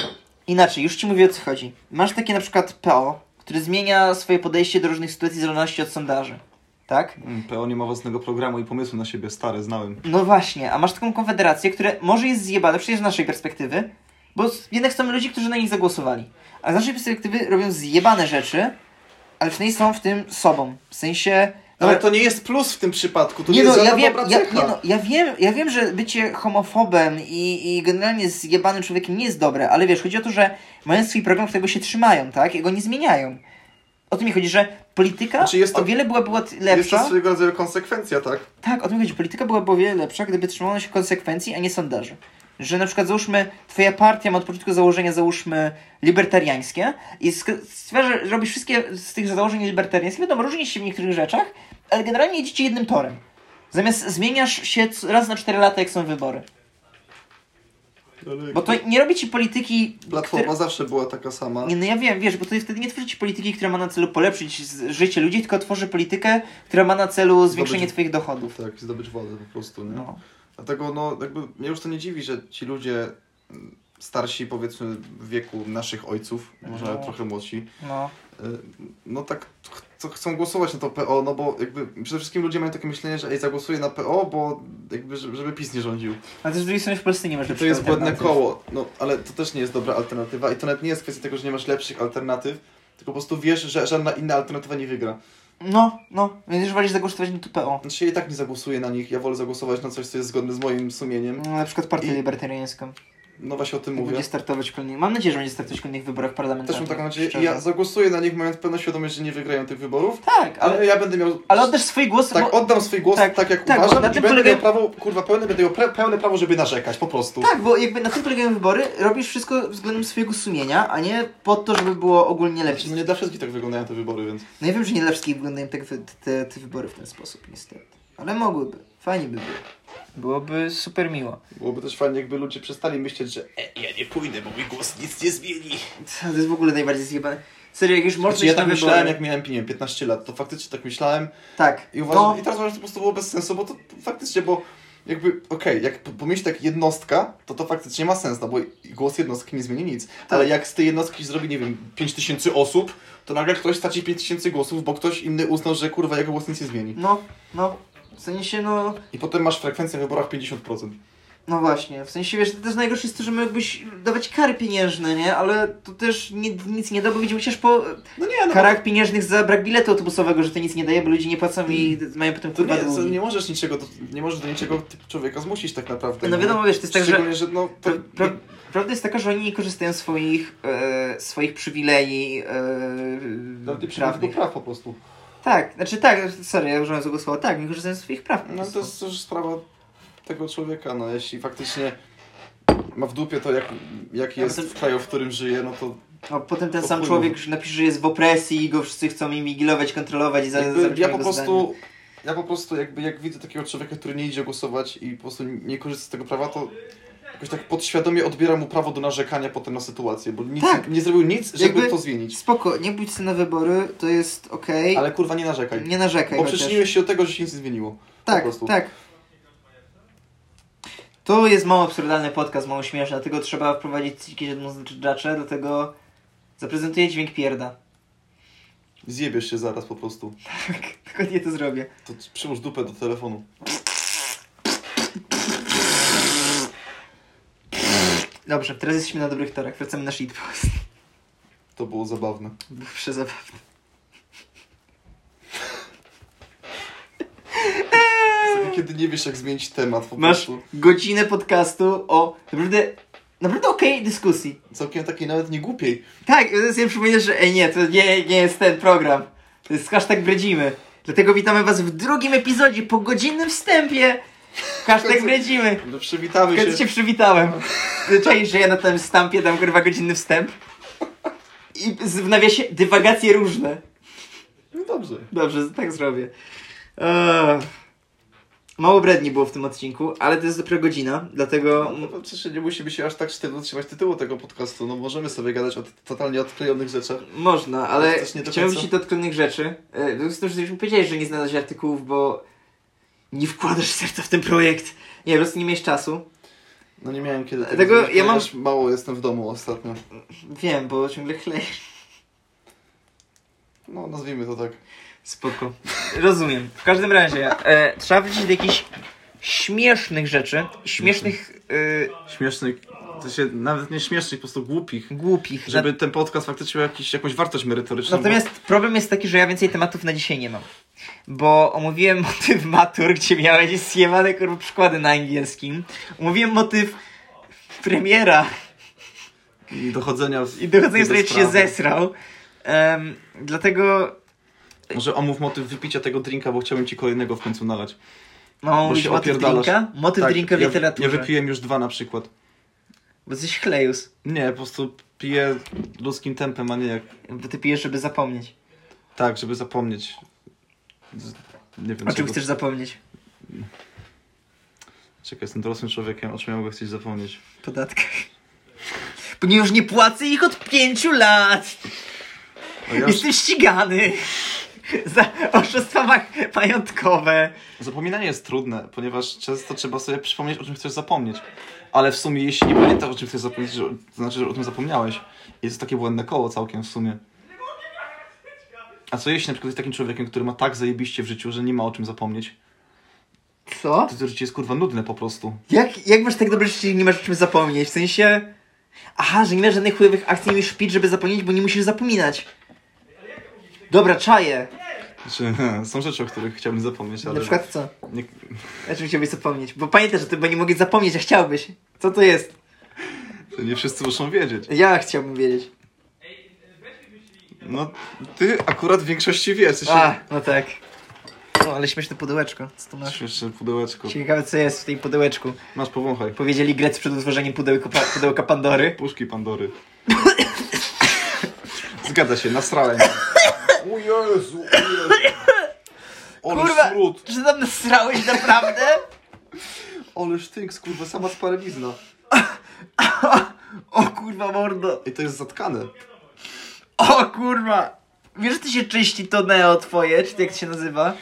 Speaker 1: Inaczej, już ci mówię o co chodzi. Masz takie na przykład PO, który zmienia swoje podejście do różnych sytuacji w zależności od sondaży. Tak?
Speaker 3: Mm, PO nie ma własnego programu i pomysłu na siebie, stary, znałem.
Speaker 1: No właśnie, a masz taką konfederację, która może jest zjebane, przecież z naszej perspektywy, bo z- jednak są ludzie, którzy na nich zagłosowali. A z naszej perspektywy robią zjebane rzeczy, ale przynajmniej są w tym sobą. W sensie.
Speaker 2: No Ale to nie jest plus w tym przypadku, to nie,
Speaker 1: nie no,
Speaker 2: jest
Speaker 1: ja
Speaker 2: żadna
Speaker 1: wiem,
Speaker 2: dobra
Speaker 1: ja,
Speaker 2: cecha.
Speaker 1: nie no, ja wiem, ja wiem, że bycie homofobem i, i generalnie zjebanym człowiekiem nie jest dobre, ale wiesz, chodzi o to, że mają swój program, którego się trzymają, tak? I go nie zmieniają. O tym mi chodzi, że polityka
Speaker 2: Znaczy jest to-
Speaker 1: o wiele była, była t- lepsza.
Speaker 2: Jest to swojego rodzaju konsekwencja, tak?
Speaker 1: Tak, o tym chodzi. Polityka byłaby o wiele lepsza, gdyby trzymano się konsekwencji, a nie sondaży. Że na przykład załóżmy, twoja partia ma od początku założenia, załóżmy, libertariańskie i sk- stwierdza, że robisz wszystkie z tych założeń libertariańskich, wiadomo, różni się w niektórych rzeczach, ale generalnie idziecie jednym torem. Zamiast zmieniasz się c- raz na 4 lata, jak są wybory. Bo to nie robi ci polityki...
Speaker 2: Platforma zawsze była taka sama.
Speaker 1: Nie, no ja wiem, wiesz, bo to wtedy nie tworzy ci polityki, która ma na celu polepszyć z- życie ludzi, tylko tworzy politykę, która ma na celu zwiększenie twoich dochodów.
Speaker 2: Tak, zdobyć władzę po prostu, nie?
Speaker 1: No.
Speaker 2: Dlatego no, jakby mnie już to nie dziwi, że ci ludzie mm, starsi, powiedzmy w wieku naszych ojców, może
Speaker 1: No.
Speaker 2: nawet trochę młodsi,
Speaker 1: No.
Speaker 2: y, no tak ch- co chcą głosować na to PO, no bo jakby przede wszystkim ludzie mają takie myślenie, że ej, zagłosuję na PO, bo jakby, żeby żeby PiS nie rządził.
Speaker 1: Ale też z drugiej strony w Polsce nie masz
Speaker 2: To
Speaker 1: lepszych
Speaker 2: jest błędne
Speaker 1: alternatyw.
Speaker 2: koło, no ale to też nie jest dobra alternatywa i to nawet nie jest kwestia tego, że nie masz lepszych alternatyw, tylko po prostu wiesz, że żadna inna alternatywa nie wygra.
Speaker 1: No, no. Więc już wolisz zagłosować na to PO.
Speaker 2: Znaczy ja i tak nie zagłosuję na nich, ja wolę zagłosować na coś, co jest zgodne z moim sumieniem.
Speaker 1: No, na przykład partię
Speaker 2: I-
Speaker 1: libertariańską.
Speaker 2: No właśnie o tym mówię.
Speaker 1: Będzie startować w kolejnych... Mam nadzieję, że będzie startować w kolejnych wyborach
Speaker 2: Też
Speaker 1: parlamentarnych.
Speaker 2: mam taką nadzieję.
Speaker 1: szczerze.
Speaker 2: I Ja zagłosuję na nich, mając pełną świadomość, że nie wygrają tych wyborów,
Speaker 1: Tak, ale,
Speaker 2: ale ja będę miał.
Speaker 1: ale oddasz swój głos...
Speaker 2: Tak,
Speaker 1: bo...
Speaker 2: oddam swój głos
Speaker 1: tak,
Speaker 2: tak, jak
Speaker 1: tak,
Speaker 2: uważam.
Speaker 1: bo na
Speaker 2: i
Speaker 1: tym
Speaker 2: będę
Speaker 1: polega-
Speaker 2: miał prawo, kurwa, pełne, będę miał pre, pełne prawo, żeby narzekać, po prostu.
Speaker 1: Tak, bo jakby na tym polegają wybory, robisz wszystko względem swojego sumienia, a nie po to, żeby było ogólnie
Speaker 2: Znaczy,
Speaker 1: lepsze.
Speaker 2: no nie dla wszystkich tak wyglądają te wybory, więc.
Speaker 1: No ja wiem, że nie dla wszystkich wyglądają tak wy- te, te wybory w ten sposób, niestety. Ale mogłyby. Fajnie by było. Byłoby super miło.
Speaker 2: Byłoby też fajnie, jakby ludzie przestali myśleć, że. E, ja nie pójdę, bo mój głos nic nie zmieni.
Speaker 1: To jest w ogóle najbardziej zjebane. Serio, jak już można
Speaker 2: Znaczy, ja
Speaker 1: iść na
Speaker 2: tak myślałem,
Speaker 1: wybory-
Speaker 2: jak miałem nie wiem, 15 lat, to faktycznie tak myślałem
Speaker 1: Tak.
Speaker 2: i uważam.
Speaker 1: No.
Speaker 2: I teraz uważam, że to po prostu było bez sensu, bo to faktycznie, bo. Jakby, okej, jak p- pomyślisz tak jednostka, to to faktycznie ma sens, no bo głos jednostki nie zmieni nic. Ale jak z tej jednostki zrobi, nie wiem, 5000 osób, to nagle ktoś straci 5000 głosów, bo ktoś inny uznał, że kurwa, jego głos nic nie zmieni.
Speaker 1: No, no. W sensie, no,
Speaker 2: I potem masz frekwencję w wyborach 50%.
Speaker 1: no właśnie. W sensie, wiesz, to też najgorsze jest to, że mógłbyś dawać kary pieniężne, nie? Ale to też ni- nic nie da, bo widzimy chociaż po
Speaker 2: No nie, no
Speaker 1: karach pieniężnych za brak biletu autobusowego, że to nic nie daje, bo ludzie nie płacą i mają potem
Speaker 2: Mm. to
Speaker 1: kurwa
Speaker 2: nie, to
Speaker 1: długi.
Speaker 2: nie możesz niczego, do, nie możesz do niczego ty- człowieka zmusić tak naprawdę.
Speaker 1: No
Speaker 2: nie?
Speaker 1: wiadomo, wiesz, to jest tak, że
Speaker 2: Szczególnie, że no, to,
Speaker 1: pra- pra- prawda jest taka, że oni nie korzystają z swoich, e, swoich przywilei e,
Speaker 2: ty
Speaker 1: prawnych.
Speaker 2: praw po prostu.
Speaker 1: Tak, znaczy tak, sorry, ja użyłem złego słowa, tak, nie korzystają z swoich praw. po
Speaker 2: No
Speaker 1: prostu.
Speaker 2: to jest już sprawa tego człowieka, no jeśli faktycznie ma w dupie to, jak, jaki
Speaker 1: Ale
Speaker 2: jest
Speaker 1: to-
Speaker 2: w kraju, w którym żyje, no to
Speaker 1: A potem ten
Speaker 2: To
Speaker 1: sam
Speaker 2: chuj, no.
Speaker 1: człowiek że napisze, że jest w opresji i go wszyscy chcą imigilować, kontrolować i za,
Speaker 2: Jakby
Speaker 1: zabrać
Speaker 2: ja
Speaker 1: mu
Speaker 2: po
Speaker 1: jego
Speaker 2: prostu,
Speaker 1: zdanie.
Speaker 2: ja po prostu jakby jak widzę takiego człowieka, który nie idzie głosować i po prostu nie korzysta z tego prawa, to jakoś tak podświadomie odbiera mu prawo do narzekania potem na sytuację, bo nic,
Speaker 1: Tak.
Speaker 2: nie zrobił nic, żeby
Speaker 1: Jakby-
Speaker 2: to zmienić.
Speaker 1: Spoko, nie bójcie się na wybory, to jest okej.
Speaker 2: Ale kurwa nie narzekaj,
Speaker 1: Nie narzekaj
Speaker 2: bo
Speaker 1: chociaż.
Speaker 2: przyczyniłeś się do tego, że się nic nie zmieniło.
Speaker 1: Tak,
Speaker 2: prostu.
Speaker 1: tak. To jest mało absurdalny podcast, mało śmieszny, dlatego trzeba wprowadzić jakieś odmóżdżacze, dlatego zaprezentuję dźwięk pierda.
Speaker 2: Zjebiesz się zaraz po prostu.
Speaker 1: Dokładnie Tak, to zrobię.
Speaker 2: To przyłóż dupę do telefonu.
Speaker 1: Dobrze, teraz jesteśmy na dobrych torach. Wracamy na shitpost.
Speaker 2: To było zabawne.
Speaker 1: Był przezabawny.
Speaker 2: Sobie kiedy nie wiesz, jak zmienić temat po
Speaker 1: Masz
Speaker 2: prostu.
Speaker 1: godzinę podcastu o naprawdę, naprawdę okej dyskusji.
Speaker 2: Całkiem takiej nawet nie głupiej.
Speaker 1: Tak, ja sobie przypominam, że ej nie, to nie, nie jest ten program. To jest hashtag bredzimy. Dlatego witamy was w drugim epizodzie po godzinnym wstępie. Hashtag bredzimy.
Speaker 2: No przywitamy
Speaker 1: Kiedy
Speaker 2: się.
Speaker 1: się przywitałem. Cześć, że ja na tym stampie dam kurwa godzinny wstęp. I z- w nawiasie dywagacje różne.
Speaker 2: No dobrze.
Speaker 1: Dobrze, tak zrobię. Eee, Mało bredni było w tym odcinku, ale to jest dopiero godzina, dlatego...
Speaker 2: No, no, to przecież nie musimy się aż tak sztywno trzymać tytułu tego podcastu. No możemy sobie gadać o t- totalnie odklejonych rzeczach.
Speaker 1: Można, ale
Speaker 2: Coś nie do
Speaker 1: chciałem
Speaker 2: końca?
Speaker 1: wrócić do odkrytych rzeczy. Yy, z tym, że już mi powiedziałeś, że nie znalazłeś artykułów, bo nie wkładasz serca w ten projekt. Nie, po prostu nie miałeś czasu.
Speaker 2: No nie miałem kiedy
Speaker 1: Dlatego
Speaker 2: zrobić,
Speaker 1: ja mam-
Speaker 2: ponieważ Mało jestem w domu ostatnio.
Speaker 1: Wiem, bo ciągle chlejesz.
Speaker 2: No nazwijmy to tak.
Speaker 1: Spoko. Rozumiem. W każdym razie, e, trzeba wrócić do jakichś śmiesznych rzeczy, śmiesznych, e,
Speaker 3: Śmiesznych, to się nawet nie śmiesznych, po prostu głupich.
Speaker 1: głupich.
Speaker 3: Żeby ten podcast faktycznie miał jakiś, jakąś wartość merytoryczną.
Speaker 1: Natomiast problem jest taki, że ja więcej tematów na dzisiaj nie mam. Bo omówiłem motyw matur, gdzie miałeś zjemane kurwa przykłady na angielskim. Omówiłem motyw premiera
Speaker 3: bo- I dochodzenia. w-
Speaker 1: i dochodzenie, że ci się
Speaker 3: sprawy.
Speaker 1: zesrał. Em, dlatego
Speaker 3: Może omów motyw wypicia tego drinka, bo chciałem ci kolejnego w końcu nalać.
Speaker 1: mam
Speaker 3: Bo
Speaker 1: mówić
Speaker 3: się
Speaker 1: motyw
Speaker 3: opierdalasz. Tak,
Speaker 1: drinka? Motyw drinka w
Speaker 3: ja,
Speaker 1: literaturze.
Speaker 3: Ja wypiłem już dwa na przykład.
Speaker 1: Bo jesteś chlejus.
Speaker 3: Nie, po prostu piję ludzkim tempem, a nie jak.
Speaker 1: Bo ty pijesz, żeby zapomnieć.
Speaker 3: Tak, żeby zapomnieć. Z- Nie wiem.
Speaker 1: O czym
Speaker 3: czego-
Speaker 1: chcesz zapomnieć?
Speaker 3: Czekaj, jestem dorosłym człowiekiem, o czym ja mogę chcieć zapomnieć?
Speaker 1: Podatkach. Ponieważ nie płacę ich od pięciu lat!
Speaker 3: O, ja już...
Speaker 1: Jestem ścigany! Za oszustwa ma- majątkowe.
Speaker 3: Zapominanie jest trudne, ponieważ często trzeba sobie przypomnieć, o czym chcesz zapomnieć. Ale w sumie, jeśli nie pamiętasz, o czym chcesz zapomnieć, że- to znaczy, że o tym zapomniałeś. Jest to takie błędne koło całkiem w sumie. A co jeśli na przykład jest takim człowiekiem, który ma tak zajebiście w życiu, że nie ma o czym zapomnieć?
Speaker 1: Co?
Speaker 3: To, to życie jest kurwa nudne po prostu.
Speaker 1: Jak, jak masz tak dobre życie, że nie masz o czym zapomnieć? W sensie... Aha, że nie masz żadnych chujowych akcji, nie musisz pić, żeby zapomnieć, bo nie musisz zapominać. Dobra, czaję.
Speaker 3: Znaczy, są rzeczy, o których chciałbym zapomnieć, ale...
Speaker 1: Na przykład co?
Speaker 3: Nie...
Speaker 1: O czym chciałbyś zapomnieć? Bo pamiętasz o tym, bo nie mogę zapomnieć, a chciałbyś. Co to jest?
Speaker 3: to nie wszyscy muszą wiedzieć.
Speaker 1: Ja chciałbym wiedzieć.
Speaker 3: No, ty akurat w większości wiesz.
Speaker 1: A,
Speaker 3: Jeszcze...
Speaker 1: no tak. No, ale śmieszne pudełeczko. Co to masz?
Speaker 3: Jeszcze pudełeczko.
Speaker 1: Ciekawe, co jest w tej pudełeczku.
Speaker 3: Masz, powąchaj.
Speaker 1: Powiedzieli Grec przed utworzeniem pudełka, pa- pudełka Pandory.
Speaker 3: Puszki Pandory. Zgadza się, nasrałem.
Speaker 2: O Jezu, o Jezu.
Speaker 1: Kurwa,
Speaker 2: Ole smród.
Speaker 1: czy tam nasrałeś naprawdę?
Speaker 2: Ole sztynks, kurwa, sama sparenizna.
Speaker 1: O kurwa mordo.
Speaker 2: I to jest zatkane.
Speaker 1: O kurwa. Wiesz, że ty się czyści to neo twoje, czy jak to się nazywa?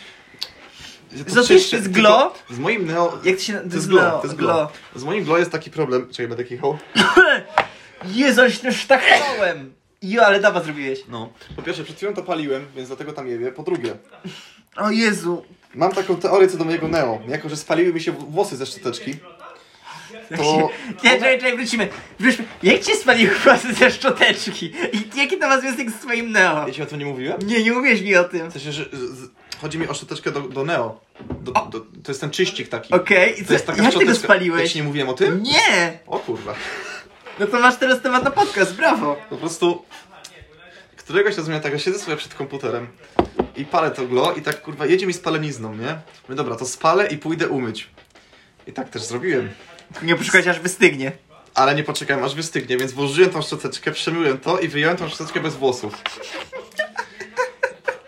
Speaker 3: Ja to
Speaker 1: Co, to
Speaker 3: przecież-
Speaker 1: jest- to jest glo?
Speaker 3: tylko Z moim neo...
Speaker 1: Jak to się...
Speaker 3: To jest glo, to jest glo. Z moim glo jest taki problem... Czekaj, będę kichał.
Speaker 1: Jezu, ale się tym sztachnąłem. no Jo, ale dawa zrobiłeś.
Speaker 3: No. Po pierwsze, przed chwilą to paliłem, więc dlatego tam je wie. Po drugie,
Speaker 1: O Jezu.
Speaker 2: Mam taką teorię co do mojego Neo. Jako, że spaliły mi się włosy ze szczoteczki, to...
Speaker 1: Nie, czekaj, czekaj, wrócimy. Wróćmy. Jak cię spalił włosy ze szczoteczki? I jaki to ma związek z twoim neo?
Speaker 2: Ja ci o tym nie mówiłem?
Speaker 1: Nie, nie mówisz mi o tym.
Speaker 2: W sensie, że z, z, chodzi mi o szczoteczkę do, do Neo. Do, do, to jest ten czyścik taki.
Speaker 1: Okej, i
Speaker 2: To jest
Speaker 1: co-
Speaker 2: taka
Speaker 1: jak ty go
Speaker 2: szczoteczka. Ja
Speaker 1: spaliłeś?
Speaker 2: ci nie mówiłem o tym?
Speaker 1: Nie!
Speaker 2: O kurwa.
Speaker 1: No to masz teraz temat na podcast, brawo!
Speaker 2: Po prostu któregoś rozumienia tak, ja siedzę sobie przed komputerem i palę to glo i tak kurwa jedzie mi spalenizną, nie? Mówię, dobra, to spalę i pójdę umyć. I tak też zrobiłem.
Speaker 1: Nie poszukać aż wystygnie.
Speaker 2: Ale nie poczekałem aż wystygnie, więc włożyłem tą szczoteczkę, przemyłem to i wyjąłem tą szczoteczkę bez włosów.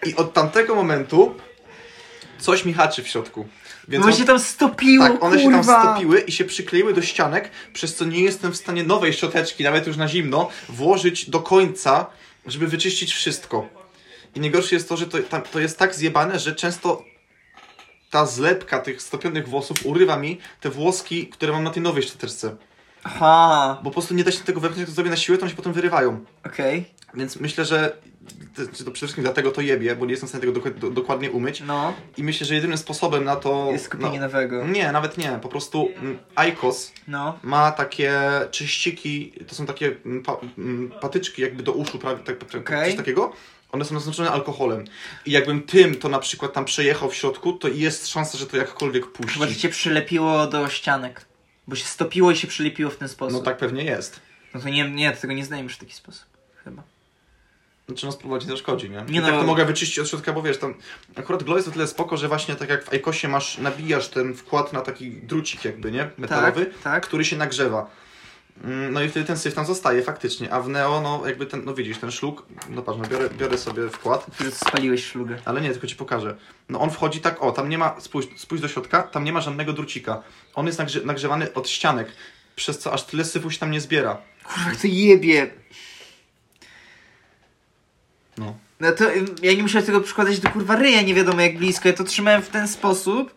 Speaker 2: I od tamtego momentu coś mi haczy w środku. Więc
Speaker 1: Bo
Speaker 2: mam-
Speaker 1: się tam stopiło,
Speaker 2: tak, one
Speaker 1: kurwa.
Speaker 2: się tam stopiły i się przykleiły do ścianek, przez co nie jestem w stanie nowej szczoteczki, nawet już na zimno, włożyć do końca, żeby wyczyścić wszystko. I najgorsze jest to, że to, tam, to jest tak zjebane, że często ta zlepka tych stopionych włosów urywa mi te włoski, które mam na tej nowej szczoteczce.
Speaker 1: Aha,
Speaker 2: Bo po prostu nie da się tego wepchnąć, jak to zrobię na siłę, to one się potem wyrywają.
Speaker 1: okej.
Speaker 2: Więc myślę, że to, czy to przede wszystkim dlatego to jebie, bo nie jestem w stanie tego dok- do, dokładnie umyć.
Speaker 1: No,
Speaker 2: I myślę, że jedynym sposobem na to...
Speaker 1: jest kupienie
Speaker 2: na...
Speaker 1: nowego.
Speaker 2: Nie, nawet nie. Po prostu mm, IQOS
Speaker 1: No,
Speaker 2: ma takie czyściki, to są takie mm, pa, mm, patyczki jakby do uszu, prawie tak, tak,
Speaker 1: Okej.
Speaker 2: coś takiego. One są naznaczone alkoholem. I jakbym tym to na przykład tam przejechał w środku, to jest szansa, że to jakkolwiek puści.
Speaker 1: chyba że cię przylepiło do ścianek. Bo się stopiło i się przylepiło w ten sposób.
Speaker 2: No tak pewnie jest.
Speaker 1: No to nie, nie, tego nie znajmiesz w taki sposób. Chyba.
Speaker 2: Znaczy nas prowadzi nie zaszkodzi, nie?
Speaker 1: Nie
Speaker 2: tak
Speaker 1: no.
Speaker 2: to mogę wyczyścić od środka, bo wiesz, tam akurat Glow jest o tyle spoko, że właśnie tak jak w Ejkosie masz, nabijasz ten wkład na taki drucik jakby, nie? Metalowy,
Speaker 1: Tak, tak.
Speaker 2: który się nagrzewa. Mm, No i wtedy ten syf tam zostaje faktycznie, a w Neo, no jakby ten, no widzisz, ten szluk, no patrz, no biorę, biorę sobie wkład,
Speaker 1: Który spaliłeś szlugę.
Speaker 2: ale nie, tylko ci pokażę. No on wchodzi tak, o, tam nie ma, spójrz, spójrz do środka, tam nie ma żadnego drucika. On jest nagrze nagrzewany od ścianek, przez co aż tyle syfu się tam nie zbiera.
Speaker 1: Kurwa, jak to jebie.
Speaker 2: No.
Speaker 1: No to ym, ja nie musiałem tego przykładać do kurwa ryja, nie wiadomo jak blisko. Ja to trzymałem w ten sposób.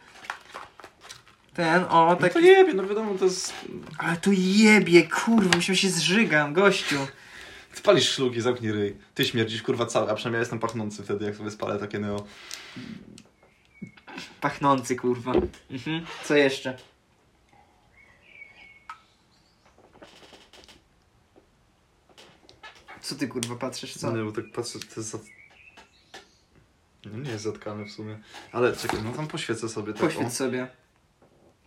Speaker 1: Ten, o,
Speaker 2: No
Speaker 1: tak.
Speaker 2: to jebie, no wiadomo, to jest...
Speaker 1: Ale to jebie, kurwa, myślę, że się zżygam, gościu.
Speaker 2: Spalisz szlugi, zamknij ryj. Ty śmierdzisz, kurwa, cały, a przynajmniej ja jestem pachnący wtedy, jak sobie spalę takie neo.
Speaker 1: Pachnący, kurwa. Mhm. Co jeszcze? Co ty, kurwa, patrzysz, co?
Speaker 2: Nie, bo tak patrzę, to jest za... No nie jest zatkane w sumie. Ale czekaj, no tam poświecę sobie tak.
Speaker 1: Poświęć sobie.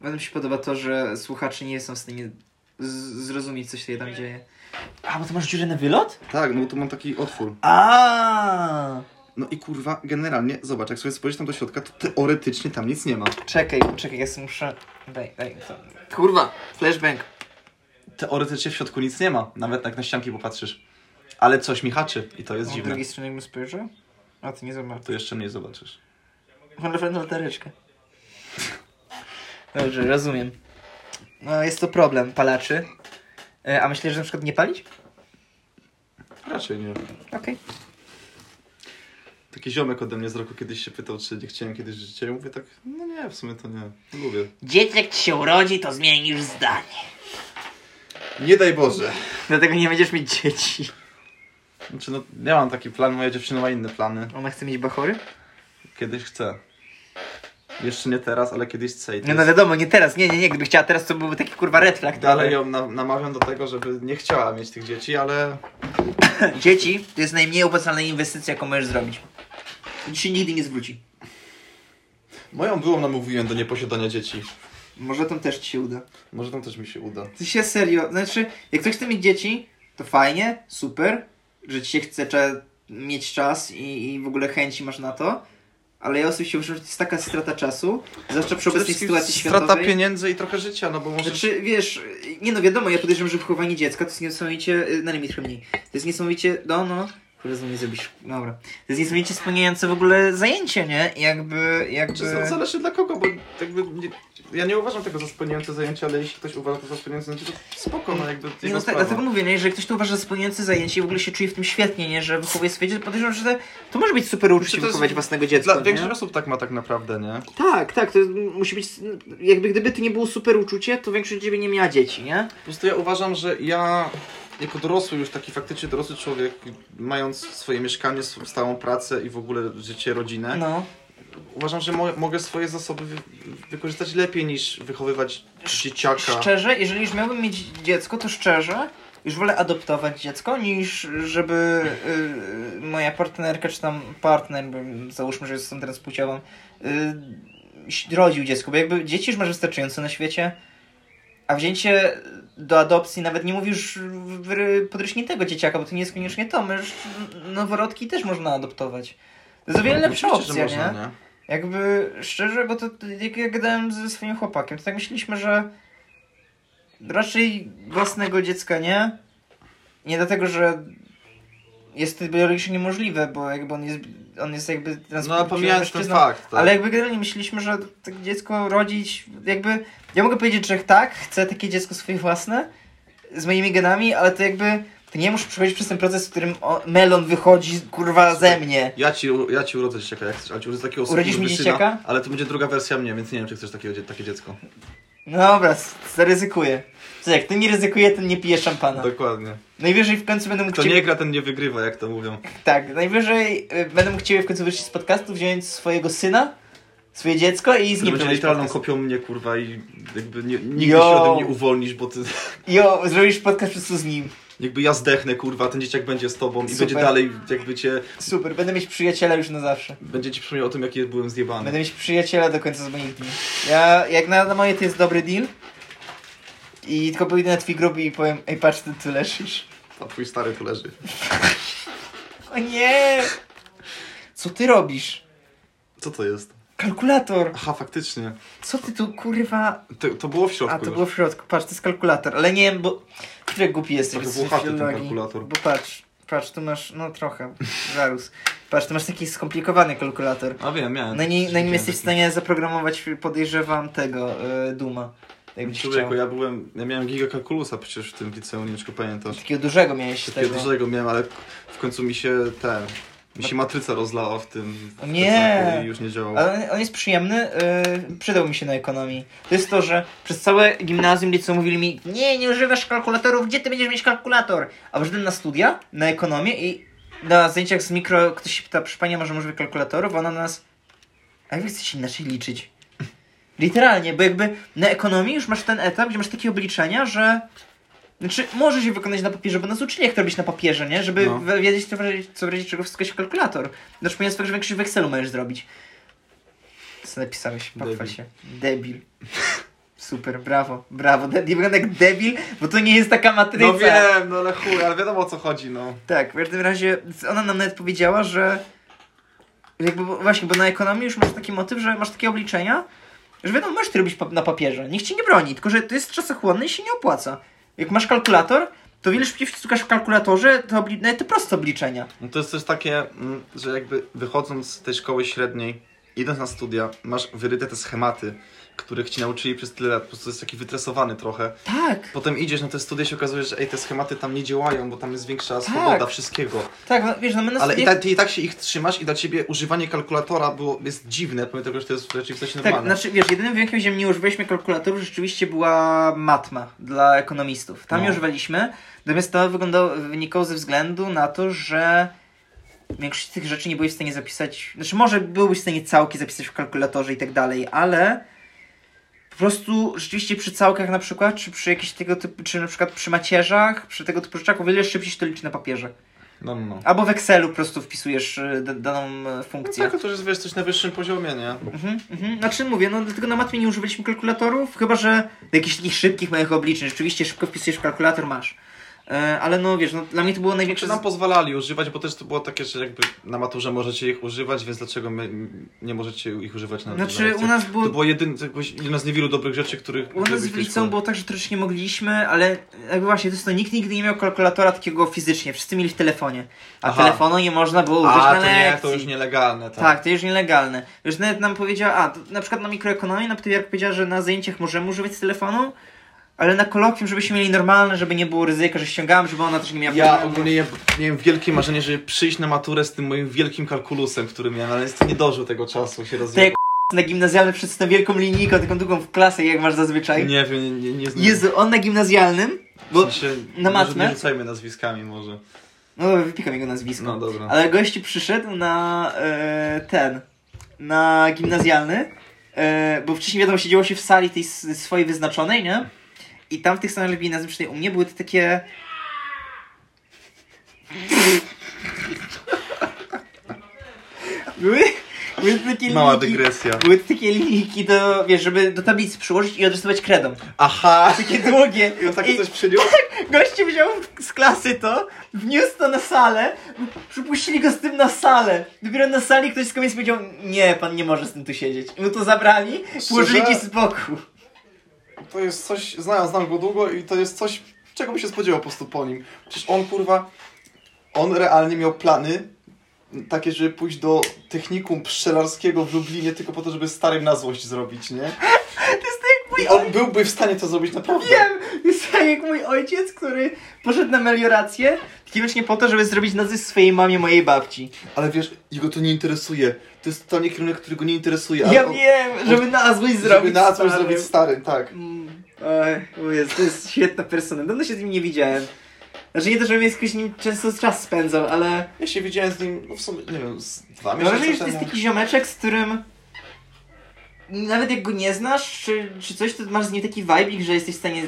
Speaker 1: Bardzo mi się podoba to, że słuchacze nie są w stanie z- zrozumieć, co się tam dzieje. A, bo to masz dziurę na wylot?
Speaker 2: O. Tak, no bo tu mam taki otwór.
Speaker 1: A.
Speaker 2: No i kurwa, generalnie, zobacz, jak sobie spojrzysz tam do środka, to teoretycznie tam nic nie ma.
Speaker 1: Czekaj, czekaj, ja sobie muszę... Daj, daj, to. Kurwa, flashbang.
Speaker 2: Teoretycznie w środku nic nie ma, nawet jak na ścianki popatrzysz. Ale coś mi haczy i to jest
Speaker 1: Z
Speaker 2: dziwne.
Speaker 1: drugiej strony jakbym spojrzał? A, ty nie zobaczysz.
Speaker 2: To jeszcze mniej zobaczysz.
Speaker 1: Mam na pewno latareczkę. Dobrze, rozumiem. No, jest to problem palaczy. E, A myślisz, że na przykład nie palić?
Speaker 2: Raczej nie.
Speaker 1: Okej.
Speaker 2: Taki ziomek ode mnie z roku kiedyś się pytał, czy nie chciałem kiedyś życia. Ja mówię tak, no nie, w sumie to nie. Lubię.
Speaker 1: Dzieciak ci się urodzi, to zmienisz zdanie.
Speaker 2: Nie daj Boże.
Speaker 1: Dlatego nie będziesz mieć dzieci.
Speaker 2: Znaczy, no, ja mam taki plan, moja dziewczyna ma inne plany.
Speaker 1: Ona chce mieć bachory?
Speaker 2: Kiedyś chcę. Jeszcze nie teraz, ale kiedyś chcę. I to
Speaker 1: No, no
Speaker 2: jest...
Speaker 1: wiadomo, nie teraz, nie, nie, nie. Gdyby chciała teraz, to byłby taki kurwa red flag.
Speaker 2: Dalej ją na, namawiam do tego, żeby nie chciała mieć tych dzieci, ale
Speaker 1: Dzieci to jest najmniej opłacalna inwestycja, jaką możesz zrobić. Dzisiaj nigdy nie zwróci.
Speaker 2: moją byłą namówiłem do nieposiadania dzieci.
Speaker 1: Może tam też ci się uda.
Speaker 2: Może tam też mi się uda.
Speaker 1: Ty się serio, znaczy, jak ktoś chce mieć dzieci, to fajnie, super, że ci się chce cza- mieć czas i, i w ogóle chęci masz na to, ale ja osobiście uważam, że to jest taka strata czasu, zwłaszcza przy obecnej sytuacji
Speaker 2: strata
Speaker 1: światowej.
Speaker 2: pieniędzy i trochę życia, no bo może...
Speaker 1: Znaczy, wiesz, nie no, wiadomo, ja podejrzewam, że wychowanie dziecka to jest niesamowicie, y, na limit chyba mniej, to jest niesamowicie, no, no, kurwa, znowu nie zrobisz, no dobra, to jest niesamowicie spełniające w ogóle zajęcie, nie? Jakby, jakby... no,
Speaker 2: Czy to zależy dla kogo, bo jakby nie, ja nie uważam tego za spełniające zajęcie, ale jeśli ktoś uważa to za spełniające zajęcie, to spoko, no jakby
Speaker 1: Nie,
Speaker 2: jego
Speaker 1: no tak,
Speaker 2: sprawa.
Speaker 1: dlatego mówię, nie, że ktoś to uważa za spełniające zajęcie i w ogóle się czuje w tym świetnie, nie, że wychowuje swoje dziecko, podejrzewam, że to, to może być super uczucie
Speaker 2: Czy to jest-
Speaker 1: wychowywać własnego dziecka,
Speaker 2: Dla
Speaker 1: nie?
Speaker 2: większość osób tak ma tak naprawdę, nie?
Speaker 1: Tak, tak, to jest- musi być, jakby gdyby to nie było super uczucie, to większość ciebie nie miała dzieci, nie?
Speaker 2: Po prostu ja uważam, że ja jako dorosły, już taki faktycznie dorosły człowiek, mając swoje mieszkanie, sw- stałą pracę i w ogóle życie, rodzinę,
Speaker 1: No.
Speaker 2: uważam, że mo mogę swoje zasoby wy wykorzystać lepiej niż wychowywać dzieciaka.
Speaker 1: Szczerze, jeżeli już miałbym mieć dziecko, to szczerze, już wolę adoptować dziecko, niż żeby y, moja partnerka, czy tam partner, bo załóżmy, że jestem transpłciową, y, rodził dziecko, bo jakby dzieci już masz wystarczająco na świecie, a wzięcie do adopcji nawet nie mówisz podrośniętego dzieciaka, bo to nie jest koniecznie to, możesz noworodki też można adoptować. To jest o wiele lepsza
Speaker 2: No, Oczywiście, że
Speaker 1: opcja, nie?
Speaker 2: można, nie?
Speaker 1: Jakby szczerze, bo to to jak ja gadałem ze swoim chłopakiem, to tak myśleliśmy, że raczej własnego dziecka nie. Nie dlatego, że jest to biologicznie niemożliwe, bo jakby on jest, on jest jakby
Speaker 2: No a
Speaker 1: transpłciowy
Speaker 2: pomijając ten
Speaker 1: mężczyzną.
Speaker 2: fakt, tak.
Speaker 1: Ale jakby generalnie myśleliśmy, że tak dziecko rodzić, jakby... Ja mogę powiedzieć, że tak, chcę takie dziecko swoje własne, z moimi genami, ale to jakby... To nie muszę przechodzić przez ten proces, w którym o, melon wychodzi, kurwa, ze mnie.
Speaker 2: Ja ci, u- ja ci urodzę dzieciaka, jak chcesz, ale ci urodzę takiego
Speaker 1: Urodzisz mi
Speaker 2: skurwysyna,
Speaker 1: dzieciaka?
Speaker 2: Ale to będzie druga wersja mnie, więc nie wiem, czy chcesz takiego, dzie- takie dziecko.
Speaker 1: No dobra, s- zaryzykuję. Co jak ty nie ryzykuje, ten nie pije szampana.
Speaker 2: Dokładnie.
Speaker 1: Najwyżej w końcu będę mógł
Speaker 2: Kto
Speaker 1: Tak. ciebie...
Speaker 2: nie gra, ten nie wygrywa, jak to mówią.
Speaker 1: Tak, najwyżej y, będę mógł ciebie w końcu wyjść z podcastu, wziąć swojego syna, swoje dziecko i z
Speaker 2: To
Speaker 1: nim
Speaker 2: będzie
Speaker 1: prowadzić
Speaker 2: literalną
Speaker 1: podcast.
Speaker 2: kopią mnie, kurwa, i jakby nie, nigdy
Speaker 1: Yo.
Speaker 2: się ode mnie uwolnisz, bo ty...
Speaker 1: Jo, zrobisz podcast po prostu z nim.
Speaker 2: Jakby ja zdechnę, kurwa, ten dzieciak będzie z tobą i
Speaker 1: Super.
Speaker 2: będzie dalej, jakby cię...
Speaker 1: Super, będę mieć przyjaciela już na zawsze.
Speaker 2: Będzie ci przypomniał o tym, jaki byłem zjebany.
Speaker 1: Będę mieć przyjaciela do końca z moich dni. Ja, jak na, na moje to jest dobry deal. I tylko pójdę na twój grób i powiem, ej patrz, ty tu leżysz.
Speaker 2: A twój stary tu leży.
Speaker 1: O nie! Co ty robisz?
Speaker 2: Co to jest?
Speaker 1: Kalkulator!
Speaker 2: Aha, faktycznie.
Speaker 1: Co ty tu kurwa...
Speaker 2: To, to było w środku
Speaker 1: A, to
Speaker 2: już.
Speaker 1: było w środku. Patrz, to jest kalkulator. Ale nie wiem, bo... Który głupi jesteś.
Speaker 2: Trochę
Speaker 1: bez tej
Speaker 2: włochaty ten
Speaker 1: filologii.
Speaker 2: kalkulator.
Speaker 1: Bo patrz, patrz, tu masz... No trochę. Zarus. Patrz, tu masz taki skomplikowany kalkulator.
Speaker 2: A wiem, miałem.
Speaker 1: Na, nie, na nim
Speaker 2: Widziałem
Speaker 1: jesteś w
Speaker 2: taki-
Speaker 1: stanie zaprogramować, podejrzewam, tego, y, Duma. Jak będziesz chciał.
Speaker 2: Człowieku, ja byłem, ja miałem gigakalkulusa przecież w tym liceum, nie wiem, czy pamiętasz.
Speaker 1: Takiego dużego miałeś
Speaker 2: Takiego
Speaker 1: tego.
Speaker 2: dużego miałem, ale w końcu mi się ten, mi się matryca rozlała w tym w
Speaker 1: O nie!
Speaker 2: plecaku i już nie działało.
Speaker 1: Ale on- on jest przyjemny, yy, przydał mi się na ekonomii. To jest to, że przez całe gimnazjum liceum mówili mi nie, nie używasz kalkulatorów, gdzie ty będziesz mieć kalkulator? A poszedłem na studia, na ekonomię i na zajęciach z mikro ktoś się pyta, przy pani może używa kalkulatorów? A Ona na nas, a jak wy chcecie inaczej liczyć? Literalnie, bo jakby na ekonomii już masz ten etap, gdzie masz takie obliczenia, że znaczy, może się wykonać na papierze, bo nas uczyli jak to robić na papierze, nie? Żeby
Speaker 2: No.
Speaker 1: we- wiedzieć, co w razie, co w razie czego wszystko się kalkulator. Znaczy, ponieważ fakt, że większość w Excelu możesz zrobić. Co napisałeś? Pochwal
Speaker 2: Debil.
Speaker 1: się. Debil. Super, brawo, brawo. De- Nie wygląda jak debil, bo to nie jest taka matryca.
Speaker 2: No wiem, no ale chuj, ale wiadomo o co chodzi, no.
Speaker 1: Tak, w każdym razie ona nam nawet powiedziała, że jakby bo- właśnie, bo na ekonomii już masz taki motyw, że masz takie obliczenia, że wiadomo, możesz ty robić pa- na papierze, nikt cię nie broni, tylko że to jest czasochłonne i się nie opłaca. Jak masz kalkulator, to wiele szybciej wciskasz w kalkulatorze te, obli- nawet te proste obliczenia.
Speaker 2: no. To jest coś takie, mm, że jakby wychodząc z tej szkoły średniej, idąc na studia, masz wyryte te schematy, których ci nauczyli przez tyle lat, po prostu jest taki wytresowany trochę.
Speaker 1: Tak,
Speaker 2: Potem idziesz na te studia i się okazuje, że ej, te schematy tam nie działają, bo tam jest większa swoboda wszystkiego.
Speaker 1: tak, no, wiesz, no my na
Speaker 2: Ale i
Speaker 1: studiach-
Speaker 2: tak, ty i tak się ich trzymasz i dla ciebie używanie kalkulatora było, jest dziwne, pomimo tego, że to jest w rzeczywistości
Speaker 1: Tak,
Speaker 2: normalne.
Speaker 1: znaczy wiesz, jedynym wyjątkiem, gdzie nie używaliśmy kalkulatorów, rzeczywiście była matma dla ekonomistów. Tam
Speaker 2: No.
Speaker 1: nie używaliśmy, natomiast to wyglądało, wynikało ze względu na to, że większość tych rzeczy nie byłeś w stanie zapisać, znaczy może byłbyś w stanie całki zapisać w kalkulatorze i tak dalej, ale po prostu rzeczywiście przy całkach na przykład, czy przy jakichś tego typu, czy na przykład przy macierzach, przy tego typu rzeczach o wiele szybciej się to liczy na papierze.
Speaker 2: No, no, no.
Speaker 1: Albo w Excelu po prostu wpisujesz y, d- daną e, funkcję.
Speaker 2: No tak, to już wiesz, coś na wyższym poziomie, nie?
Speaker 1: Mhm, mhm. Znaczy mówię, no dlatego na matmie nie używaliśmy kalkulatorów, chyba że do jakichś takich szybkich małych obliczeń. Rzeczywiście szybko wpisujesz w kalkulator, masz. E, ale no wiesz, no, dla mnie to było największe...
Speaker 2: Czy nam pozwalali używać, bo też to było takie, że jakby na maturze możecie ich używać, więc dlaczego my nie możecie ich używać na na
Speaker 1: Znaczy u
Speaker 2: lekcjach?
Speaker 1: nas
Speaker 2: To
Speaker 1: było...
Speaker 2: było jedyne, to jakoś jedna z niewielu dobrych rzeczy, których...
Speaker 1: U nas w liceum było tak, że troszeczkę nie mogliśmy, ale jakby właśnie to jest to, nikt nigdy nie miał kalkulatora takiego fizycznie, wszyscy mieli w telefonie. A
Speaker 2: Aha.
Speaker 1: telefonu nie można było użyć
Speaker 2: A,
Speaker 1: na
Speaker 2: to
Speaker 1: lekcji.
Speaker 2: nie, to już nielegalne, tak.
Speaker 1: Tak, to już nielegalne. Już nawet nam powiedziała, a to na przykład na mikroekonomii nam jak powiedziała, że na zajęciach możemy używać telefonu, ale na kolokwium, żebyśmy mieli normalne, żeby nie było ryzyka, że ściągałem, żeby ona też nie miała
Speaker 2: Ja
Speaker 1: problemu.
Speaker 2: ogólnie ja miałem wielkie marzenie, żeby przyjść na maturę z tym moim wielkim kalkulusem, który miałem, ale niestety nie dożył tego czasu, się rozwijał.
Speaker 1: na gimnazjalnym przez tą wielką linijką, taką długą w klasie, jak masz zazwyczaj.
Speaker 2: Nie wiem, nie, nie, nie znam.
Speaker 1: Jezu, on na gimnazjalnym,
Speaker 2: W
Speaker 1: bo...
Speaker 2: sensie,
Speaker 1: na
Speaker 2: może
Speaker 1: matmę?
Speaker 2: Nie rzucajmy nazwiskami może.
Speaker 1: No dobra, wypikam jego nazwisko.
Speaker 2: No dobra.
Speaker 1: Ale gości przyszedł na e, ten, na gimnazjalny, e, bo wcześniej wiadomo, siedziało się w sali tej s- swojej wyznaczonej, nie? I tam w tych salach gimnazjycznych u mnie były te takie... były, były te takie
Speaker 2: Mała
Speaker 1: linijki-
Speaker 2: dygresja.
Speaker 1: Były te takie linijki do, wiesz, żeby do tablicy przyłożyć i odrysować kredą.
Speaker 2: Aha!
Speaker 1: Takie długie.
Speaker 2: I on takie
Speaker 1: I-
Speaker 2: coś przyniósł?
Speaker 1: Goście wziął z klasy to, wniósł to na salę, przypuścili go z tym na salę. Dopiero na sali ktoś z komisji powiedział, nie, pan nie może z tym tu siedzieć. I mu to zabrali, położyli gdzieś z boku.
Speaker 4: To jest coś, znam, znam go długo i to jest coś, czego by się spodziewał po prostu po nim. Przecież on kurwa, on realnie miał plany takie, żeby pójść do technikum pszczelarskiego w Lublinie tylko po to, żeby starym na złość zrobić, nie?
Speaker 1: To jest tak,
Speaker 4: I on byłby w stanie to zrobić naprawdę.
Speaker 1: wiem, Jest tak jak mój ojciec, który poszedł na meliorację tylko i wyłącznie po to, żeby zrobić nazysk swojej mamie, mojej babci.
Speaker 2: Ale wiesz, jego to nie interesuje. To jest totalnie kierunek, który go nie interesuje. ale
Speaker 1: Ja
Speaker 2: on-
Speaker 1: wiem, żeby na złość
Speaker 2: żeby
Speaker 1: zrobić
Speaker 2: na coś
Speaker 1: starym.
Speaker 2: zrobić starym, tak.
Speaker 1: Mm, Oj, o Jezu, to jest świetna persona. Dawno się z nim nie widziałem. Znaczy nie to, żebym jakoś z nim często czas spędzał, ale...
Speaker 2: Ja się widziałem z nim, no w sumie, nie wiem, z dwa
Speaker 1: Mam wrażenie,
Speaker 2: miesiące
Speaker 1: że to No, jest
Speaker 2: temu.
Speaker 1: taki ziomeczek, z którym... Nawet jak go nie znasz, czy, czy coś, to masz z nim taki vibing, że jesteś w stanie...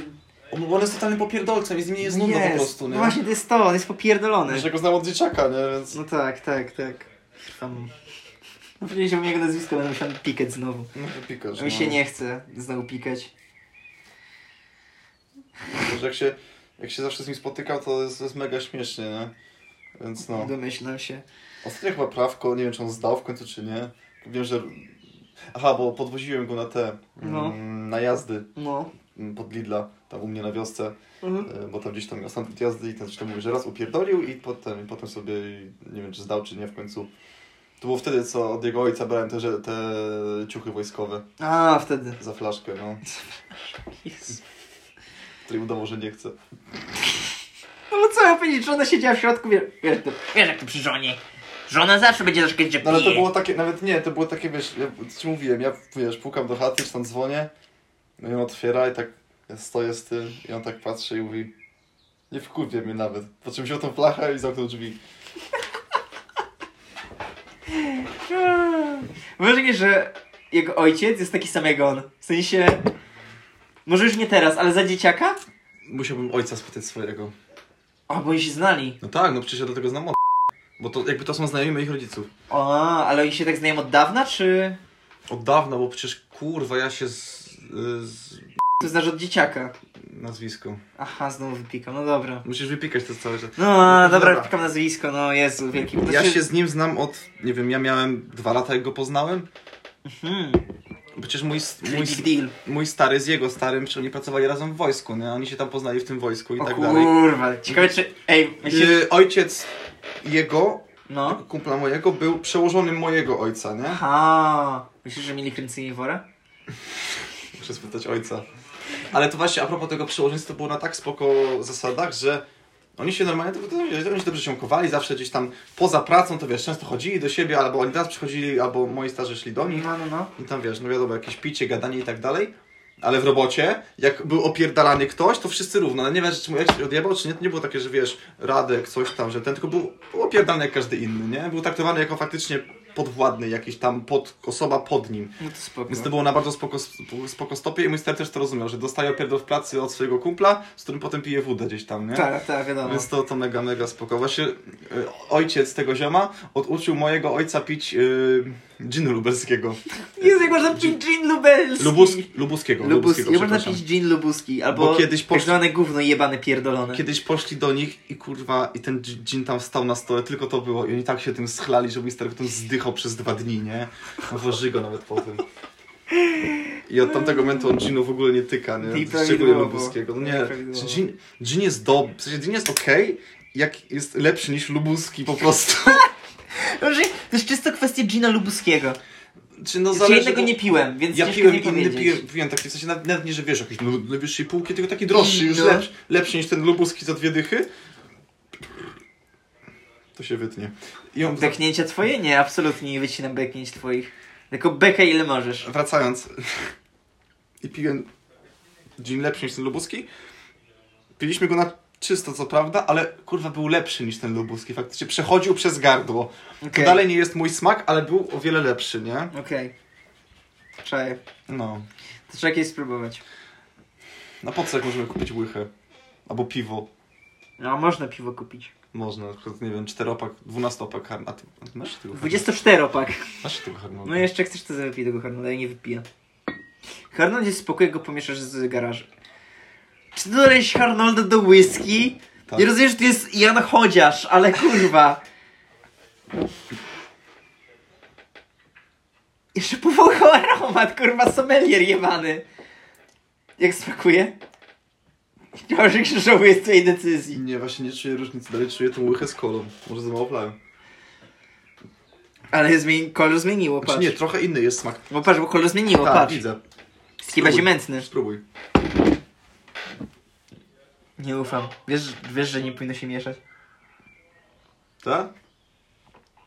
Speaker 2: On, on jest totalnym popierdolcem i z nim nie jest nudno po prostu, nie?
Speaker 1: No właśnie, to jest to, on jest popierdolony.
Speaker 2: Wiesz, ja go znam od dzieciaka, nie? Więc...
Speaker 1: No tak, tak, tak. Tam... No powiedzieliśmy jego nazwisko, będę musiał pikać znowu.
Speaker 2: No to pikasz,
Speaker 1: Mi się
Speaker 2: no.
Speaker 1: nie chce znowu pikać.
Speaker 2: Że jak się, jak się zawsze z nim spotykam, to jest, to jest mega śmiesznie, nie? Więc no.
Speaker 1: Domyślam się.
Speaker 2: Ostatnio chyba prawko, nie wiem czy on zdał w końcu czy nie. Wiem, że... Aha, bo podwoziłem go na te...
Speaker 1: No.
Speaker 2: Mm, na jazdy
Speaker 1: No.
Speaker 2: mm, pod Lidla, tam u mnie na wiosce.
Speaker 1: Mhm.
Speaker 2: E, bo tam gdzieś tam miał sam jazdy i ten coś tam mówił, że raz upierdolił i potem, i potem sobie, nie wiem czy zdał czy nie w końcu. To było wtedy, co od jego ojca brałem te, że- te ciuchy wojskowe
Speaker 1: A, wtedy.
Speaker 2: za flaszkę, no.
Speaker 1: Jezu.
Speaker 2: Której udało, że nie chce.
Speaker 1: No bo co ja powiedzieć, że ona siedziała w środku, wiesz, wiesz, to, wiesz jak to przy żonie. Żona zawsze będzie troszkę gdzie
Speaker 2: No ale to
Speaker 1: pije.
Speaker 2: było takie, nawet nie, to było takie, wiesz, ja ci mówiłem, ja wiesz, pukam do chaty, czy tam dzwonię, no i on otwiera i tak ja stoję z tym i on tak patrzy i mówi nie wkurwie mnie nawet. Po czym wziął tą flachę i zamknął drzwi.
Speaker 1: Eee. Mam wrażenie, że jego ojciec jest taki sam jak on. W sensie... Może już nie teraz, ale za dzieciaka?
Speaker 2: Musiałbym ojca spytać swojego.
Speaker 1: O, bo oni się znali.
Speaker 2: No tak, no przecież ja do tego znam od... Bo to jakby to są znajomi moich rodziców.
Speaker 1: O, ale oni się tak znają od dawna, czy...
Speaker 2: Od dawna, bo przecież kurwa ja się z... y, z
Speaker 1: To znasz od dzieciaka.
Speaker 2: nazwisko.
Speaker 1: Aha, znowu wypikam, no dobra.
Speaker 2: Musisz wypikać to cały czas.
Speaker 1: No, dobra,
Speaker 2: Dobra.
Speaker 1: wypikam nazwisko, no Jezu, wielki...
Speaker 2: Ja się z nim znam od, nie wiem, ja miałem dwa lata jak go poznałem.
Speaker 1: Hmm,
Speaker 2: Przecież mój,
Speaker 1: czyli
Speaker 2: mój,
Speaker 1: big deal.
Speaker 2: mój stary z jego starym, przecież oni pracowali razem w wojsku, nie? Oni się tam poznali w tym wojsku i
Speaker 1: O Y,
Speaker 2: tak dalej.
Speaker 1: kurwa, ciekawe czy... Ej, myślisz...
Speaker 2: Yy, ojciec jego,
Speaker 1: No.
Speaker 2: kumpla mojego, był przełożonym mojego ojca, nie?
Speaker 1: Aha, myślisz, że mieli kręcenie wora?
Speaker 2: Muszę spytać ojca. Ale to właśnie a propos tego przełożeństwa, to było na tak spoko zasadach, że oni się normalnie, to, to, to, oni się dobrze ziomkowali, zawsze gdzieś tam poza pracą, to wiesz, często chodzili do siebie, albo oni teraz przychodzili, albo moi starzy szli do nich.
Speaker 1: No, no, no.
Speaker 2: I tam wiesz, no wiadomo, jakieś picie, gadanie i tak dalej. Ale w robocie, jak był opierdalany ktoś, to wszyscy równo. Ale nie wiem, czy mu jakiś odjebał, czy nie. To nie było takie, że wiesz, Radek, coś tam, że ten, tylko był, był opierdalany jak każdy inny, nie? Był traktowany jako faktycznie podwładny, jakiś tam pod, osoba pod nim.
Speaker 1: No to spoko.
Speaker 2: Więc to było na bardzo spoko, spoko stopie i mój stary też to rozumiał, że dostaje opierdol w pracy od swojego kumpla, z którym potem pije wódę gdzieś tam, nie?
Speaker 1: Tak, tak, wiadomo.
Speaker 2: Więc to, to mega, mega spoko. Właśnie y, ojciec tego zioma oduczył mojego ojca pić y, ginu lubelskiego.
Speaker 1: Jezu, jak można pić gin lubelski.
Speaker 2: Lubuski, lubuskiego.
Speaker 1: Lubuski.
Speaker 2: lubuskiego
Speaker 1: Jak można
Speaker 2: przepraszam.
Speaker 1: pić gin lubuski, albo
Speaker 2: Bo kiedyś poszli-
Speaker 1: tak zwane gówno jebane pierdolone.
Speaker 2: Kiedyś poszli do nich i kurwa, i ten dż- dżin tam stał na stole, tylko to było. I oni tak się tym schlali, że mój stary potem zdychał przez dwa dni, nie? Woży go nawet po tym. I od tamtego momentu on dżinu w ogóle nie tyka,
Speaker 1: I
Speaker 2: nie? Szczególnie
Speaker 1: prawidłowo.
Speaker 2: lubuskiego. No nie,
Speaker 1: I prawidłowo.
Speaker 2: dżin, dżin jest dobry, w sensie dżin jest okej, jak jest lepszy niż lubuski po prostu.
Speaker 1: Dobrze, To jest czysto kwestia gina lubuskiego.
Speaker 2: Czy no
Speaker 1: Ja Znaczy,
Speaker 2: zależy...
Speaker 1: jednego nie piłem, więc
Speaker 2: Ja
Speaker 1: ciężko
Speaker 2: piłem
Speaker 1: mi
Speaker 2: inny,
Speaker 1: powiedzieć.
Speaker 2: piłem, piłem taki, w sensie nawet, nawet nie, że wiesz, jakiś lu- najwyższej półki, tylko taki droższy, już
Speaker 1: No.
Speaker 2: lepszy, lepszy niż ten lubuski za dwie dychy. To się wytnie. I on,
Speaker 1: Beknięcia twoje? Nie, absolutnie nie wycinam beknięć twoich. Tylko bekę ile możesz.
Speaker 2: wracając, i piłem dzień lepszy niż ten lubuski. Piliśmy go na czysto, co prawda, ale kurwa był lepszy niż ten lubuski, faktycznie przechodził przez gardło. To
Speaker 1: Okej.
Speaker 2: dalej nie jest mój smak, ale był o wiele lepszy, nie?
Speaker 1: Okej. Trzeba je-
Speaker 2: No.
Speaker 1: To trzeba kiedyś spróbować.
Speaker 2: Na po co jak możemy kupić łychę? Albo piwo.
Speaker 1: No, można piwo kupić.
Speaker 2: Można, na przykład, nie wiem, czteropak, dwunastopak harn... A ty, a ty masz się tego harn-
Speaker 1: 24-pak.
Speaker 2: Masz się tego harmonu?
Speaker 1: No jeszcze chcesz to wypij tego Harnolda, ja nie wypiję. Harnold jest spokój, jak go pomieszasz z garażu. Czy dolejesz Harnolda do whisky?
Speaker 2: Tak.
Speaker 1: Nie rozumiem, że to jest Jan Chodziarz, ale kurwa. Jeszcze powąchał aromat, kurwa, sommelier jebany. Jak smakuje? Chciałem, że się żałuje z twojej decyzji.
Speaker 2: Nie, właśnie nie czuję różnicy, dalej czuję tą łychę z kolą. Może Znaczy, za mało plałem.
Speaker 1: Ale zmieni- kolor zmieniło,
Speaker 2: Znaczy
Speaker 1: patrz.
Speaker 2: nie, trochę inny jest smak.
Speaker 1: Bo patrz, bo kolor zmieniło,
Speaker 2: Tak,
Speaker 1: patrz.
Speaker 2: widzę.
Speaker 1: Jest chyba
Speaker 2: Spróbuj.
Speaker 1: mętny.
Speaker 2: Spróbuj.
Speaker 1: Nie ufam. Wiesz, wiesz, że nie powinno się mieszać.
Speaker 2: Tak?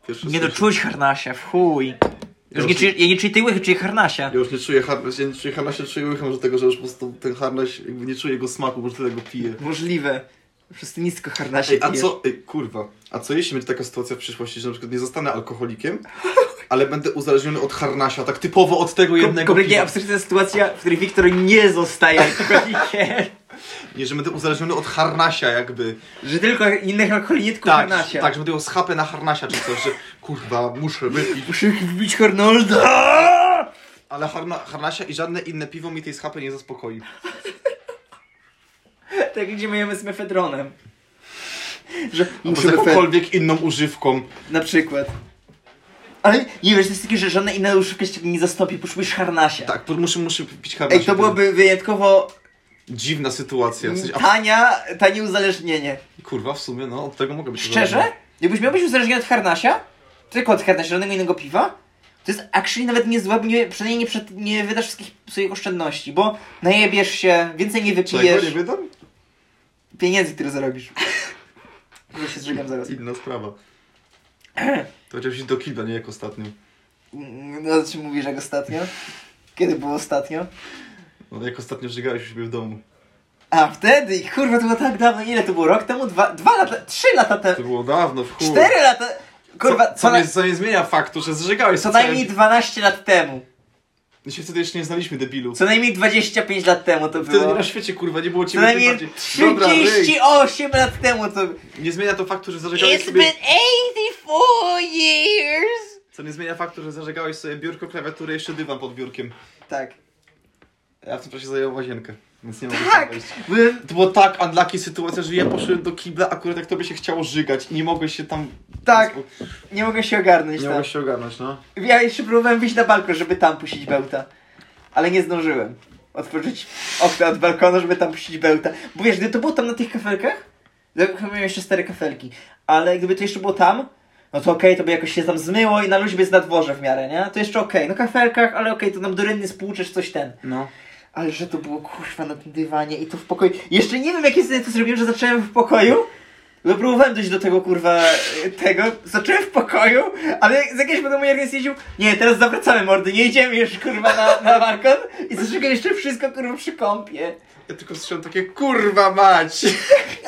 Speaker 2: Pierwszy
Speaker 1: Nie
Speaker 2: słyszę.
Speaker 1: doczuć harnasia, w chuj. Już nie czuję, ja nie czuję tej łychy, czuję harnasia.
Speaker 2: Ja już nie czuję harnaś, ja nie czuję harnasia, czuję łycha może tego, że już po prostu ten harnaś, jakby nie czuję jego smaku, może tyle go piję.
Speaker 1: Znaczy, Możliwe. Przez to nisko harnasia
Speaker 2: Ej, a
Speaker 1: pijesz.
Speaker 2: co, ej, kurwa, a co jeśli będzie taka sytuacja w przyszłości, że na przykład nie zostanę alkoholikiem, ale będę uzależniony od harnasia, tak typowo od tego jednego
Speaker 1: Kompletnie
Speaker 2: piwa.
Speaker 1: absurdalna sytuacja, w której Wiktor nie zostaje alkoholikiem.
Speaker 2: Nie, że będę uzależniony od harnasia jakby.
Speaker 1: że tylko innych alkoholików
Speaker 2: Tak,
Speaker 1: harnasia.
Speaker 2: tak, że będę ją schapę na harnasia czy coś, że kurwa, muszę wypić.
Speaker 1: Muszę wbić Arnolda!
Speaker 2: Ale harna, harnasia i żadne inne piwo mi tej schapy nie zaspokoi.
Speaker 1: Tak gdzie myjemy z mefedronem. Że
Speaker 2: Albo z
Speaker 1: muszę mefe...
Speaker 2: jakąkolwiek inną używką.
Speaker 1: Na przykład. Ale nie wiesz, to jest takie, że żadna inna używka się nie zastąpi, poszukujesz harnasia.
Speaker 2: Tak, po- muszę, muszę pić harnasia.
Speaker 1: Ej, to byłoby wyjątkowo
Speaker 2: Dziwna sytuacja, w sensie, a
Speaker 1: tania, tanie uzależnienie.
Speaker 2: kurwa, w sumie, no, od tego mogę być
Speaker 1: Szczerze?
Speaker 2: uzależniony.
Speaker 1: Jakbyś miał być uzależniony od harnasia, tylko od harnasia, żadnego innego piwa, to jest actually nawet niezłe, bo nie, przynajmniej nie, przed, nie wydasz wszystkich swoich oszczędności, bo najebiesz się, więcej nie
Speaker 2: Czego
Speaker 1: wypijesz,
Speaker 2: nie wydam?
Speaker 1: pieniędzy, które zarobisz. Już się zrzekam zaraz.
Speaker 2: Inna sprawa. To chociaż iść do kibla, nie jak ostatnio.
Speaker 1: Mm, No, o czym mówisz jak ostatnio? Kiedy było ostatnio?
Speaker 2: No, jak ostatnio żygałeś u siebie w domu.
Speaker 1: A wtedy, kurwa, to było tak dawno. Ile to było? Rok temu? Dwa, dwa lata? Trzy lata
Speaker 2: To
Speaker 1: temu?
Speaker 2: było dawno, w chuj.
Speaker 1: Cztery lata? Kurwa,
Speaker 2: co,
Speaker 1: co,
Speaker 2: co,
Speaker 1: na,
Speaker 2: nie, co nie zmienia faktu, że zżygałeś.
Speaker 1: co najmniej 12 lat temu.
Speaker 2: My się wtedy jeszcze nie znaliśmy, debilu.
Speaker 1: Co najmniej 25 lat temu to
Speaker 2: Wtedy nie
Speaker 1: było.
Speaker 2: na świecie, kurwa, No. nie było
Speaker 1: Co
Speaker 2: ciebie tym
Speaker 1: najmniej
Speaker 2: bardziej. Dobra, ryj.
Speaker 1: 38 lat temu to...
Speaker 2: Nie zmienia to faktu, że zarzekałeś
Speaker 1: It's
Speaker 2: sobie...
Speaker 1: been 84 years!
Speaker 2: Co nie zmienia faktu, że zarzekałeś sobie biurko, klawiaturę i jeszcze dywan pod biurkiem.
Speaker 1: Tak.
Speaker 2: Ja w tym czasie zająłem łazienkę, więc nie mogę tam
Speaker 1: Tak!
Speaker 2: wejść.
Speaker 1: Byłem
Speaker 2: To była tak unlucky sytuacja, że ja poszedłem do kibla akurat jak tobie się chciało żygać i nie mogłeś się tam...
Speaker 1: Tak. Nie mogę się ogarnąć
Speaker 2: Nie
Speaker 1: tam.
Speaker 2: mogłeś się ogarnąć, no.
Speaker 1: Ja jeszcze próbowałem wyjść na balkon, żeby tam puścić bełta. Ale nie zdążyłem. Otworzyć okna od balkonu, żeby tam puścić bełta. Bo wiesz, gdy to było tam na tych kafelkach, ja chyba miałem jeszcze stare kafelki, ale gdyby to jeszcze było tam, no to okej, to by jakoś się tam zmyło i na luźbie jest na dworze w miarę, nie? To jeszcze okej, na kafelkach, ale okej, to nam do rynny spłuczesz coś ten.
Speaker 2: No.
Speaker 1: Ale że to było kurwa na tym dywanie i to w pokoju. Jeszcze nie wiem, jakie sobie to zrobiłem, że zacząłem w pokoju. No próbowałem dojść do tego kurwa e, tego. Zacząłem w pokoju, ale z jakiejś wiadomo jak jest jeździł. Nie, teraz zawracamy mordy, nie idziemy już kurwa na, na balkon i zaczekam jeszcze wszystko kurwa przy kąpie.
Speaker 2: Ja tylko słyszałem takie, kurwa mać!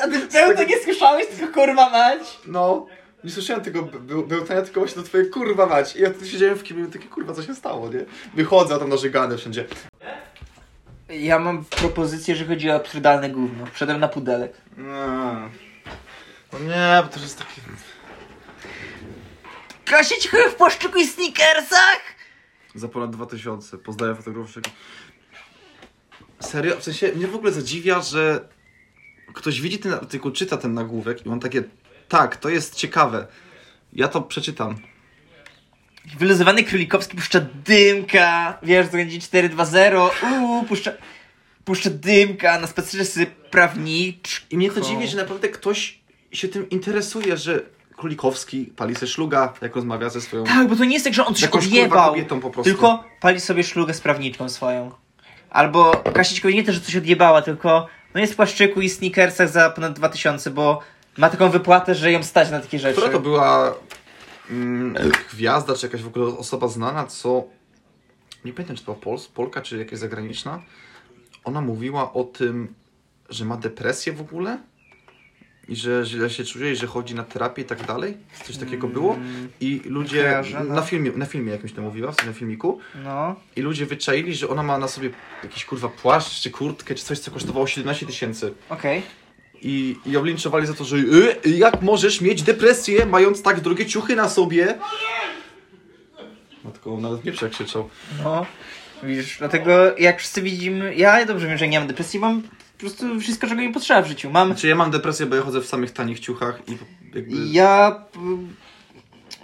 Speaker 1: A ty czemu to nie słyszałeś, tylko kurwa mać?
Speaker 2: No. Nie słyszałem tego be- be- bełtania, tylko właśnie to twoje kurwa mać. I ja tu siedziałem w kiblu i mówię takie, kurwa, co się stało, nie? Wychodzę, a tam narzygane wszędzie.
Speaker 1: Ja mam propozycję, że chodzi o absurdalne gówno. Wszedłem na pudelek.
Speaker 2: No. No nie, bo to jest takie...
Speaker 1: Kasić chuj w płaszczyku i sneakersach?
Speaker 2: Za ponad 2000. Pozdrawiam fotografów. Serio? W sensie mnie w ogóle zadziwia, że ktoś widzi ten artykuł, czyta ten nagłówek i on takie tak, to jest ciekawe. Ja to przeczytam.
Speaker 1: Wyluzowany Królikowski puszcza dymka. Wiesz, to będzie 4-2-0. Uuu, puszcza, puszcza dymka na spacerze prawniczki.
Speaker 2: I mnie to dziwi, że naprawdę ktoś się tym interesuje, że Królikowski pali se szluga, jak rozmawia ze swoją...
Speaker 1: Tak, bo to nie jest tak, że on coś
Speaker 2: Jakąś, kurwa,
Speaker 1: odjebał.
Speaker 2: kobietą po prostu.
Speaker 1: Tylko pali sobie szlugę z prawniczką swoją. Albo Kasiczko nie to, że coś odjebała, tylko no jest w płaszczyku i sneakersach za ponad 2000, bo ma taką wypłatę, że ją stać na takie rzeczy.
Speaker 2: Która to była mm, gwiazda, czy jakaś w ogóle osoba znana, co... Nie pamiętam, czy to była Pols, Polka, czy jakaś zagraniczna. Ona mówiła o tym, że ma depresję w ogóle i że źle się czuje i że chodzi na terapię i tak dalej. Coś takiego było. I ludzie...
Speaker 1: kojarzę, no.
Speaker 2: na, filmie, na filmie jakimś to mówiła, w na filmiku.
Speaker 1: No.
Speaker 2: I ludzie wyczaili, że ona ma na sobie jakiś kurwa płaszcz, czy kurtkę, czy coś, co kosztowało 17 tysięcy.
Speaker 1: Okej.
Speaker 2: I, I ją linczowali za to, że y, jak możesz mieć depresję, mając tak drogie ciuchy na sobie? Matko, on nawet nie przekrzyczał.
Speaker 1: No, widzisz, dlatego jak wszyscy widzimy, ja dobrze wiem, że nie mam depresji, mam po prostu wszystko, czego mi potrzeba w życiu. Mam,
Speaker 2: Znaczy ja mam depresję, bo ja chodzę w samych tanich ciuchach i jakby...
Speaker 1: ja, p-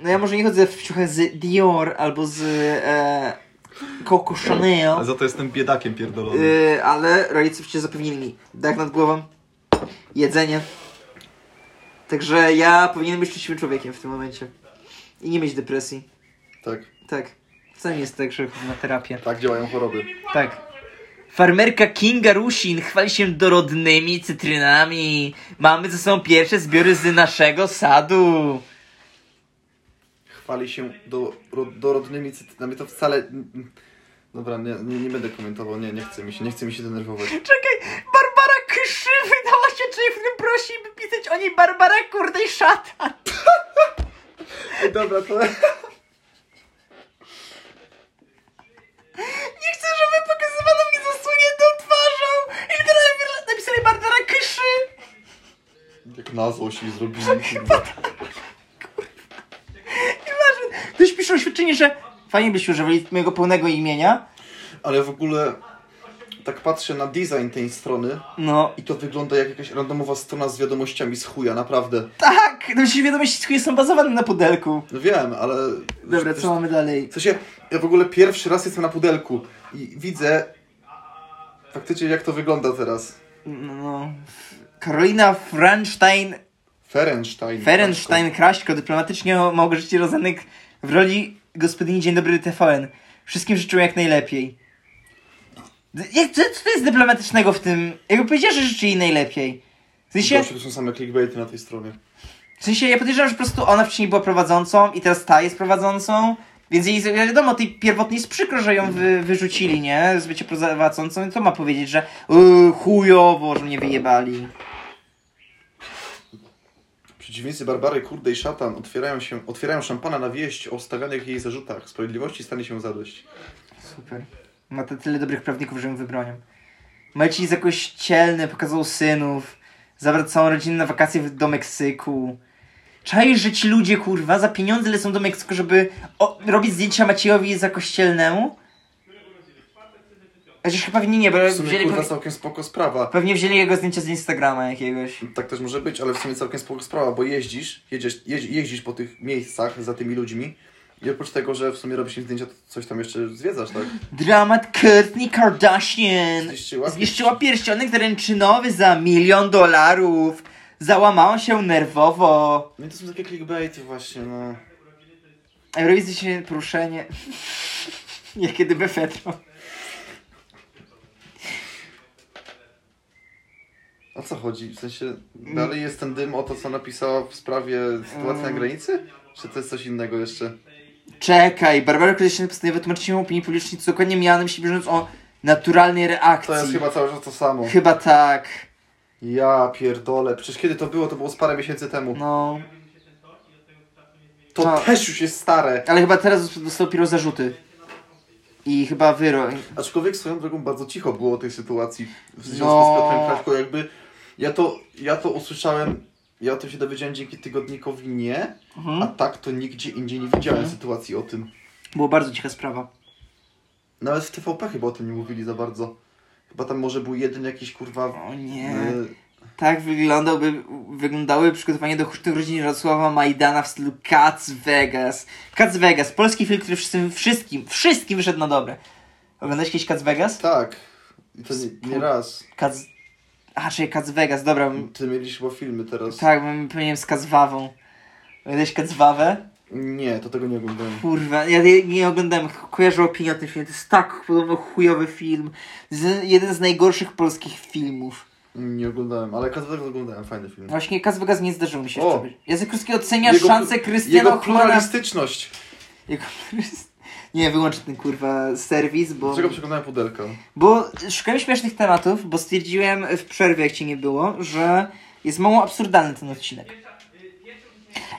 Speaker 1: no ja może nie chodzę w ciuchach z Dior albo z e, Coco Chanel,
Speaker 2: A za to jestem biedakiem pierdolonym.
Speaker 1: y, ale rodzice przecież zapewnili mi dach nad głową, jedzenie, także ja powinienem być szczęśliwym człowiekiem w tym momencie i nie mieć depresji,
Speaker 2: Tak,
Speaker 1: tak. Wcale nie jest tak, że chodzę na terapię.
Speaker 2: tak działają choroby.
Speaker 1: Tak. Farmerka Kinga Rusin chwali się dorodnymi cytrynami. Mamy ze sobą pierwsze zbiory z naszego sadu.
Speaker 2: Chwali się do, ro, dorodnymi cytynami, to wcale... Dobra, nie, nie, nie będę komentował, nie, nie chce mi się, nie chce mi się denerwować.
Speaker 1: Czekaj, Barbara Krzywy dała się człowiek, w którym prosi, by pisać o niej Barbara Kurdej Szatan.
Speaker 2: Ej, Dobra, to...
Speaker 1: Nie chcę, żeby pokazywano mnie zasłoniętą twarzą. I teraz napisali Barbara Krzywy.
Speaker 2: Jak na złość i zrobili, kurwa.
Speaker 1: Nieważne. Ktoś pisze oświadczenie, że fajnie byś używali mojego pełnego imienia.
Speaker 2: Ale w ogóle tak patrzę na design tej strony
Speaker 1: No,
Speaker 2: i to wygląda jak jakaś randomowa strona z wiadomościami z chuja, naprawdę.
Speaker 1: tak! No przecież wiadomości skóry są bazowane na pudelku.
Speaker 2: No wiem, ale...
Speaker 1: Dobra,
Speaker 2: też-
Speaker 1: co mamy dalej?
Speaker 2: W sensie, ja w ogóle pierwszy raz jestem na pudelku i widzę faktycznie jak to wygląda teraz.
Speaker 1: No, no. Karolina Franstein,
Speaker 2: Ferenstein.
Speaker 1: Ferenstein Kraśko, dyplomatycznie o Małgorzacie Rozenek w roli gospodyni Dzień Dobry TVN. Wszystkim życzę jak najlepiej. D- Jak, co, co to jest dyplomatycznego w tym? Jakby powiedziała, że życzy jej najlepiej. W sensie,
Speaker 2: Gościu, to są same clickbaity na tej stronie.
Speaker 1: w sensie, ja podejrzewam, że po prostu ona wcześniej była prowadzącą i teraz ta jest prowadzącą. Więc jej wiadomo, tej pierwotnej jest przykro, że ją wy, wyrzucili, nie? Z bycia prowadzącą. I to ma powiedzieć, że yy, chujowo, że mnie wyjebali.
Speaker 2: Przeciwnicy Barbary, Kurde i Szatan otwierają, się, otwierają szampana na wieść o stawianych jej zarzutach. Sprawiedliwości stanie się zadość.
Speaker 1: Super. Ma te tyle dobrych prawników, że im wybronią. Maciej jest kościelny, pokazał synów. Zabrał całą rodzinę na wakacje w- do Meksyku. Czaisz, że ci ludzie, kurwa, za pieniądze lecą do Meksyku, żeby o, robić zdjęcia Maciejowi za kościelnemu? Chociaż chyba pewnie nie, bo
Speaker 2: W sumie,
Speaker 1: wzięli,
Speaker 2: kurwa,
Speaker 1: pewnie,
Speaker 2: całkiem spoko sprawa.
Speaker 1: pewnie wzięli jego zdjęcia z Instagrama jakiegoś.
Speaker 2: Tak też może być, ale w sumie całkiem spoko sprawa, bo jeździsz, jedziesz, jeź, jeździsz po tych miejscach za tymi ludźmi i oprócz tego, że w sumie robisz im zdjęcia, to coś tam jeszcze zwiedzasz, tak?
Speaker 1: Dramat Kourtney Kardashian.
Speaker 2: Zniszczyła?
Speaker 1: Zniszczyła pierścionek ręczynowy za milion dolarów. Załamała się nerwowo.
Speaker 2: No i to są takie clickbaity właśnie, no.
Speaker 1: Eurowizja się poruszenie. Jak kiedy Befetro.
Speaker 2: O co chodzi? W sensie, dalej jest ten dym o to, co napisała w sprawie sytuacji na
Speaker 1: Mm.
Speaker 2: granicy? Czy to jest coś innego jeszcze?
Speaker 1: Czekaj, Barbara Kryszyn postanowiła wytłumaczyć się opinii publicznej, co dokładnie miała na myśli, bieżąc o naturalnej reakcji.
Speaker 2: To jest chyba cały czas to samo.
Speaker 1: Chyba tak.
Speaker 2: Ja pierdolę, przecież kiedy to było, to było z parę miesięcy temu.
Speaker 1: No.
Speaker 2: To
Speaker 1: Tak.
Speaker 2: też już jest stare.
Speaker 1: Ale chyba teraz dostał dopiero zarzuty. I chyba wyrok.
Speaker 2: Aczkolwiek swoją drogą bardzo cicho było o tej sytuacji w związku
Speaker 1: No.
Speaker 2: z Piotrem Krawko, jakby ja to, ja to usłyszałem, ja o tym się dowiedziałem dzięki tygodnikowi nie, a
Speaker 1: Mhm.
Speaker 2: tak to nigdzie indziej nie widziałem
Speaker 1: Mhm.
Speaker 2: sytuacji o tym.
Speaker 1: Było bardzo cicha sprawa.
Speaker 2: Nawet w TVP chyba o tym nie mówili za bardzo. Chyba tam może był jeden jakiś kurwa...
Speaker 1: O
Speaker 2: y,
Speaker 1: nie. Tak wyglądałby, wyglądały przygotowania do chrztu rodzin Jarosława Majdana w stylu Cats Vegas. Cats Vegas, polski film, który wszystkim, wszystkim, wszystkim wyszedł na dobre. Oglądałeś kiedyś Cats Vegas?
Speaker 2: tak. I To nie, nie raz.
Speaker 1: Cats... A, czyli Cats Vegas, dobra. m-
Speaker 2: Ty mylisz chyba filmy teraz.
Speaker 1: Tak, bym pomyliłem z Cats Wawą. Oglądałeś Cats Wawę?
Speaker 2: Nie, to tego nie oglądałem.
Speaker 1: Kurwa, ja nie- nie oglądałem, ko- kojarzę opinię o tym filmie. To jest tak podobno chujowy film. Z, jeden z najgorszych polskich filmów.
Speaker 2: Nie oglądałem, ale Kazbek oglądałem, fajny film.
Speaker 1: Właśnie Cats Vegas nie zdarzył mi się
Speaker 2: O.
Speaker 1: jeszcze. obejrzeć. Jacek Kruski ocenia
Speaker 2: Jego-
Speaker 1: szansę Krystiana
Speaker 2: Jego
Speaker 1: Ochlona
Speaker 2: pluralistyczność!
Speaker 1: Jego Nie, wyłączę ten kurwa serwis, bo,
Speaker 2: Dlaczego przekonałem pudelka?
Speaker 1: bo szukałem śmiesznych tematów, bo stwierdziłem w przerwie, jak cię nie było, że jest mało absurdalny ten odcinek.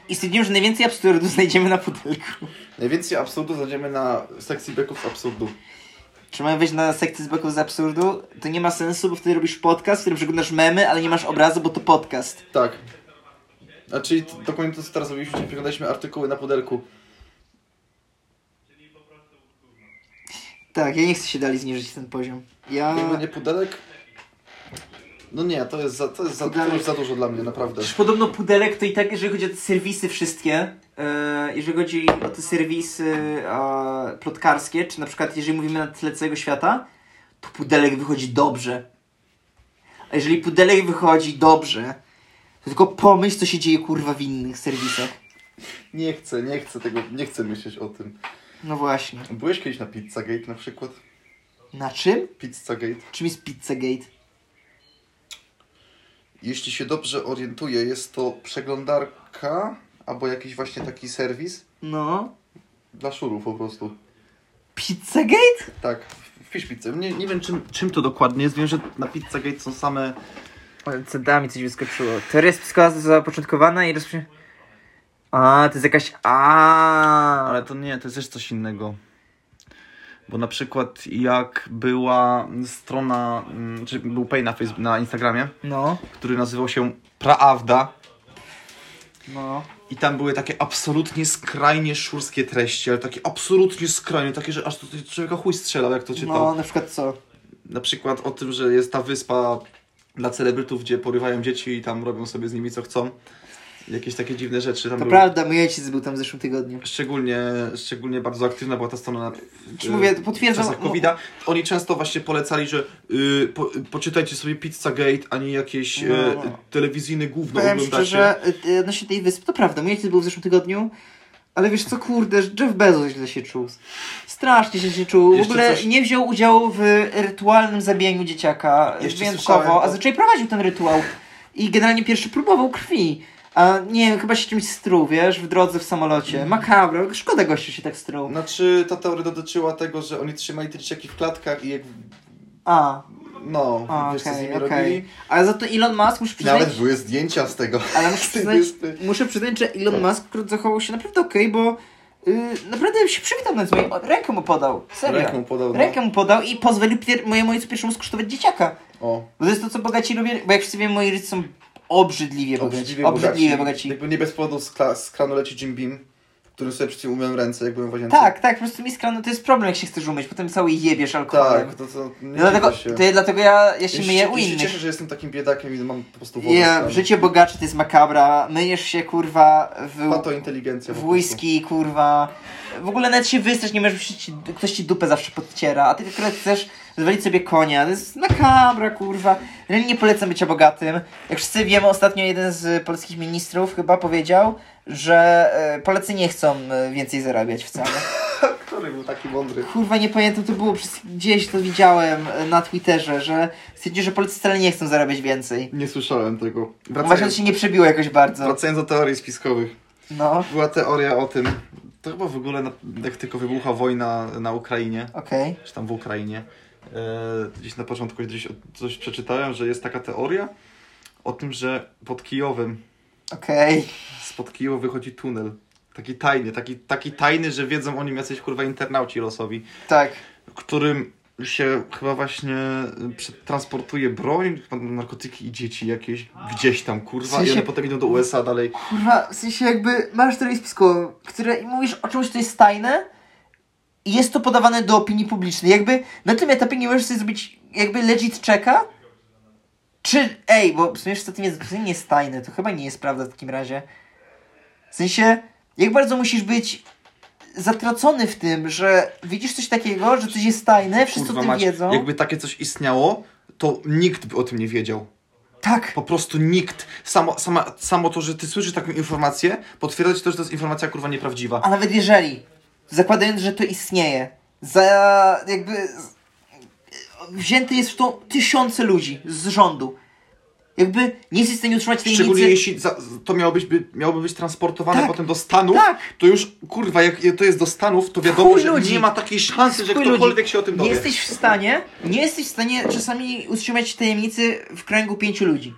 Speaker 1: I stwierdziłem, że najwięcej absurdu znajdziemy na pudelku.
Speaker 2: Najwięcej absurdu znajdziemy na sekcji beków z absurdu.
Speaker 1: Czy mamy wejść na sekcję z boków z absurdu? To nie ma sensu, bo wtedy robisz podcast, w którym przeglądasz memy, ale nie masz obrazu, bo to podcast.
Speaker 2: Tak. A czyli t- dokładnie to, co teraz robiliśmy, czyli przeglądaliśmy artykuły na pudelku.
Speaker 1: Tak, ja nie chcę się dalej zniżyć ten poziom. Ja...
Speaker 2: Jakby nie pudelek... No nie, to jest za, to jest za, to
Speaker 1: Pudelek.
Speaker 2: już za dużo dla mnie, naprawdę.
Speaker 1: Przecież podobno pudelek to i tak, jeżeli chodzi o te serwisy wszystkie, e, jeżeli chodzi o te serwisy e, plotkarskie, czy na przykład jeżeli mówimy na tle całego świata, to pudelek wychodzi dobrze. A jeżeli pudelek wychodzi dobrze, to tylko pomyśl, co się dzieje kurwa w innych serwisach.
Speaker 2: Nie chcę, nie chcę tego, nie chcę myśleć o tym.
Speaker 1: No właśnie.
Speaker 2: Byłeś kiedyś na Pizzagate na przykład?
Speaker 1: Na czym?
Speaker 5: Pizzagate.
Speaker 1: Czym jest Pizzagate?
Speaker 5: Jeśli się dobrze orientuję, jest to przeglądarka albo jakiś właśnie taki serwis
Speaker 1: No.
Speaker 5: dla szurów po prostu.
Speaker 1: Pizzagate?
Speaker 5: Tak, wpisz pizzę. Nie, nie
Speaker 2: Nie wiem, czym, czym to dokładnie jest. Wiem, że na Pizzagate są same...
Speaker 1: Cedami coś wyskoczyło. Teoria spiskowa została zapoczątkowana i rozpoczęła... A, to jest jakaś... A.
Speaker 2: Ale to nie, to jest też coś innego. Bo na przykład jak była strona, mm, czy był pay na, Facebook, na Instagramie,
Speaker 1: No.
Speaker 2: który nazywał się Praawda
Speaker 1: No.
Speaker 2: i tam były takie absolutnie skrajnie szurskie treści, ale takie absolutnie skrajnie, takie, że aż to człowieka chuj strzelał, jak to czytał.
Speaker 1: No, na przykład co?
Speaker 2: Na przykład o tym, że jest ta wyspa dla celebrytów, gdzie porywają dzieci i tam robią sobie z nimi co chcą. Jakieś takie dziwne rzeczy tam
Speaker 1: To
Speaker 2: były.
Speaker 1: prawda, mój ojciec był tam w zeszłym tygodniu.
Speaker 2: Szczególnie, szczególnie bardzo aktywna była ta strona. w-
Speaker 1: Czy mówię,
Speaker 2: w
Speaker 1: potwierdzam...
Speaker 2: czasach
Speaker 5: no-
Speaker 2: covid Oni często właśnie polecali, że y, po, poczytajcie sobie Pizzagate, a nie jakieś
Speaker 1: No,
Speaker 2: e,
Speaker 1: no.
Speaker 2: e, telewizyjny gówno
Speaker 1: Powiem
Speaker 2: oglądacie.
Speaker 1: szczerze, y, y, odnośnie tej wyspy, to prawda, mój ojciec był w zeszłym tygodniu, ale wiesz co, kurde, że Jeff Bezos źle się czuł. Strasznie źle się czuł. W
Speaker 2: Jeszcze
Speaker 1: ogóle
Speaker 2: coś-
Speaker 1: nie wziął udziału w y, rytualnym zabijaniu dzieciaka y,
Speaker 2: Jeszcze
Speaker 1: wyjątkowo,
Speaker 2: słyszałem,
Speaker 1: a
Speaker 2: tak.
Speaker 1: zazwyczaj prowadził ten rytuał. I generalnie pierwszy próbował krwi. A nie wiem, chyba się czymś struł, wiesz, w drodze w samolocie. Makabro, szkoda gościu się tak struł.
Speaker 5: Znaczy, ta teoria dotyczyła tego, że oni trzymali te dzieciaki w klatkach i jak...
Speaker 1: A,
Speaker 5: No,
Speaker 1: a,
Speaker 5: wiesz co z
Speaker 1: okej,
Speaker 5: nimi
Speaker 1: okej.
Speaker 5: robili?
Speaker 1: Ale za to Elon Musk, muszę przyznać...
Speaker 5: Nawet były zdjęcia z tego.
Speaker 1: Ale muszę
Speaker 5: z tej
Speaker 1: przyznać,
Speaker 5: wyspy.
Speaker 1: muszę przyznać, że
Speaker 5: Tak.
Speaker 1: Elon Musk zachował się naprawdę okej, bo y, naprawdę się przywitał nawet z moim. Rękę mu podał. Serio.
Speaker 5: Rękę mu podał, no.
Speaker 1: Rękę mu podał i pozwolił pier- mojemu ojcu pierwszemu skosztować dzieciaka.
Speaker 5: O,
Speaker 1: Bo to jest to, co bogaci lubią, bo jak wszyscy wiemy, moi rodzice są obrzydliwie bogaci. Obrzydliwie,
Speaker 5: obrzydliwie,
Speaker 1: bogaci.
Speaker 5: Jakby nie bez powodu z, kla- z kranu leci Jim Beam, którym sobie przed chwilą umyłem ręce, jak byłem w łazience.
Speaker 1: Tak, tak, po prostu mi skrano, to jest problem, jak się chcesz umyć, potem cały jebiesz alkoholem.
Speaker 5: Tak, to co... Nie
Speaker 1: No dlatego,
Speaker 5: dziwię się.
Speaker 1: to, ja- dlatego ja, ja się
Speaker 5: Ja
Speaker 1: myję
Speaker 5: się-
Speaker 1: u
Speaker 5: ja się
Speaker 1: innych.
Speaker 5: cieszę, że jestem takim biedakiem i mam po prostu wodę.
Speaker 1: Ja, życie bogaczy to jest makabra, myjesz się kurwa w
Speaker 5: to inteligencja. po
Speaker 1: W
Speaker 5: prostu.
Speaker 1: whisky, kurwa. W ogóle nawet się wystrać nie możesz, bo się ci, ktoś ci dupę zawsze podciera, a ty tylko chcesz zwalić sobie konia. To jest makabra, kurwa. Realnie nie polecam bycia bogatym. Jak wszyscy wiemy, ostatnio jeden z polskich ministrów chyba powiedział, że e, Polacy nie chcą e, więcej zarabiać wcale.
Speaker 5: Który był taki mądry?
Speaker 1: Kurwa, nie pamiętam, to było przez, gdzieś, to widziałem e, na Twitterze, że stwierdził, że Polacy wcale nie chcą zarabiać więcej.
Speaker 5: Nie słyszałem tego.
Speaker 1: Właśnie to
Speaker 5: Wracając,
Speaker 1: się nie przebiło jakoś bardzo.
Speaker 5: wracając do teorii spiskowych.
Speaker 1: No,
Speaker 5: Była teoria o tym.
Speaker 2: To chyba w ogóle, na, jak tylko wybucha wojna na Ukrainie,
Speaker 1: okej.
Speaker 2: czy tam w Ukrainie, e, gdzieś na początku gdzieś o- coś przeczytałem, że jest taka teoria o tym, że pod Kijowem,
Speaker 1: Okej.
Speaker 2: spod Kijowa wychodzi tunel. Taki tajny, taki, taki tajny, że wiedzą o nim jacyś kurwa internauci losowi.
Speaker 1: Tak.
Speaker 2: którym się chyba właśnie y, przetransportuje broń, chyba narkotyki i dzieci jakieś gdzieś tam, kurwa,
Speaker 1: W sensie-
Speaker 2: i one potem idą do USA dalej.
Speaker 1: Kurwa, w sensie jakby masz teorię spiskową, które i mówisz o czymś, co jest tajne i jest to podawane do opinii publicznej. Jakby na tym etapie nie możesz sobie zrobić jakby legit czeka, czy ej, bo w sumie to nie, jest- to nie jest tajne, to chyba nie jest prawda w takim razie. W sensie, jak bardzo musisz być zatracony w tym, że widzisz coś takiego, że coś jest tajne, wszyscy o
Speaker 2: Kurwa
Speaker 1: tym
Speaker 2: mać,
Speaker 1: wiedzą.
Speaker 2: jakby takie coś istniało, to nikt by o tym nie wiedział.
Speaker 1: Tak,
Speaker 2: Po prostu nikt. Samo, sama, samo to, że ty słyszysz taką informację, potwierdza ci to, że to jest informacja, kurwa, nieprawdziwa.
Speaker 1: a nawet jeżeli, zakładając, że to istnieje, za jakby z- wzięty jest w to tysiące ludzi z rządu. Jakby nie jesteś w stanie utrzymać tej
Speaker 2: Szczególnie
Speaker 1: tajemnicy.
Speaker 2: jeśli za, to miałoby być, miałoby być transportowane
Speaker 1: Tak.
Speaker 2: potem do Stanów,
Speaker 1: Tak.
Speaker 2: to już, kurwa, jak to jest do Stanów, to wiadomo,
Speaker 1: Chuj
Speaker 2: że
Speaker 1: ludzi.
Speaker 2: nie ma takiej szansy, że
Speaker 1: Chuj
Speaker 2: ktokolwiek
Speaker 1: ludzi.
Speaker 2: się o tym
Speaker 1: Nie
Speaker 2: dowie.
Speaker 1: jesteś w stanie, nie jesteś w stanie czasami utrzymać tajemnicy w kręgu pięciu ludzi.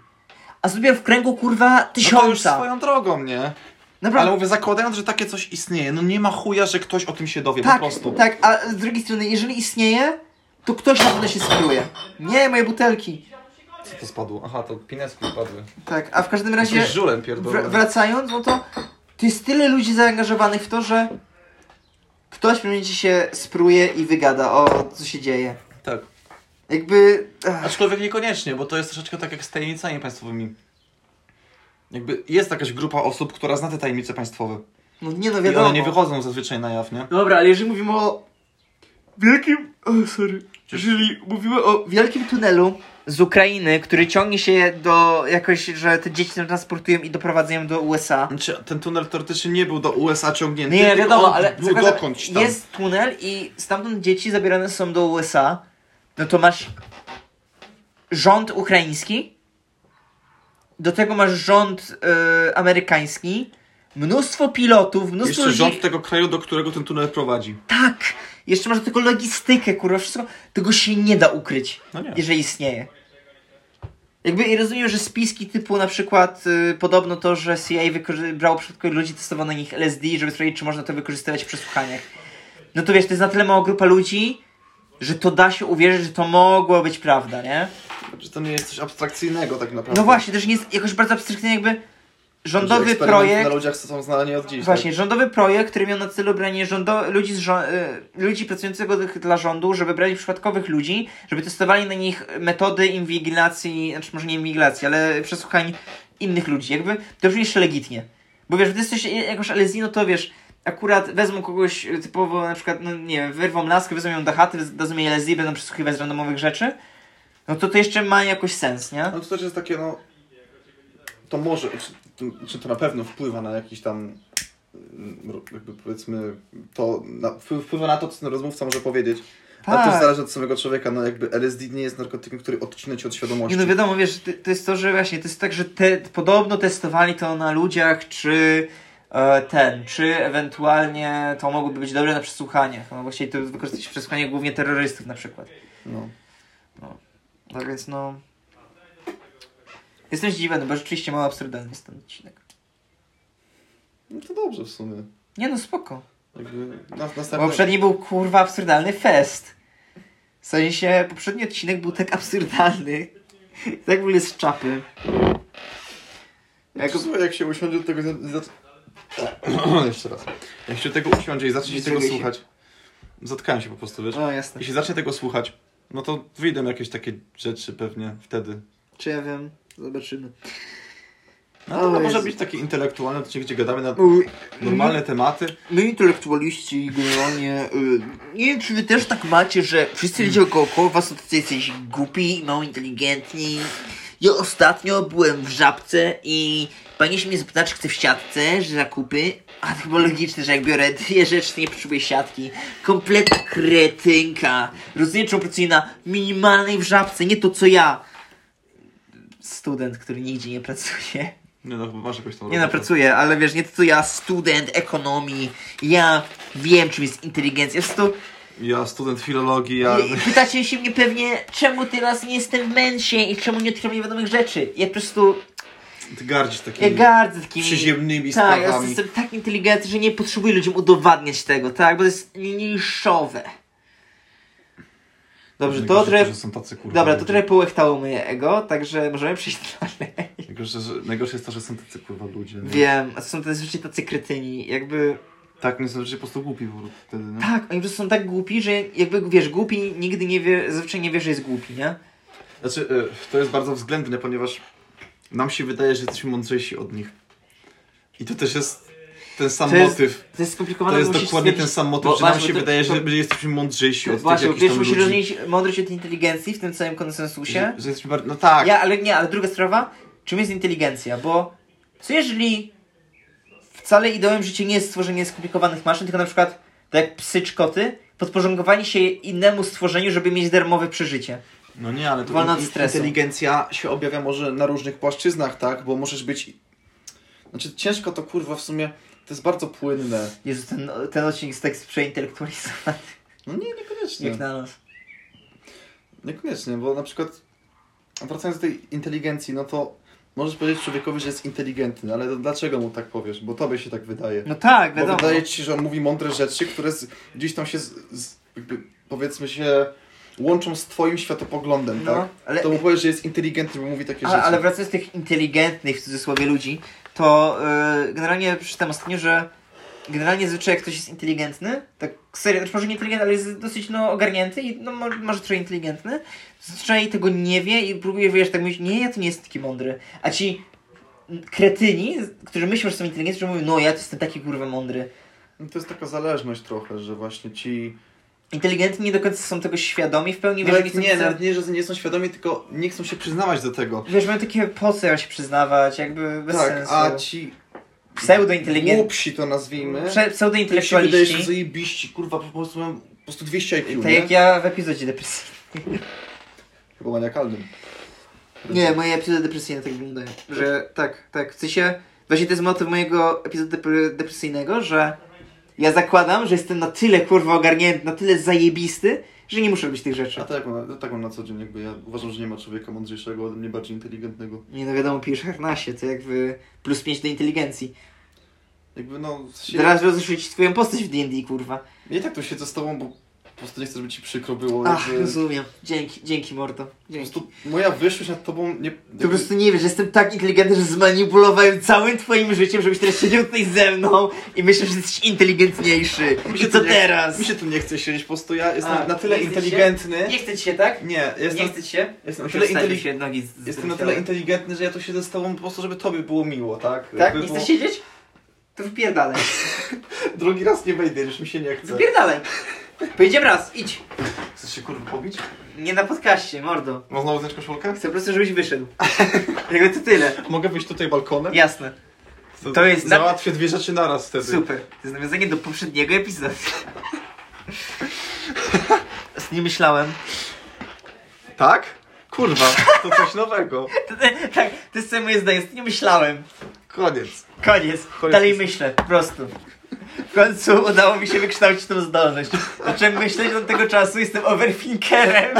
Speaker 1: A sobie w kręgu kurwa
Speaker 2: no to już
Speaker 1: tysiąca.
Speaker 2: swoją drogą, nie?
Speaker 1: Naprawdę.
Speaker 2: Ale mówię, zakładając, że takie coś istnieje, no nie ma chuja, że ktoś o tym się dowie
Speaker 1: tak,
Speaker 2: po prostu.
Speaker 1: tak, a z drugiej strony, jeżeli istnieje, to ktoś na pewno się skieruje. Nie, moje butelki.
Speaker 2: Co to spadło? Aha, to pineski spadły.
Speaker 1: Tak, a w każdym razie.
Speaker 2: Jakiś żulem
Speaker 1: Wr-
Speaker 2: pierdolony.
Speaker 1: wracając, no to to jest tyle ludzi zaangażowanych w to, że ktoś w pewnym momencie się spruje i wygada o co się dzieje.
Speaker 2: Tak.
Speaker 1: Jakby. Ach,
Speaker 2: Aczkolwiek niekoniecznie, bo to jest troszeczkę tak jak z tajemnicami państwowymi. Jakby jest jakaś grupa osób, która zna te tajemnice państwowe.
Speaker 1: no nie no
Speaker 2: I
Speaker 1: wiadomo.
Speaker 2: one nie wychodzą zazwyczaj na jaw, nie?
Speaker 1: Dobra, ale jeżeli mówimy o wielkim. O, sorry. Jeżeli mówimy o wielkim tunelu z Ukrainy, który ciągnie się do jakoś, że te dzieci tam transportują i doprowadzają do USA.
Speaker 2: Znaczy, ten tunel teoretycznie nie był do USA ciągnięty.
Speaker 1: Nie,
Speaker 2: tylko
Speaker 1: wiadomo,
Speaker 2: on
Speaker 1: ale
Speaker 2: Był
Speaker 1: zakładam-
Speaker 2: dokądś tam.
Speaker 1: jest tunel i stamtąd dzieci zabierane są do USA. no to masz rząd ukraiński, do tego masz rząd y, amerykański, mnóstwo pilotów, mnóstwo
Speaker 3: Jeszcze rząd
Speaker 1: ludzi-
Speaker 3: tego kraju, do którego ten tunel prowadzi.
Speaker 1: Tak! Jeszcze masz do tego logistykę, kurwa, wszystko. Tego się nie da ukryć,
Speaker 3: No nie.
Speaker 1: jeżeli istnieje. Jakby i rozumiem, że spiski typu na przykład y, podobno to, że CIA wykorzy- brało przed ludzi, testowano na nich LSD, żeby sprawdzić, czy można to wykorzystywać w przesłuchaniach. No to wiesz, to jest na tyle mała grupa ludzi, że to da się uwierzyć, że to mogło być prawda, nie?
Speaker 2: Że to nie jest coś abstrakcyjnego tak naprawdę.
Speaker 1: No właśnie, też nie jest jakoś bardzo abstrakcyjny jakby
Speaker 2: Że
Speaker 1: rządowy
Speaker 2: eksperymenty
Speaker 1: projekt.
Speaker 2: na ludziach są znane nie od dziś. tak?
Speaker 1: Właśnie, rządowy projekt, który miał na celu branie rządo- ludzi, z żo- y, ludzi pracujących d- dla rządu, żeby brali przypadkowych ludzi, żeby testowali na nich metody inwigilacji, znaczy może nie inwigilacji, ale przesłuchań innych ludzi. Jakby to brzmi jeszcze legitnie. Bo wiesz, gdy jesteś jakoś alezino, to wiesz, akurat wezmą kogoś y, typowo, na przykłez, no nie wiem, wyrwą laskę, wezmą ją do chaty, wez- dadzą jej LSD, będą przesłuchiwać z randomowych rzeczy, no to to jeszcze ma jakoś sens, nie?
Speaker 2: No to też jest takie, no. To może, czy, czy to na pewno wpływa na jakiś tam. mm, Jakby powiedzmy, to na, wpły- wpływa na to, co ten rozmówca może powiedzieć. Ale to
Speaker 1: Tak.
Speaker 2: zależy od samego człowieka. No, jakby LSD nie jest narkotykiem, który odcina cię od świadomości.
Speaker 1: Nie no wiadomo, wiesz, to, to jest to, że właśnie, to jest tak, że te, podobno testowali to na ludziach, czy e, ten, czy ewentualnie to mogłoby być dobre na przesłuchaniach. No bo chcieli to wykorzystać w przesłuchaniach głównie terrorystów na przykład.
Speaker 2: No.
Speaker 1: Tak więc no... Jestem zdziwiony, bo rzeczywiście mało absurdalny jest ten odcinek.
Speaker 2: no to dobrze w sumie.
Speaker 1: Nie no, spoko.
Speaker 2: Jakby na,
Speaker 1: Bo
Speaker 2: następny...
Speaker 1: poprzedni był kurwa absurdalny fest. W sensie, poprzedni odcinek był tak absurdalny. Tak w ogóle z czapy.
Speaker 2: jak...
Speaker 1: Jak-
Speaker 2: jak się usiądzie do tego. Jeszcze raz.
Speaker 3: Jak się tego usiądzie i zacznie się
Speaker 1: Nie
Speaker 3: tego
Speaker 1: czuję się.
Speaker 3: słuchać. Zatkałem się po prostu, wiesz?
Speaker 1: No jasne.
Speaker 3: Jeśli zacznie tego słuchać, no to wyjdą jakieś takie rzeczy pewnie wtedy.
Speaker 1: Czy ja wiem? Zobaczymy.
Speaker 3: No to
Speaker 1: O
Speaker 3: może
Speaker 1: Jezu.
Speaker 3: być taki intelektualny odcinek, gdzie gadamy na
Speaker 1: My,
Speaker 3: normalne tematy.
Speaker 1: my No intelektualiści generalnie, y, nie wiem czy wy też tak macie, że wszyscy ludzie około was są tacy jacyś głupi i mało inteligentni. Ja ostatnio byłem w żabce i pani się mnie zapytała, czy chcę w siatce, że zakupy. A to chyba logiczne, że jak biorę dwie rzeczy, to nie potrzebuję siatki. Kompletna kretynka. Rozumiem, czemu pracuje na minimalnej w żabce, nie to co ja. Student, który nigdzie nie pracuje.
Speaker 3: Nie no, chyba masz jakąś tam
Speaker 1: Nie no,
Speaker 3: robotę.
Speaker 1: pracuję, ale wiesz, nie to co ja, student ekonomii, ja wiem czym jest inteligencja. Po prostu
Speaker 3: Ja student filologii, ja...
Speaker 1: i- i pytacie się mnie pewnie, czemu teraz nie jestem w męsie i czemu nie odkrywam niewiadomych rzeczy. Ja po prostu,
Speaker 3: Ty gardzisz takimi...
Speaker 1: ja gardzę takimi...
Speaker 3: Mm. przyziemnymi
Speaker 1: tak, ja
Speaker 3: sprawami.
Speaker 1: jestem tak inteligentny, że nie potrzebuję ludziom udowadniać tego, tak, bo to jest niszowe. Dobrze, to
Speaker 3: Najgorsze,
Speaker 1: trochę...
Speaker 3: że są tacy, kurwa,
Speaker 1: Dobra, to
Speaker 3: ludzie.
Speaker 1: trochę połechtało moje ego, także możemy przejść dalej.
Speaker 3: Najgorsze, że, najgorsze jest to, że są tacy kurwa ludzie. no. nie?
Speaker 1: Wiem, a są to zazwyczaj tacy kretyni, jakby...
Speaker 3: Tak, my jesteśmy po prostu głupi po prostu wtedy, no.
Speaker 1: Tak, oni po prostu są tak głupi, że jakby wiesz, głupi nigdy nie wie, zazwyczaj nie wie, że jest głupi, nie?
Speaker 3: Znaczy, y, to jest bardzo względne, ponieważ nam się wydaje, że jesteśmy mądrzejsi od nich. I to też jest ten sam
Speaker 1: To jest-
Speaker 3: motyw.
Speaker 1: To jest skomplikowane.
Speaker 3: To jest
Speaker 1: bo musisz
Speaker 3: dokładnie ten
Speaker 1: stwierdzić-
Speaker 3: sam motyw,
Speaker 1: bo
Speaker 3: że nam
Speaker 1: właśnie,
Speaker 3: się
Speaker 1: bo to-
Speaker 3: wydaje,
Speaker 1: to-
Speaker 3: że my jesteśmy mądrzejsi od tych
Speaker 1: Właśnie, bo
Speaker 3: jakichś
Speaker 1: wiesz,
Speaker 3: tam
Speaker 1: musisz
Speaker 3: ludzi.
Speaker 1: rozdzielić mądrość od inteligencji w tym całym konsensusie.
Speaker 3: Że, że jesteśmy bardziej... No tak,
Speaker 1: Ja, ale nie, ale druga sprawa, czym jest inteligencja? Bo co jeżeli wcale ideałem życia nie jest stworzenie skomplikowanych maszyn, tylko na przykład, tak jak psy czy koty, podporządkowanie się innemu stworzeniu, żeby mieć darmowe przeżycie.
Speaker 3: no nie, ale to...
Speaker 1: Wolna od stresu.
Speaker 2: Inteligencja się objawia może na różnych płaszczyznach, tak? Bo możesz być. Znaczy, ciężko to kurwa w sumie. To jest bardzo płynne.
Speaker 1: Jezu, ten, ten odcinek jest tak przeintelektualizowany,
Speaker 2: No nie,
Speaker 1: jak
Speaker 3: Tak.
Speaker 2: niekoniecznie.
Speaker 1: na nas.
Speaker 2: Niekoniecznie, bo na przykład. Wracając do tej inteligencji, no to możesz powiedzieć człowiekowi, że jest inteligentny, ale to dlaczego mu tak powiesz? Bo tobie się tak wydaje.
Speaker 1: No tak,
Speaker 2: Bo
Speaker 1: wiadomo.
Speaker 2: wydaje ci się, że on mówi mądre rzeczy, które z, gdzieś tam się, z, z, jakby, powiedzmy się, łączą z twoim światopoglądem,
Speaker 1: No,
Speaker 2: tak?
Speaker 1: ale-
Speaker 2: To mu powiesz, że jest inteligentny, bo mówi takie
Speaker 1: A,
Speaker 2: rzeczy.
Speaker 1: ale wracając do tych inteligentnych w cudzysłowie ludzi, to yy, generalnie przeczytałem ostatnio, że generalnie zwyczaj jak ktoś jest inteligentny, tak serio, znaczy może nie inteligentny, ale jest dosyć no, ogarnięty i no, mo- może trochę inteligentny, zwyczaj tego nie wie i próbuje wiesz, tak mówić, nie, ja to nie jestem taki mądry. A ci kretyni, którzy myślą, że są inteligentni, że mówią, no ja to jestem taki kurwa mądry.
Speaker 2: No To jest taka zależność trochę, że właśnie ci...
Speaker 1: Inteligentni nie do końca są tego świadomi w pełni, wiesz,
Speaker 2: Nawet
Speaker 1: że
Speaker 2: No nie,
Speaker 1: nie, są-
Speaker 2: nawet nie, że nie są świadomi, tylko nie chcą się przyznawać do tego.
Speaker 1: Wiesz, mają takie po co ja się przyznawać, jakby bez
Speaker 2: tak,
Speaker 1: sensu.
Speaker 2: a ci
Speaker 1: Pseudointeligentni.
Speaker 2: głupsi to
Speaker 1: Prze-
Speaker 2: nazwijmy, im się wydaje, że
Speaker 1: Pseudointelektualiści.
Speaker 2: zajebiści, kurwa, po prostu mają po prostu 200 IQ,
Speaker 1: Tak
Speaker 2: nie?
Speaker 1: jak ja w epizodzie depresyjnym.
Speaker 2: Chyba maniakalnym.
Speaker 1: Nie, moje epizody depresyjne tak wyglądają. Że tak, tak. W sensie, właśnie to jest motyw mojego epizodu depre- depresyjnego, że ja zakładam, że jestem na tyle kurwa ogarnięty, na tyle zajebisty, że nie muszę robić tych rzeczy.
Speaker 2: A tak mam, tak mam na co dzień, jakby ja uważam, że nie ma człowieka mądrzejszego ode mnie, bardziej inteligentnego.
Speaker 1: Nie no wiadomo, pijesz harnasie, to jakby plus 5 do inteligencji.
Speaker 2: Jakby no... Się...
Speaker 1: Teraz rozeszli ci twoją postać w D&D, kurwa.
Speaker 2: Ja i tak tu siedzę z tobą, bo po prostu nie chcę, żeby ci przykro było.
Speaker 1: Ach,
Speaker 2: jakby-
Speaker 1: rozumiem. Dzięki, dzięki Mordo.
Speaker 2: Po
Speaker 1: Dzięki.
Speaker 2: prostu moja wyższość nad tobą nie...
Speaker 1: Ty po prostu nie wiesz, że jestem tak inteligentny, że zmanipulowałem całym twoim życiem, żebyś teraz siedział tutaj ze mną i myślę, że jesteś inteligentniejszy.
Speaker 2: Mi
Speaker 1: I
Speaker 2: się
Speaker 1: co
Speaker 2: to nie-
Speaker 1: teraz?
Speaker 2: Mi się tu nie chce siedzieć, po prostu ja jestem
Speaker 1: A,
Speaker 2: na tyle
Speaker 1: nie chce ci się?
Speaker 2: inteligentny...
Speaker 1: Nie chce ci się, tak?
Speaker 2: Nie, jestem,
Speaker 1: chce ci się?
Speaker 2: jestem, na
Speaker 1: Tyle
Speaker 2: tyle
Speaker 1: inteli...
Speaker 2: intelig...
Speaker 1: się nogi z,
Speaker 2: jestem na tyle inteligentny, że ja tu siedzę z tobą po prostu, żeby tobie było miło, tak?
Speaker 1: Tak?
Speaker 2: Jakby
Speaker 1: Nie
Speaker 2: było...
Speaker 1: chcesz siedzieć? To wypierdalaj.
Speaker 2: Drugi raz nie wejdę, już mi się nie chce.
Speaker 1: Wypierdalaj. Pojedziemy raz, idź.
Speaker 2: Chcesz się kurwa pobić?
Speaker 1: Nie na podcaście, mordo.
Speaker 2: Mam znowu zdjąć koszulkę?
Speaker 1: Chcę po prostu, żebyś wyszedł. Jakby to tyle.
Speaker 2: Mogę wyjść tutaj balkonem?
Speaker 1: Jasne. to jest-
Speaker 2: Załatwię dwie rzeczy naraz wtedy.
Speaker 1: Super. To jest nawiązanie do poprzedniego epizodu. Nie myślałem.
Speaker 2: Tak? Kurwa, to coś nowego.
Speaker 1: To, tak, to jest całe moje zdanie. Nie myślałem.
Speaker 2: Koniec.
Speaker 1: Koniec.
Speaker 2: Koniec.
Speaker 1: Dalej myślę, po prostu. W końcu udało mi się wykształcić tą zdolność. Zacząłem myśleć od tego czasu, jestem overthinkerem.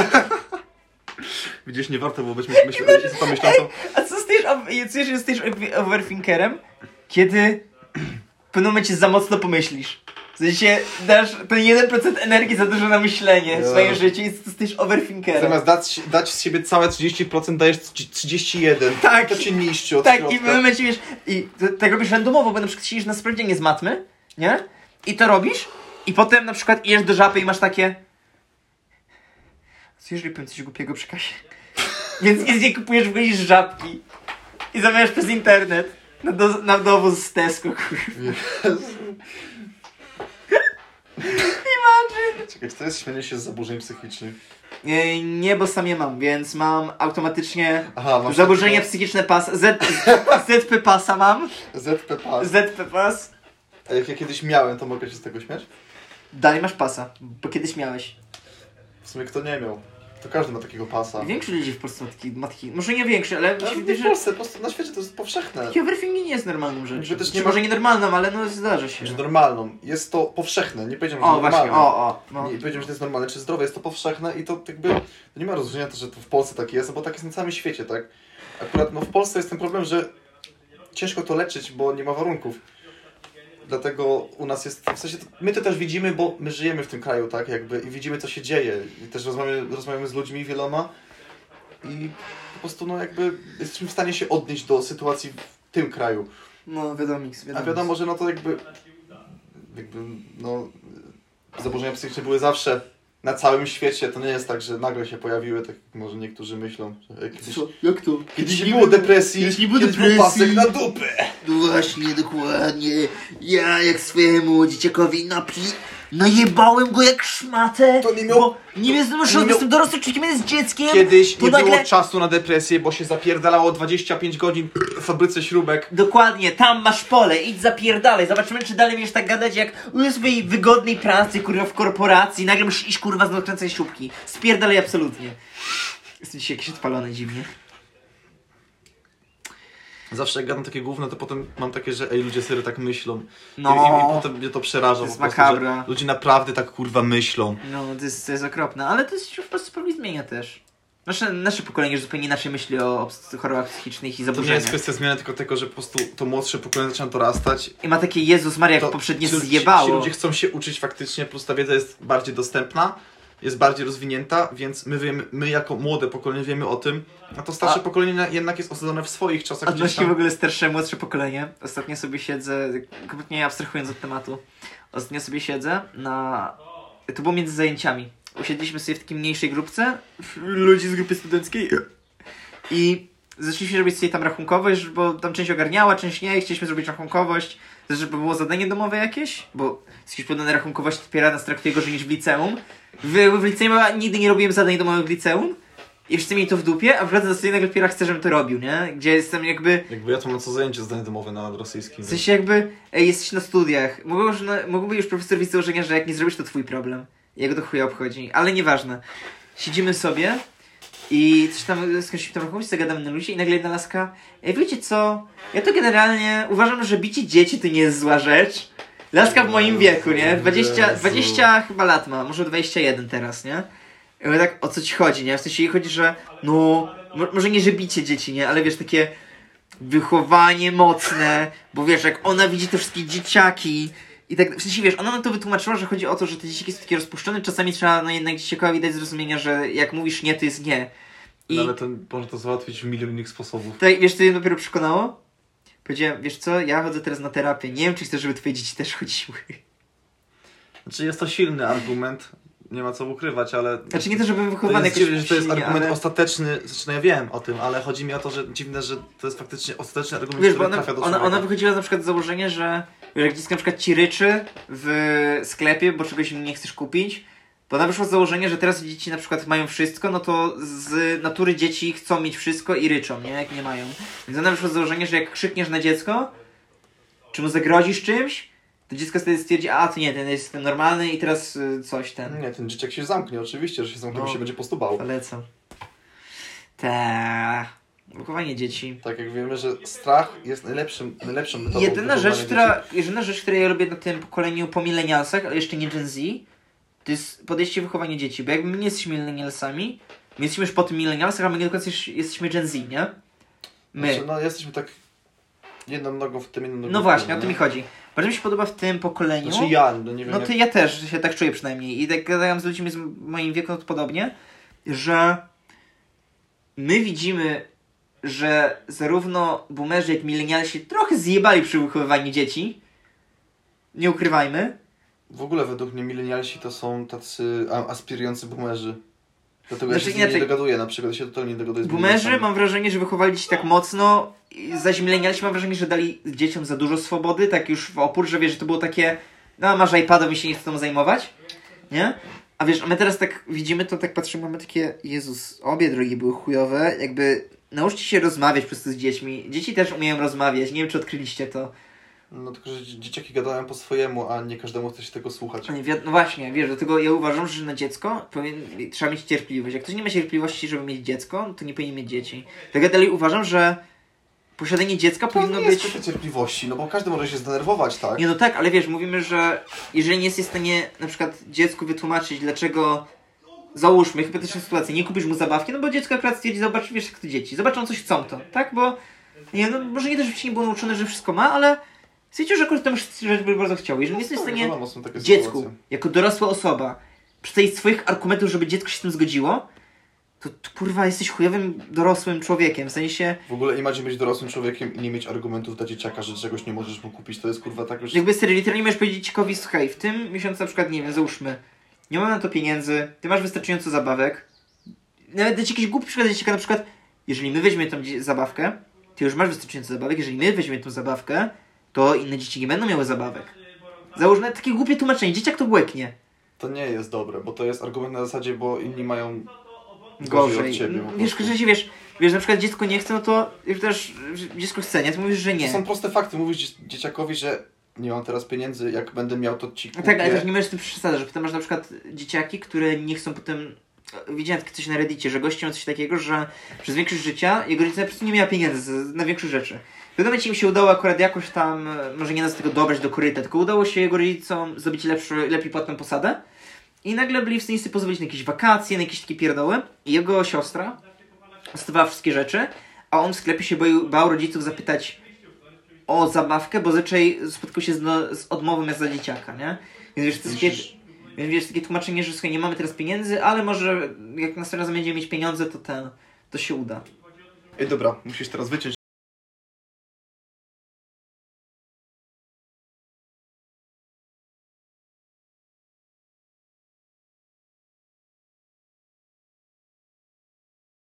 Speaker 2: Widzisz, nie warto było być myśl, myśl, myśl, myślącą.
Speaker 1: A co stajesz, czujesz, że jesteś ob- overthinkerem, kiedy w pewnym momencie za mocno pomyślisz. W sensie dasz ten 1% energii za dużo na myślenie w
Speaker 2: Ja.
Speaker 1: swoim życiu i ty jesteś overthinkerem.
Speaker 2: Zamiast dać, dać z siebie całe 30%, dajesz 31.
Speaker 1: Tak.
Speaker 2: To cię niszczy od
Speaker 1: tak,
Speaker 2: środka.
Speaker 1: i w pewnym momencie wiesz, i to, tak robisz randomowo, bo na przykład siedzisz na sprawdzianie z matmy, nie? I to robisz, i potem na przykład idziesz do żapy i masz takie... Co jeżeli powiem coś głupiego przy kasie? Więc nic nie kupujesz, wchodzisz w żabki i zamawiasz przez internet na, do, na dowóz z Tesco, kurwa.
Speaker 2: Czekaj, czy to jest śmianie się z zaburzeń psychicznych?
Speaker 1: Nie, nie, bo sam je mam, więc mam automatycznie
Speaker 2: Aha, masz
Speaker 1: zaburzenia psychiczne pas... Z, ZP pasa mam.
Speaker 2: ZP pas.
Speaker 1: ZP pas.
Speaker 2: A jak ja kiedyś miałem, to mogę się z tego śmiać?
Speaker 1: Dalej masz pasa, bo kiedyś miałeś.
Speaker 2: W sumie kto nie miał? To każdy ma takiego pasa.
Speaker 1: Większość ludzi w Polsce ma takie matki. Może nie większe, ale mi
Speaker 2: Ale
Speaker 1: się
Speaker 2: nie
Speaker 1: wydaje,
Speaker 2: w
Speaker 1: że
Speaker 2: Polsce, po prostu na świecie to jest powszechne.
Speaker 1: takie overthinking nie jest normalną rzeczą.
Speaker 2: Że też
Speaker 1: Czy
Speaker 2: nie ma-
Speaker 1: może nienormalną, ale no zdarza się.
Speaker 2: Że normalną. Jest to powszechne, nie powiedziałem, że
Speaker 1: O,
Speaker 2: normalne.
Speaker 1: właśnie, o, o. No.
Speaker 2: Nie powiedziałem, że to jest normalne czy zdrowe, jest to powszechne i to jakby to nie ma rozumienia to, że to w Polsce tak jest, bo tak jest na całym świecie, tak? Akurat no, w Polsce jest ten problem, że ciężko to leczyć, bo nie ma warunków. Dlatego u nas jest, w sensie to, my to też widzimy, bo my żyjemy w tym kraju, tak? Jakby i widzimy co się dzieje i też rozmawiamy, rozmawiamy z ludźmi wieloma i po prostu no jakby jesteśmy w stanie się odnieść do sytuacji w tym kraju.
Speaker 1: No, wiadomo, wiadomo.
Speaker 2: A wiadomo, że no to jakby, jakby no, zaburzenia psychiczne były zawsze na całym świecie. To nie jest tak, że nagle się pojawiły, tak jak może niektórzy myślą. Że jak kiedyś,
Speaker 1: Jak to?
Speaker 2: kiedyś nie było depresji,
Speaker 1: kiedyś
Speaker 2: kiedyś,
Speaker 1: nie było
Speaker 2: był
Speaker 1: depresji.
Speaker 2: pasek na dupę.
Speaker 1: No właśnie, dokładnie. Ja jak swojemu dzieciakowi napi... Najebałem go jak szmatę,
Speaker 2: To nie miał-
Speaker 1: bo nie wiem,
Speaker 2: nie miał-
Speaker 1: jestem dorosłym człowiekiem, jest dzieckiem.
Speaker 2: Kiedyś
Speaker 1: to
Speaker 2: nie
Speaker 1: nagle...
Speaker 2: było czasu na depresję, bo się zapierdalało 25 godzin w fabryce śrubek.
Speaker 1: Dokładnie, tam masz pole, idź zapierdalej, zobaczymy czy dalej będziesz tak gadać jak u swojej wygodnej pracy, kurwa, w korporacji, nagle musisz iść, kurwa, z nakręcaj śrubki. Spierdalej absolutnie. Jestem dzisiaj jakiś odpalony dziwnie.
Speaker 2: Zawsze jak gadam takie gówno, to potem mam takie, że ej, ludzie serio tak myślą.
Speaker 1: No.
Speaker 2: I, i, I potem mnie to przeraża
Speaker 1: To jest
Speaker 2: po prostu, że
Speaker 1: makabra.
Speaker 2: ludzie naprawdę tak kurwa myślą.
Speaker 1: No, to jest, to jest okropne, ale to się po prostu pewnie zmienia też. Nasze, nasze pokolenie już zupełnie inaczej myśli o obs- chorobach psychicznych i
Speaker 2: To nie jest
Speaker 1: zaburzeniach.
Speaker 2: kwestia zmiany, tylko tego, że po prostu to młodsze pokolenie zaczyna dorastać
Speaker 1: I ma takie, Jezus Maria, jak
Speaker 2: to
Speaker 1: poprzednie
Speaker 2: ci- Ci
Speaker 1: zjebało.
Speaker 2: ludzie chcą się uczyć faktycznie, plus ta wiedza jest bardziej dostępna, jest bardziej rozwinięta, więc my wiemy, my jako młode pokolenie wiemy o tym, a to starsze
Speaker 1: A-
Speaker 2: pokolenie na- jednak jest osadzone w swoich czasach gdzieś
Speaker 1: Odnośnie w
Speaker 2: tam.
Speaker 1: ogóle starsze, młodsze pokolenie. Ostatnio sobie siedzę, kompletnie abstrahując od tematu. Ostatnio sobie siedzę na... To było między zajęciami. Usiedliśmy sobie w takiej mniejszej grupce ludzi z grupy studenckiej i zaczęliśmy robić sobie tam rachunkowość, bo tam część ogarniała, część nie. Chcieliśmy zrobić rachunkowość, też żeby było zadanie domowe jakieś, bo jakieś podane rachunkowość wspiera nas traktuje gorzej niż w liceum. W, w liceum ja nigdy nie robiłem zadań domowych w liceum. I wszyscy mieli to w dupie, a wracam do studiów dopiero chce, żebym to robił, nie? Gdzie jestem jakby,
Speaker 2: Jakby ja to mam co zajęcie zdanie domowe na rosyjskim.
Speaker 1: w sensie jakby, ej, jesteś na studiach. Mogą już na- Mógłby już profesor widzieć założenia, że jak nie zrobisz, to twój problem. Jego to chuja obchodzi, ale nieważne. siedzimy sobie i coś tam z kimś tam rokowice gadamy na luzie i nagle jedna laska, ej wiecie co, ja to generalnie uważam, że bicie dzieci to nie jest zła rzecz. Laska w moim wieku, nie? 20,
Speaker 3: Jezu.
Speaker 1: 20 chyba lat ma, może 21 teraz, nie? I mówię tak, o co ci chodzi, nie? W sensie jej chodzi, że no, mo- może nie, że bicie dzieci, nie? Ale wiesz, takie wychowanie mocne, bo wiesz, jak ona widzi te wszystkie dzieciaki i tak, w sensie wiesz, ona nam to wytłumaczyła, że chodzi o to, że te dzieciaki są takie rozpuszczone, czasami trzeba no jednak dzieciakowi dać zrozumienia, że jak mówisz nie, to jest nie. I
Speaker 3: No, ale to można to załatwić w milion innych sposobów.
Speaker 1: tutaj, wiesz, co mnie dopiero przekonało? Powiedziałem, wiesz co, ja chodzę teraz na terapię, nie wiem, czy chcesz, żeby twoje dzieci też chodziły.
Speaker 3: Znaczy jest to silny argument, nie ma co ukrywać, ale...
Speaker 1: Znaczy nie to, żeby
Speaker 3: to
Speaker 1: wychowane
Speaker 3: jest
Speaker 1: jakoś
Speaker 3: dziwne, że to jest
Speaker 1: silnie,
Speaker 3: argument
Speaker 1: ale-
Speaker 3: ostateczny, znaczy no ja wiem o tym, ale chodzi mi o to, że dziwne, że to jest faktycznie ostateczny argument,
Speaker 1: Wiesz, bo
Speaker 3: który
Speaker 1: ona,
Speaker 3: trafia do
Speaker 1: ona,
Speaker 3: człowieka.
Speaker 1: ona wychodziła na przykład z założenia, że wiesz, jak dziecko na przykład ci ryczy w sklepie, bo czegoś im nie chcesz kupić, to ona wyszła z założenia, że teraz dzieci na przykład mają wszystko, no to z natury dzieci chcą mieć wszystko i ryczą, nie? Jak nie mają. Więc ona wyszła z założenia, że jak krzykniesz na dziecko, czy mu zagrozisz czymś, to dziecko wtedy stwierdzi, a to nie, ten jest ten normalny i teraz y, coś ten.
Speaker 2: No Nie, ten dzieciak się zamknie, oczywiście, że się zamknie,
Speaker 1: No.
Speaker 2: bo się będzie postubał.
Speaker 1: Polecam. Ta. Wychowanie dzieci.
Speaker 2: Tak jak wiemy, że strach jest najlepszym, najlepszą metodą
Speaker 1: Jedyna rzecz,
Speaker 2: wychowania dzieci.
Speaker 1: która, jedyna rzecz, której ja robię na tym pokoleniu po milenialsach, ale jeszcze nie Gen Z, to jest podejście wychowanie dzieci. Bo jakby my nie jesteśmy milenialsami, my jesteśmy już po tym milenialsach, a my nie do końca jesz- jesteśmy Gen Z, nie? My.
Speaker 2: Znaczy, no jesteśmy tak jedną nogą w tym, jedną nogą
Speaker 1: No
Speaker 2: w
Speaker 1: właśnie,
Speaker 2: tym,
Speaker 1: o to
Speaker 2: nie?
Speaker 1: mi chodzi. Bardzo mi się podoba w tym pokoleniu.
Speaker 2: Znaczy ja, no nie wiem
Speaker 1: No
Speaker 2: jak...
Speaker 1: to ja też się tak czuję przynajmniej. I tak gadałem z ludźmi z m- moim wiekiem podobnie, że my widzimy, że zarówno boomerzy jak milenialsi trochę zjebali przy wychowywaniu dzieci. Nie ukrywajmy.
Speaker 2: W ogóle według mnie milenialsi to są tacy a- aspirujący boomerzy. Dlatego
Speaker 1: Znaczy
Speaker 2: ja się z nimi
Speaker 1: inaczej.
Speaker 2: nie dogaduję, na przykład ja się totalnie nie dogaduję z
Speaker 1: Boomerzy
Speaker 2: milenialsami.
Speaker 1: mam wrażenie, że wychowali się tak mocno, i zaś milenialsi mam wrażenie, że dali dzieciom za dużo swobody, tak już w opór, że wiesz, że to było takie, no masz iPada, my się nie chcą zajmować, nie? A wiesz, a my teraz tak widzimy to, tak patrzymy, mamy takie, Jezus, obie drogi były chujowe, jakby nauczcie się rozmawiać po prostu z dziećmi. Dzieci też umieją rozmawiać, nie wiem, czy odkryliście to.
Speaker 2: No tylko, że dzie- dzieciaki gadają po swojemu, a nie każdemu chce się tego słuchać.
Speaker 1: Nie, wi- No właśnie, wiesz, dlatego ja uważam, że na dziecko powinien, trzeba mieć cierpliwość. Jak ktoś nie ma cierpliwości, żeby mieć dziecko, no to nie powinien mieć dzieci. Tak ja dalej uważam, że posiadanie dziecka
Speaker 2: To
Speaker 1: powinno
Speaker 2: nie jest
Speaker 1: być...
Speaker 2: kwestia cierpliwości, no bo każdy może się zdenerwować, tak?
Speaker 1: Nie no tak, ale wiesz, mówimy, że jeżeli nie jesteś w stanie na przykład dziecku wytłumaczyć, dlaczego... Załóżmy, hipotetyczną sytuację, nie kupisz mu zabawki, no bo dziecko akurat stwierdzi, zobacz, wiesz, jak to dzieci, zobaczą coś chcą to, tak? Bo, nie no, może nie to, żeby się nie było nauczone, że wszystko ma, ale stwierdził, że akurat tę rzecz by bardzo chciał. Jeżeli nie jesteś w stanie
Speaker 2: No, wiadomo, są takie
Speaker 1: dziecku,
Speaker 2: sytuacje.
Speaker 1: jako dorosła osoba, przedstawić swoich argumentów, żeby dziecko się z tym zgodziło, to, to kurwa jesteś chujowym dorosłym człowiekiem. W sensie,
Speaker 2: W ogóle imagine być dorosłym człowiekiem i nie mieć argumentów dla dzieciaka, że czegoś nie możesz mu kupić, to jest kurwa tak już...
Speaker 1: jakby serio, literalnie możesz powiedzieć dziecikowi, słuchaj, w tym miesiącu na przykład, nie wiem, załóżmy, nie mam na to pieniędzy, ty masz wystarczająco zabawek. Nawet dać jakiś głupi przykład dla dzieciaka, na przykład, jeżeli my weźmiemy tą dzie- zabawkę, ty już masz wystarczająco zabawek, jeżeli my weźmiemy tą zabawkę, to inne dzieci nie będą miały zabawek. Załóżmy takie głupie tłumaczenie, dzieciak to łyknie.
Speaker 2: To nie jest dobre, bo to jest argument na zasadzie, bo inni mają gorzej,
Speaker 1: gorzej.
Speaker 2: od ciebie. po
Speaker 1: Wiesz,
Speaker 2: prostu.
Speaker 1: że się wiesz, wiesz, na przykład dziecko nie chce, no to już też że dziecko chce, nie? Ty mówisz, że
Speaker 2: To
Speaker 1: nie.
Speaker 2: są proste fakty. Mówisz dzie- dzieciakowi, że nie mam teraz pieniędzy, jak będę miał, to ci
Speaker 1: No
Speaker 2: kupię.
Speaker 1: tak, ale też nie możesz z tym przesadzać, że potem masz na przykład dzieciaki, które nie chcą potem... e, Widziałem takie coś na reddicie, że gościem coś takiego, że przez większość życia jego rodzina po prostu nie miała pieniędzy na większych rzeczy. W pewnym momencie im się udało akurat jakoś tam, e, może nie nas tego dobrać do koryta, tylko udało się jego rodzicom zdobyć lepszy, lepiej płatną posadę. I nagle byli w stanie sobie pozwolić na jakieś wakacje, na jakieś takie pierdoły. I jego siostra stawała wszystkie rzeczy, a on w sklepie się boił, bał rodziców zapytać o zabawkę, bo zazwyczaj spotkał się z, no, z odmową jak za dzieciaka, nie? Więc wiesz, to jest takie,
Speaker 2: Musisz-
Speaker 1: więc wiesz, takie tłumaczenie, że słuchaj, nie mamy teraz pieniędzy, ale może jak następnym razem będziemy mieć pieniądze, to ten, to się uda.
Speaker 2: Ej, dobra, musisz teraz wyciąć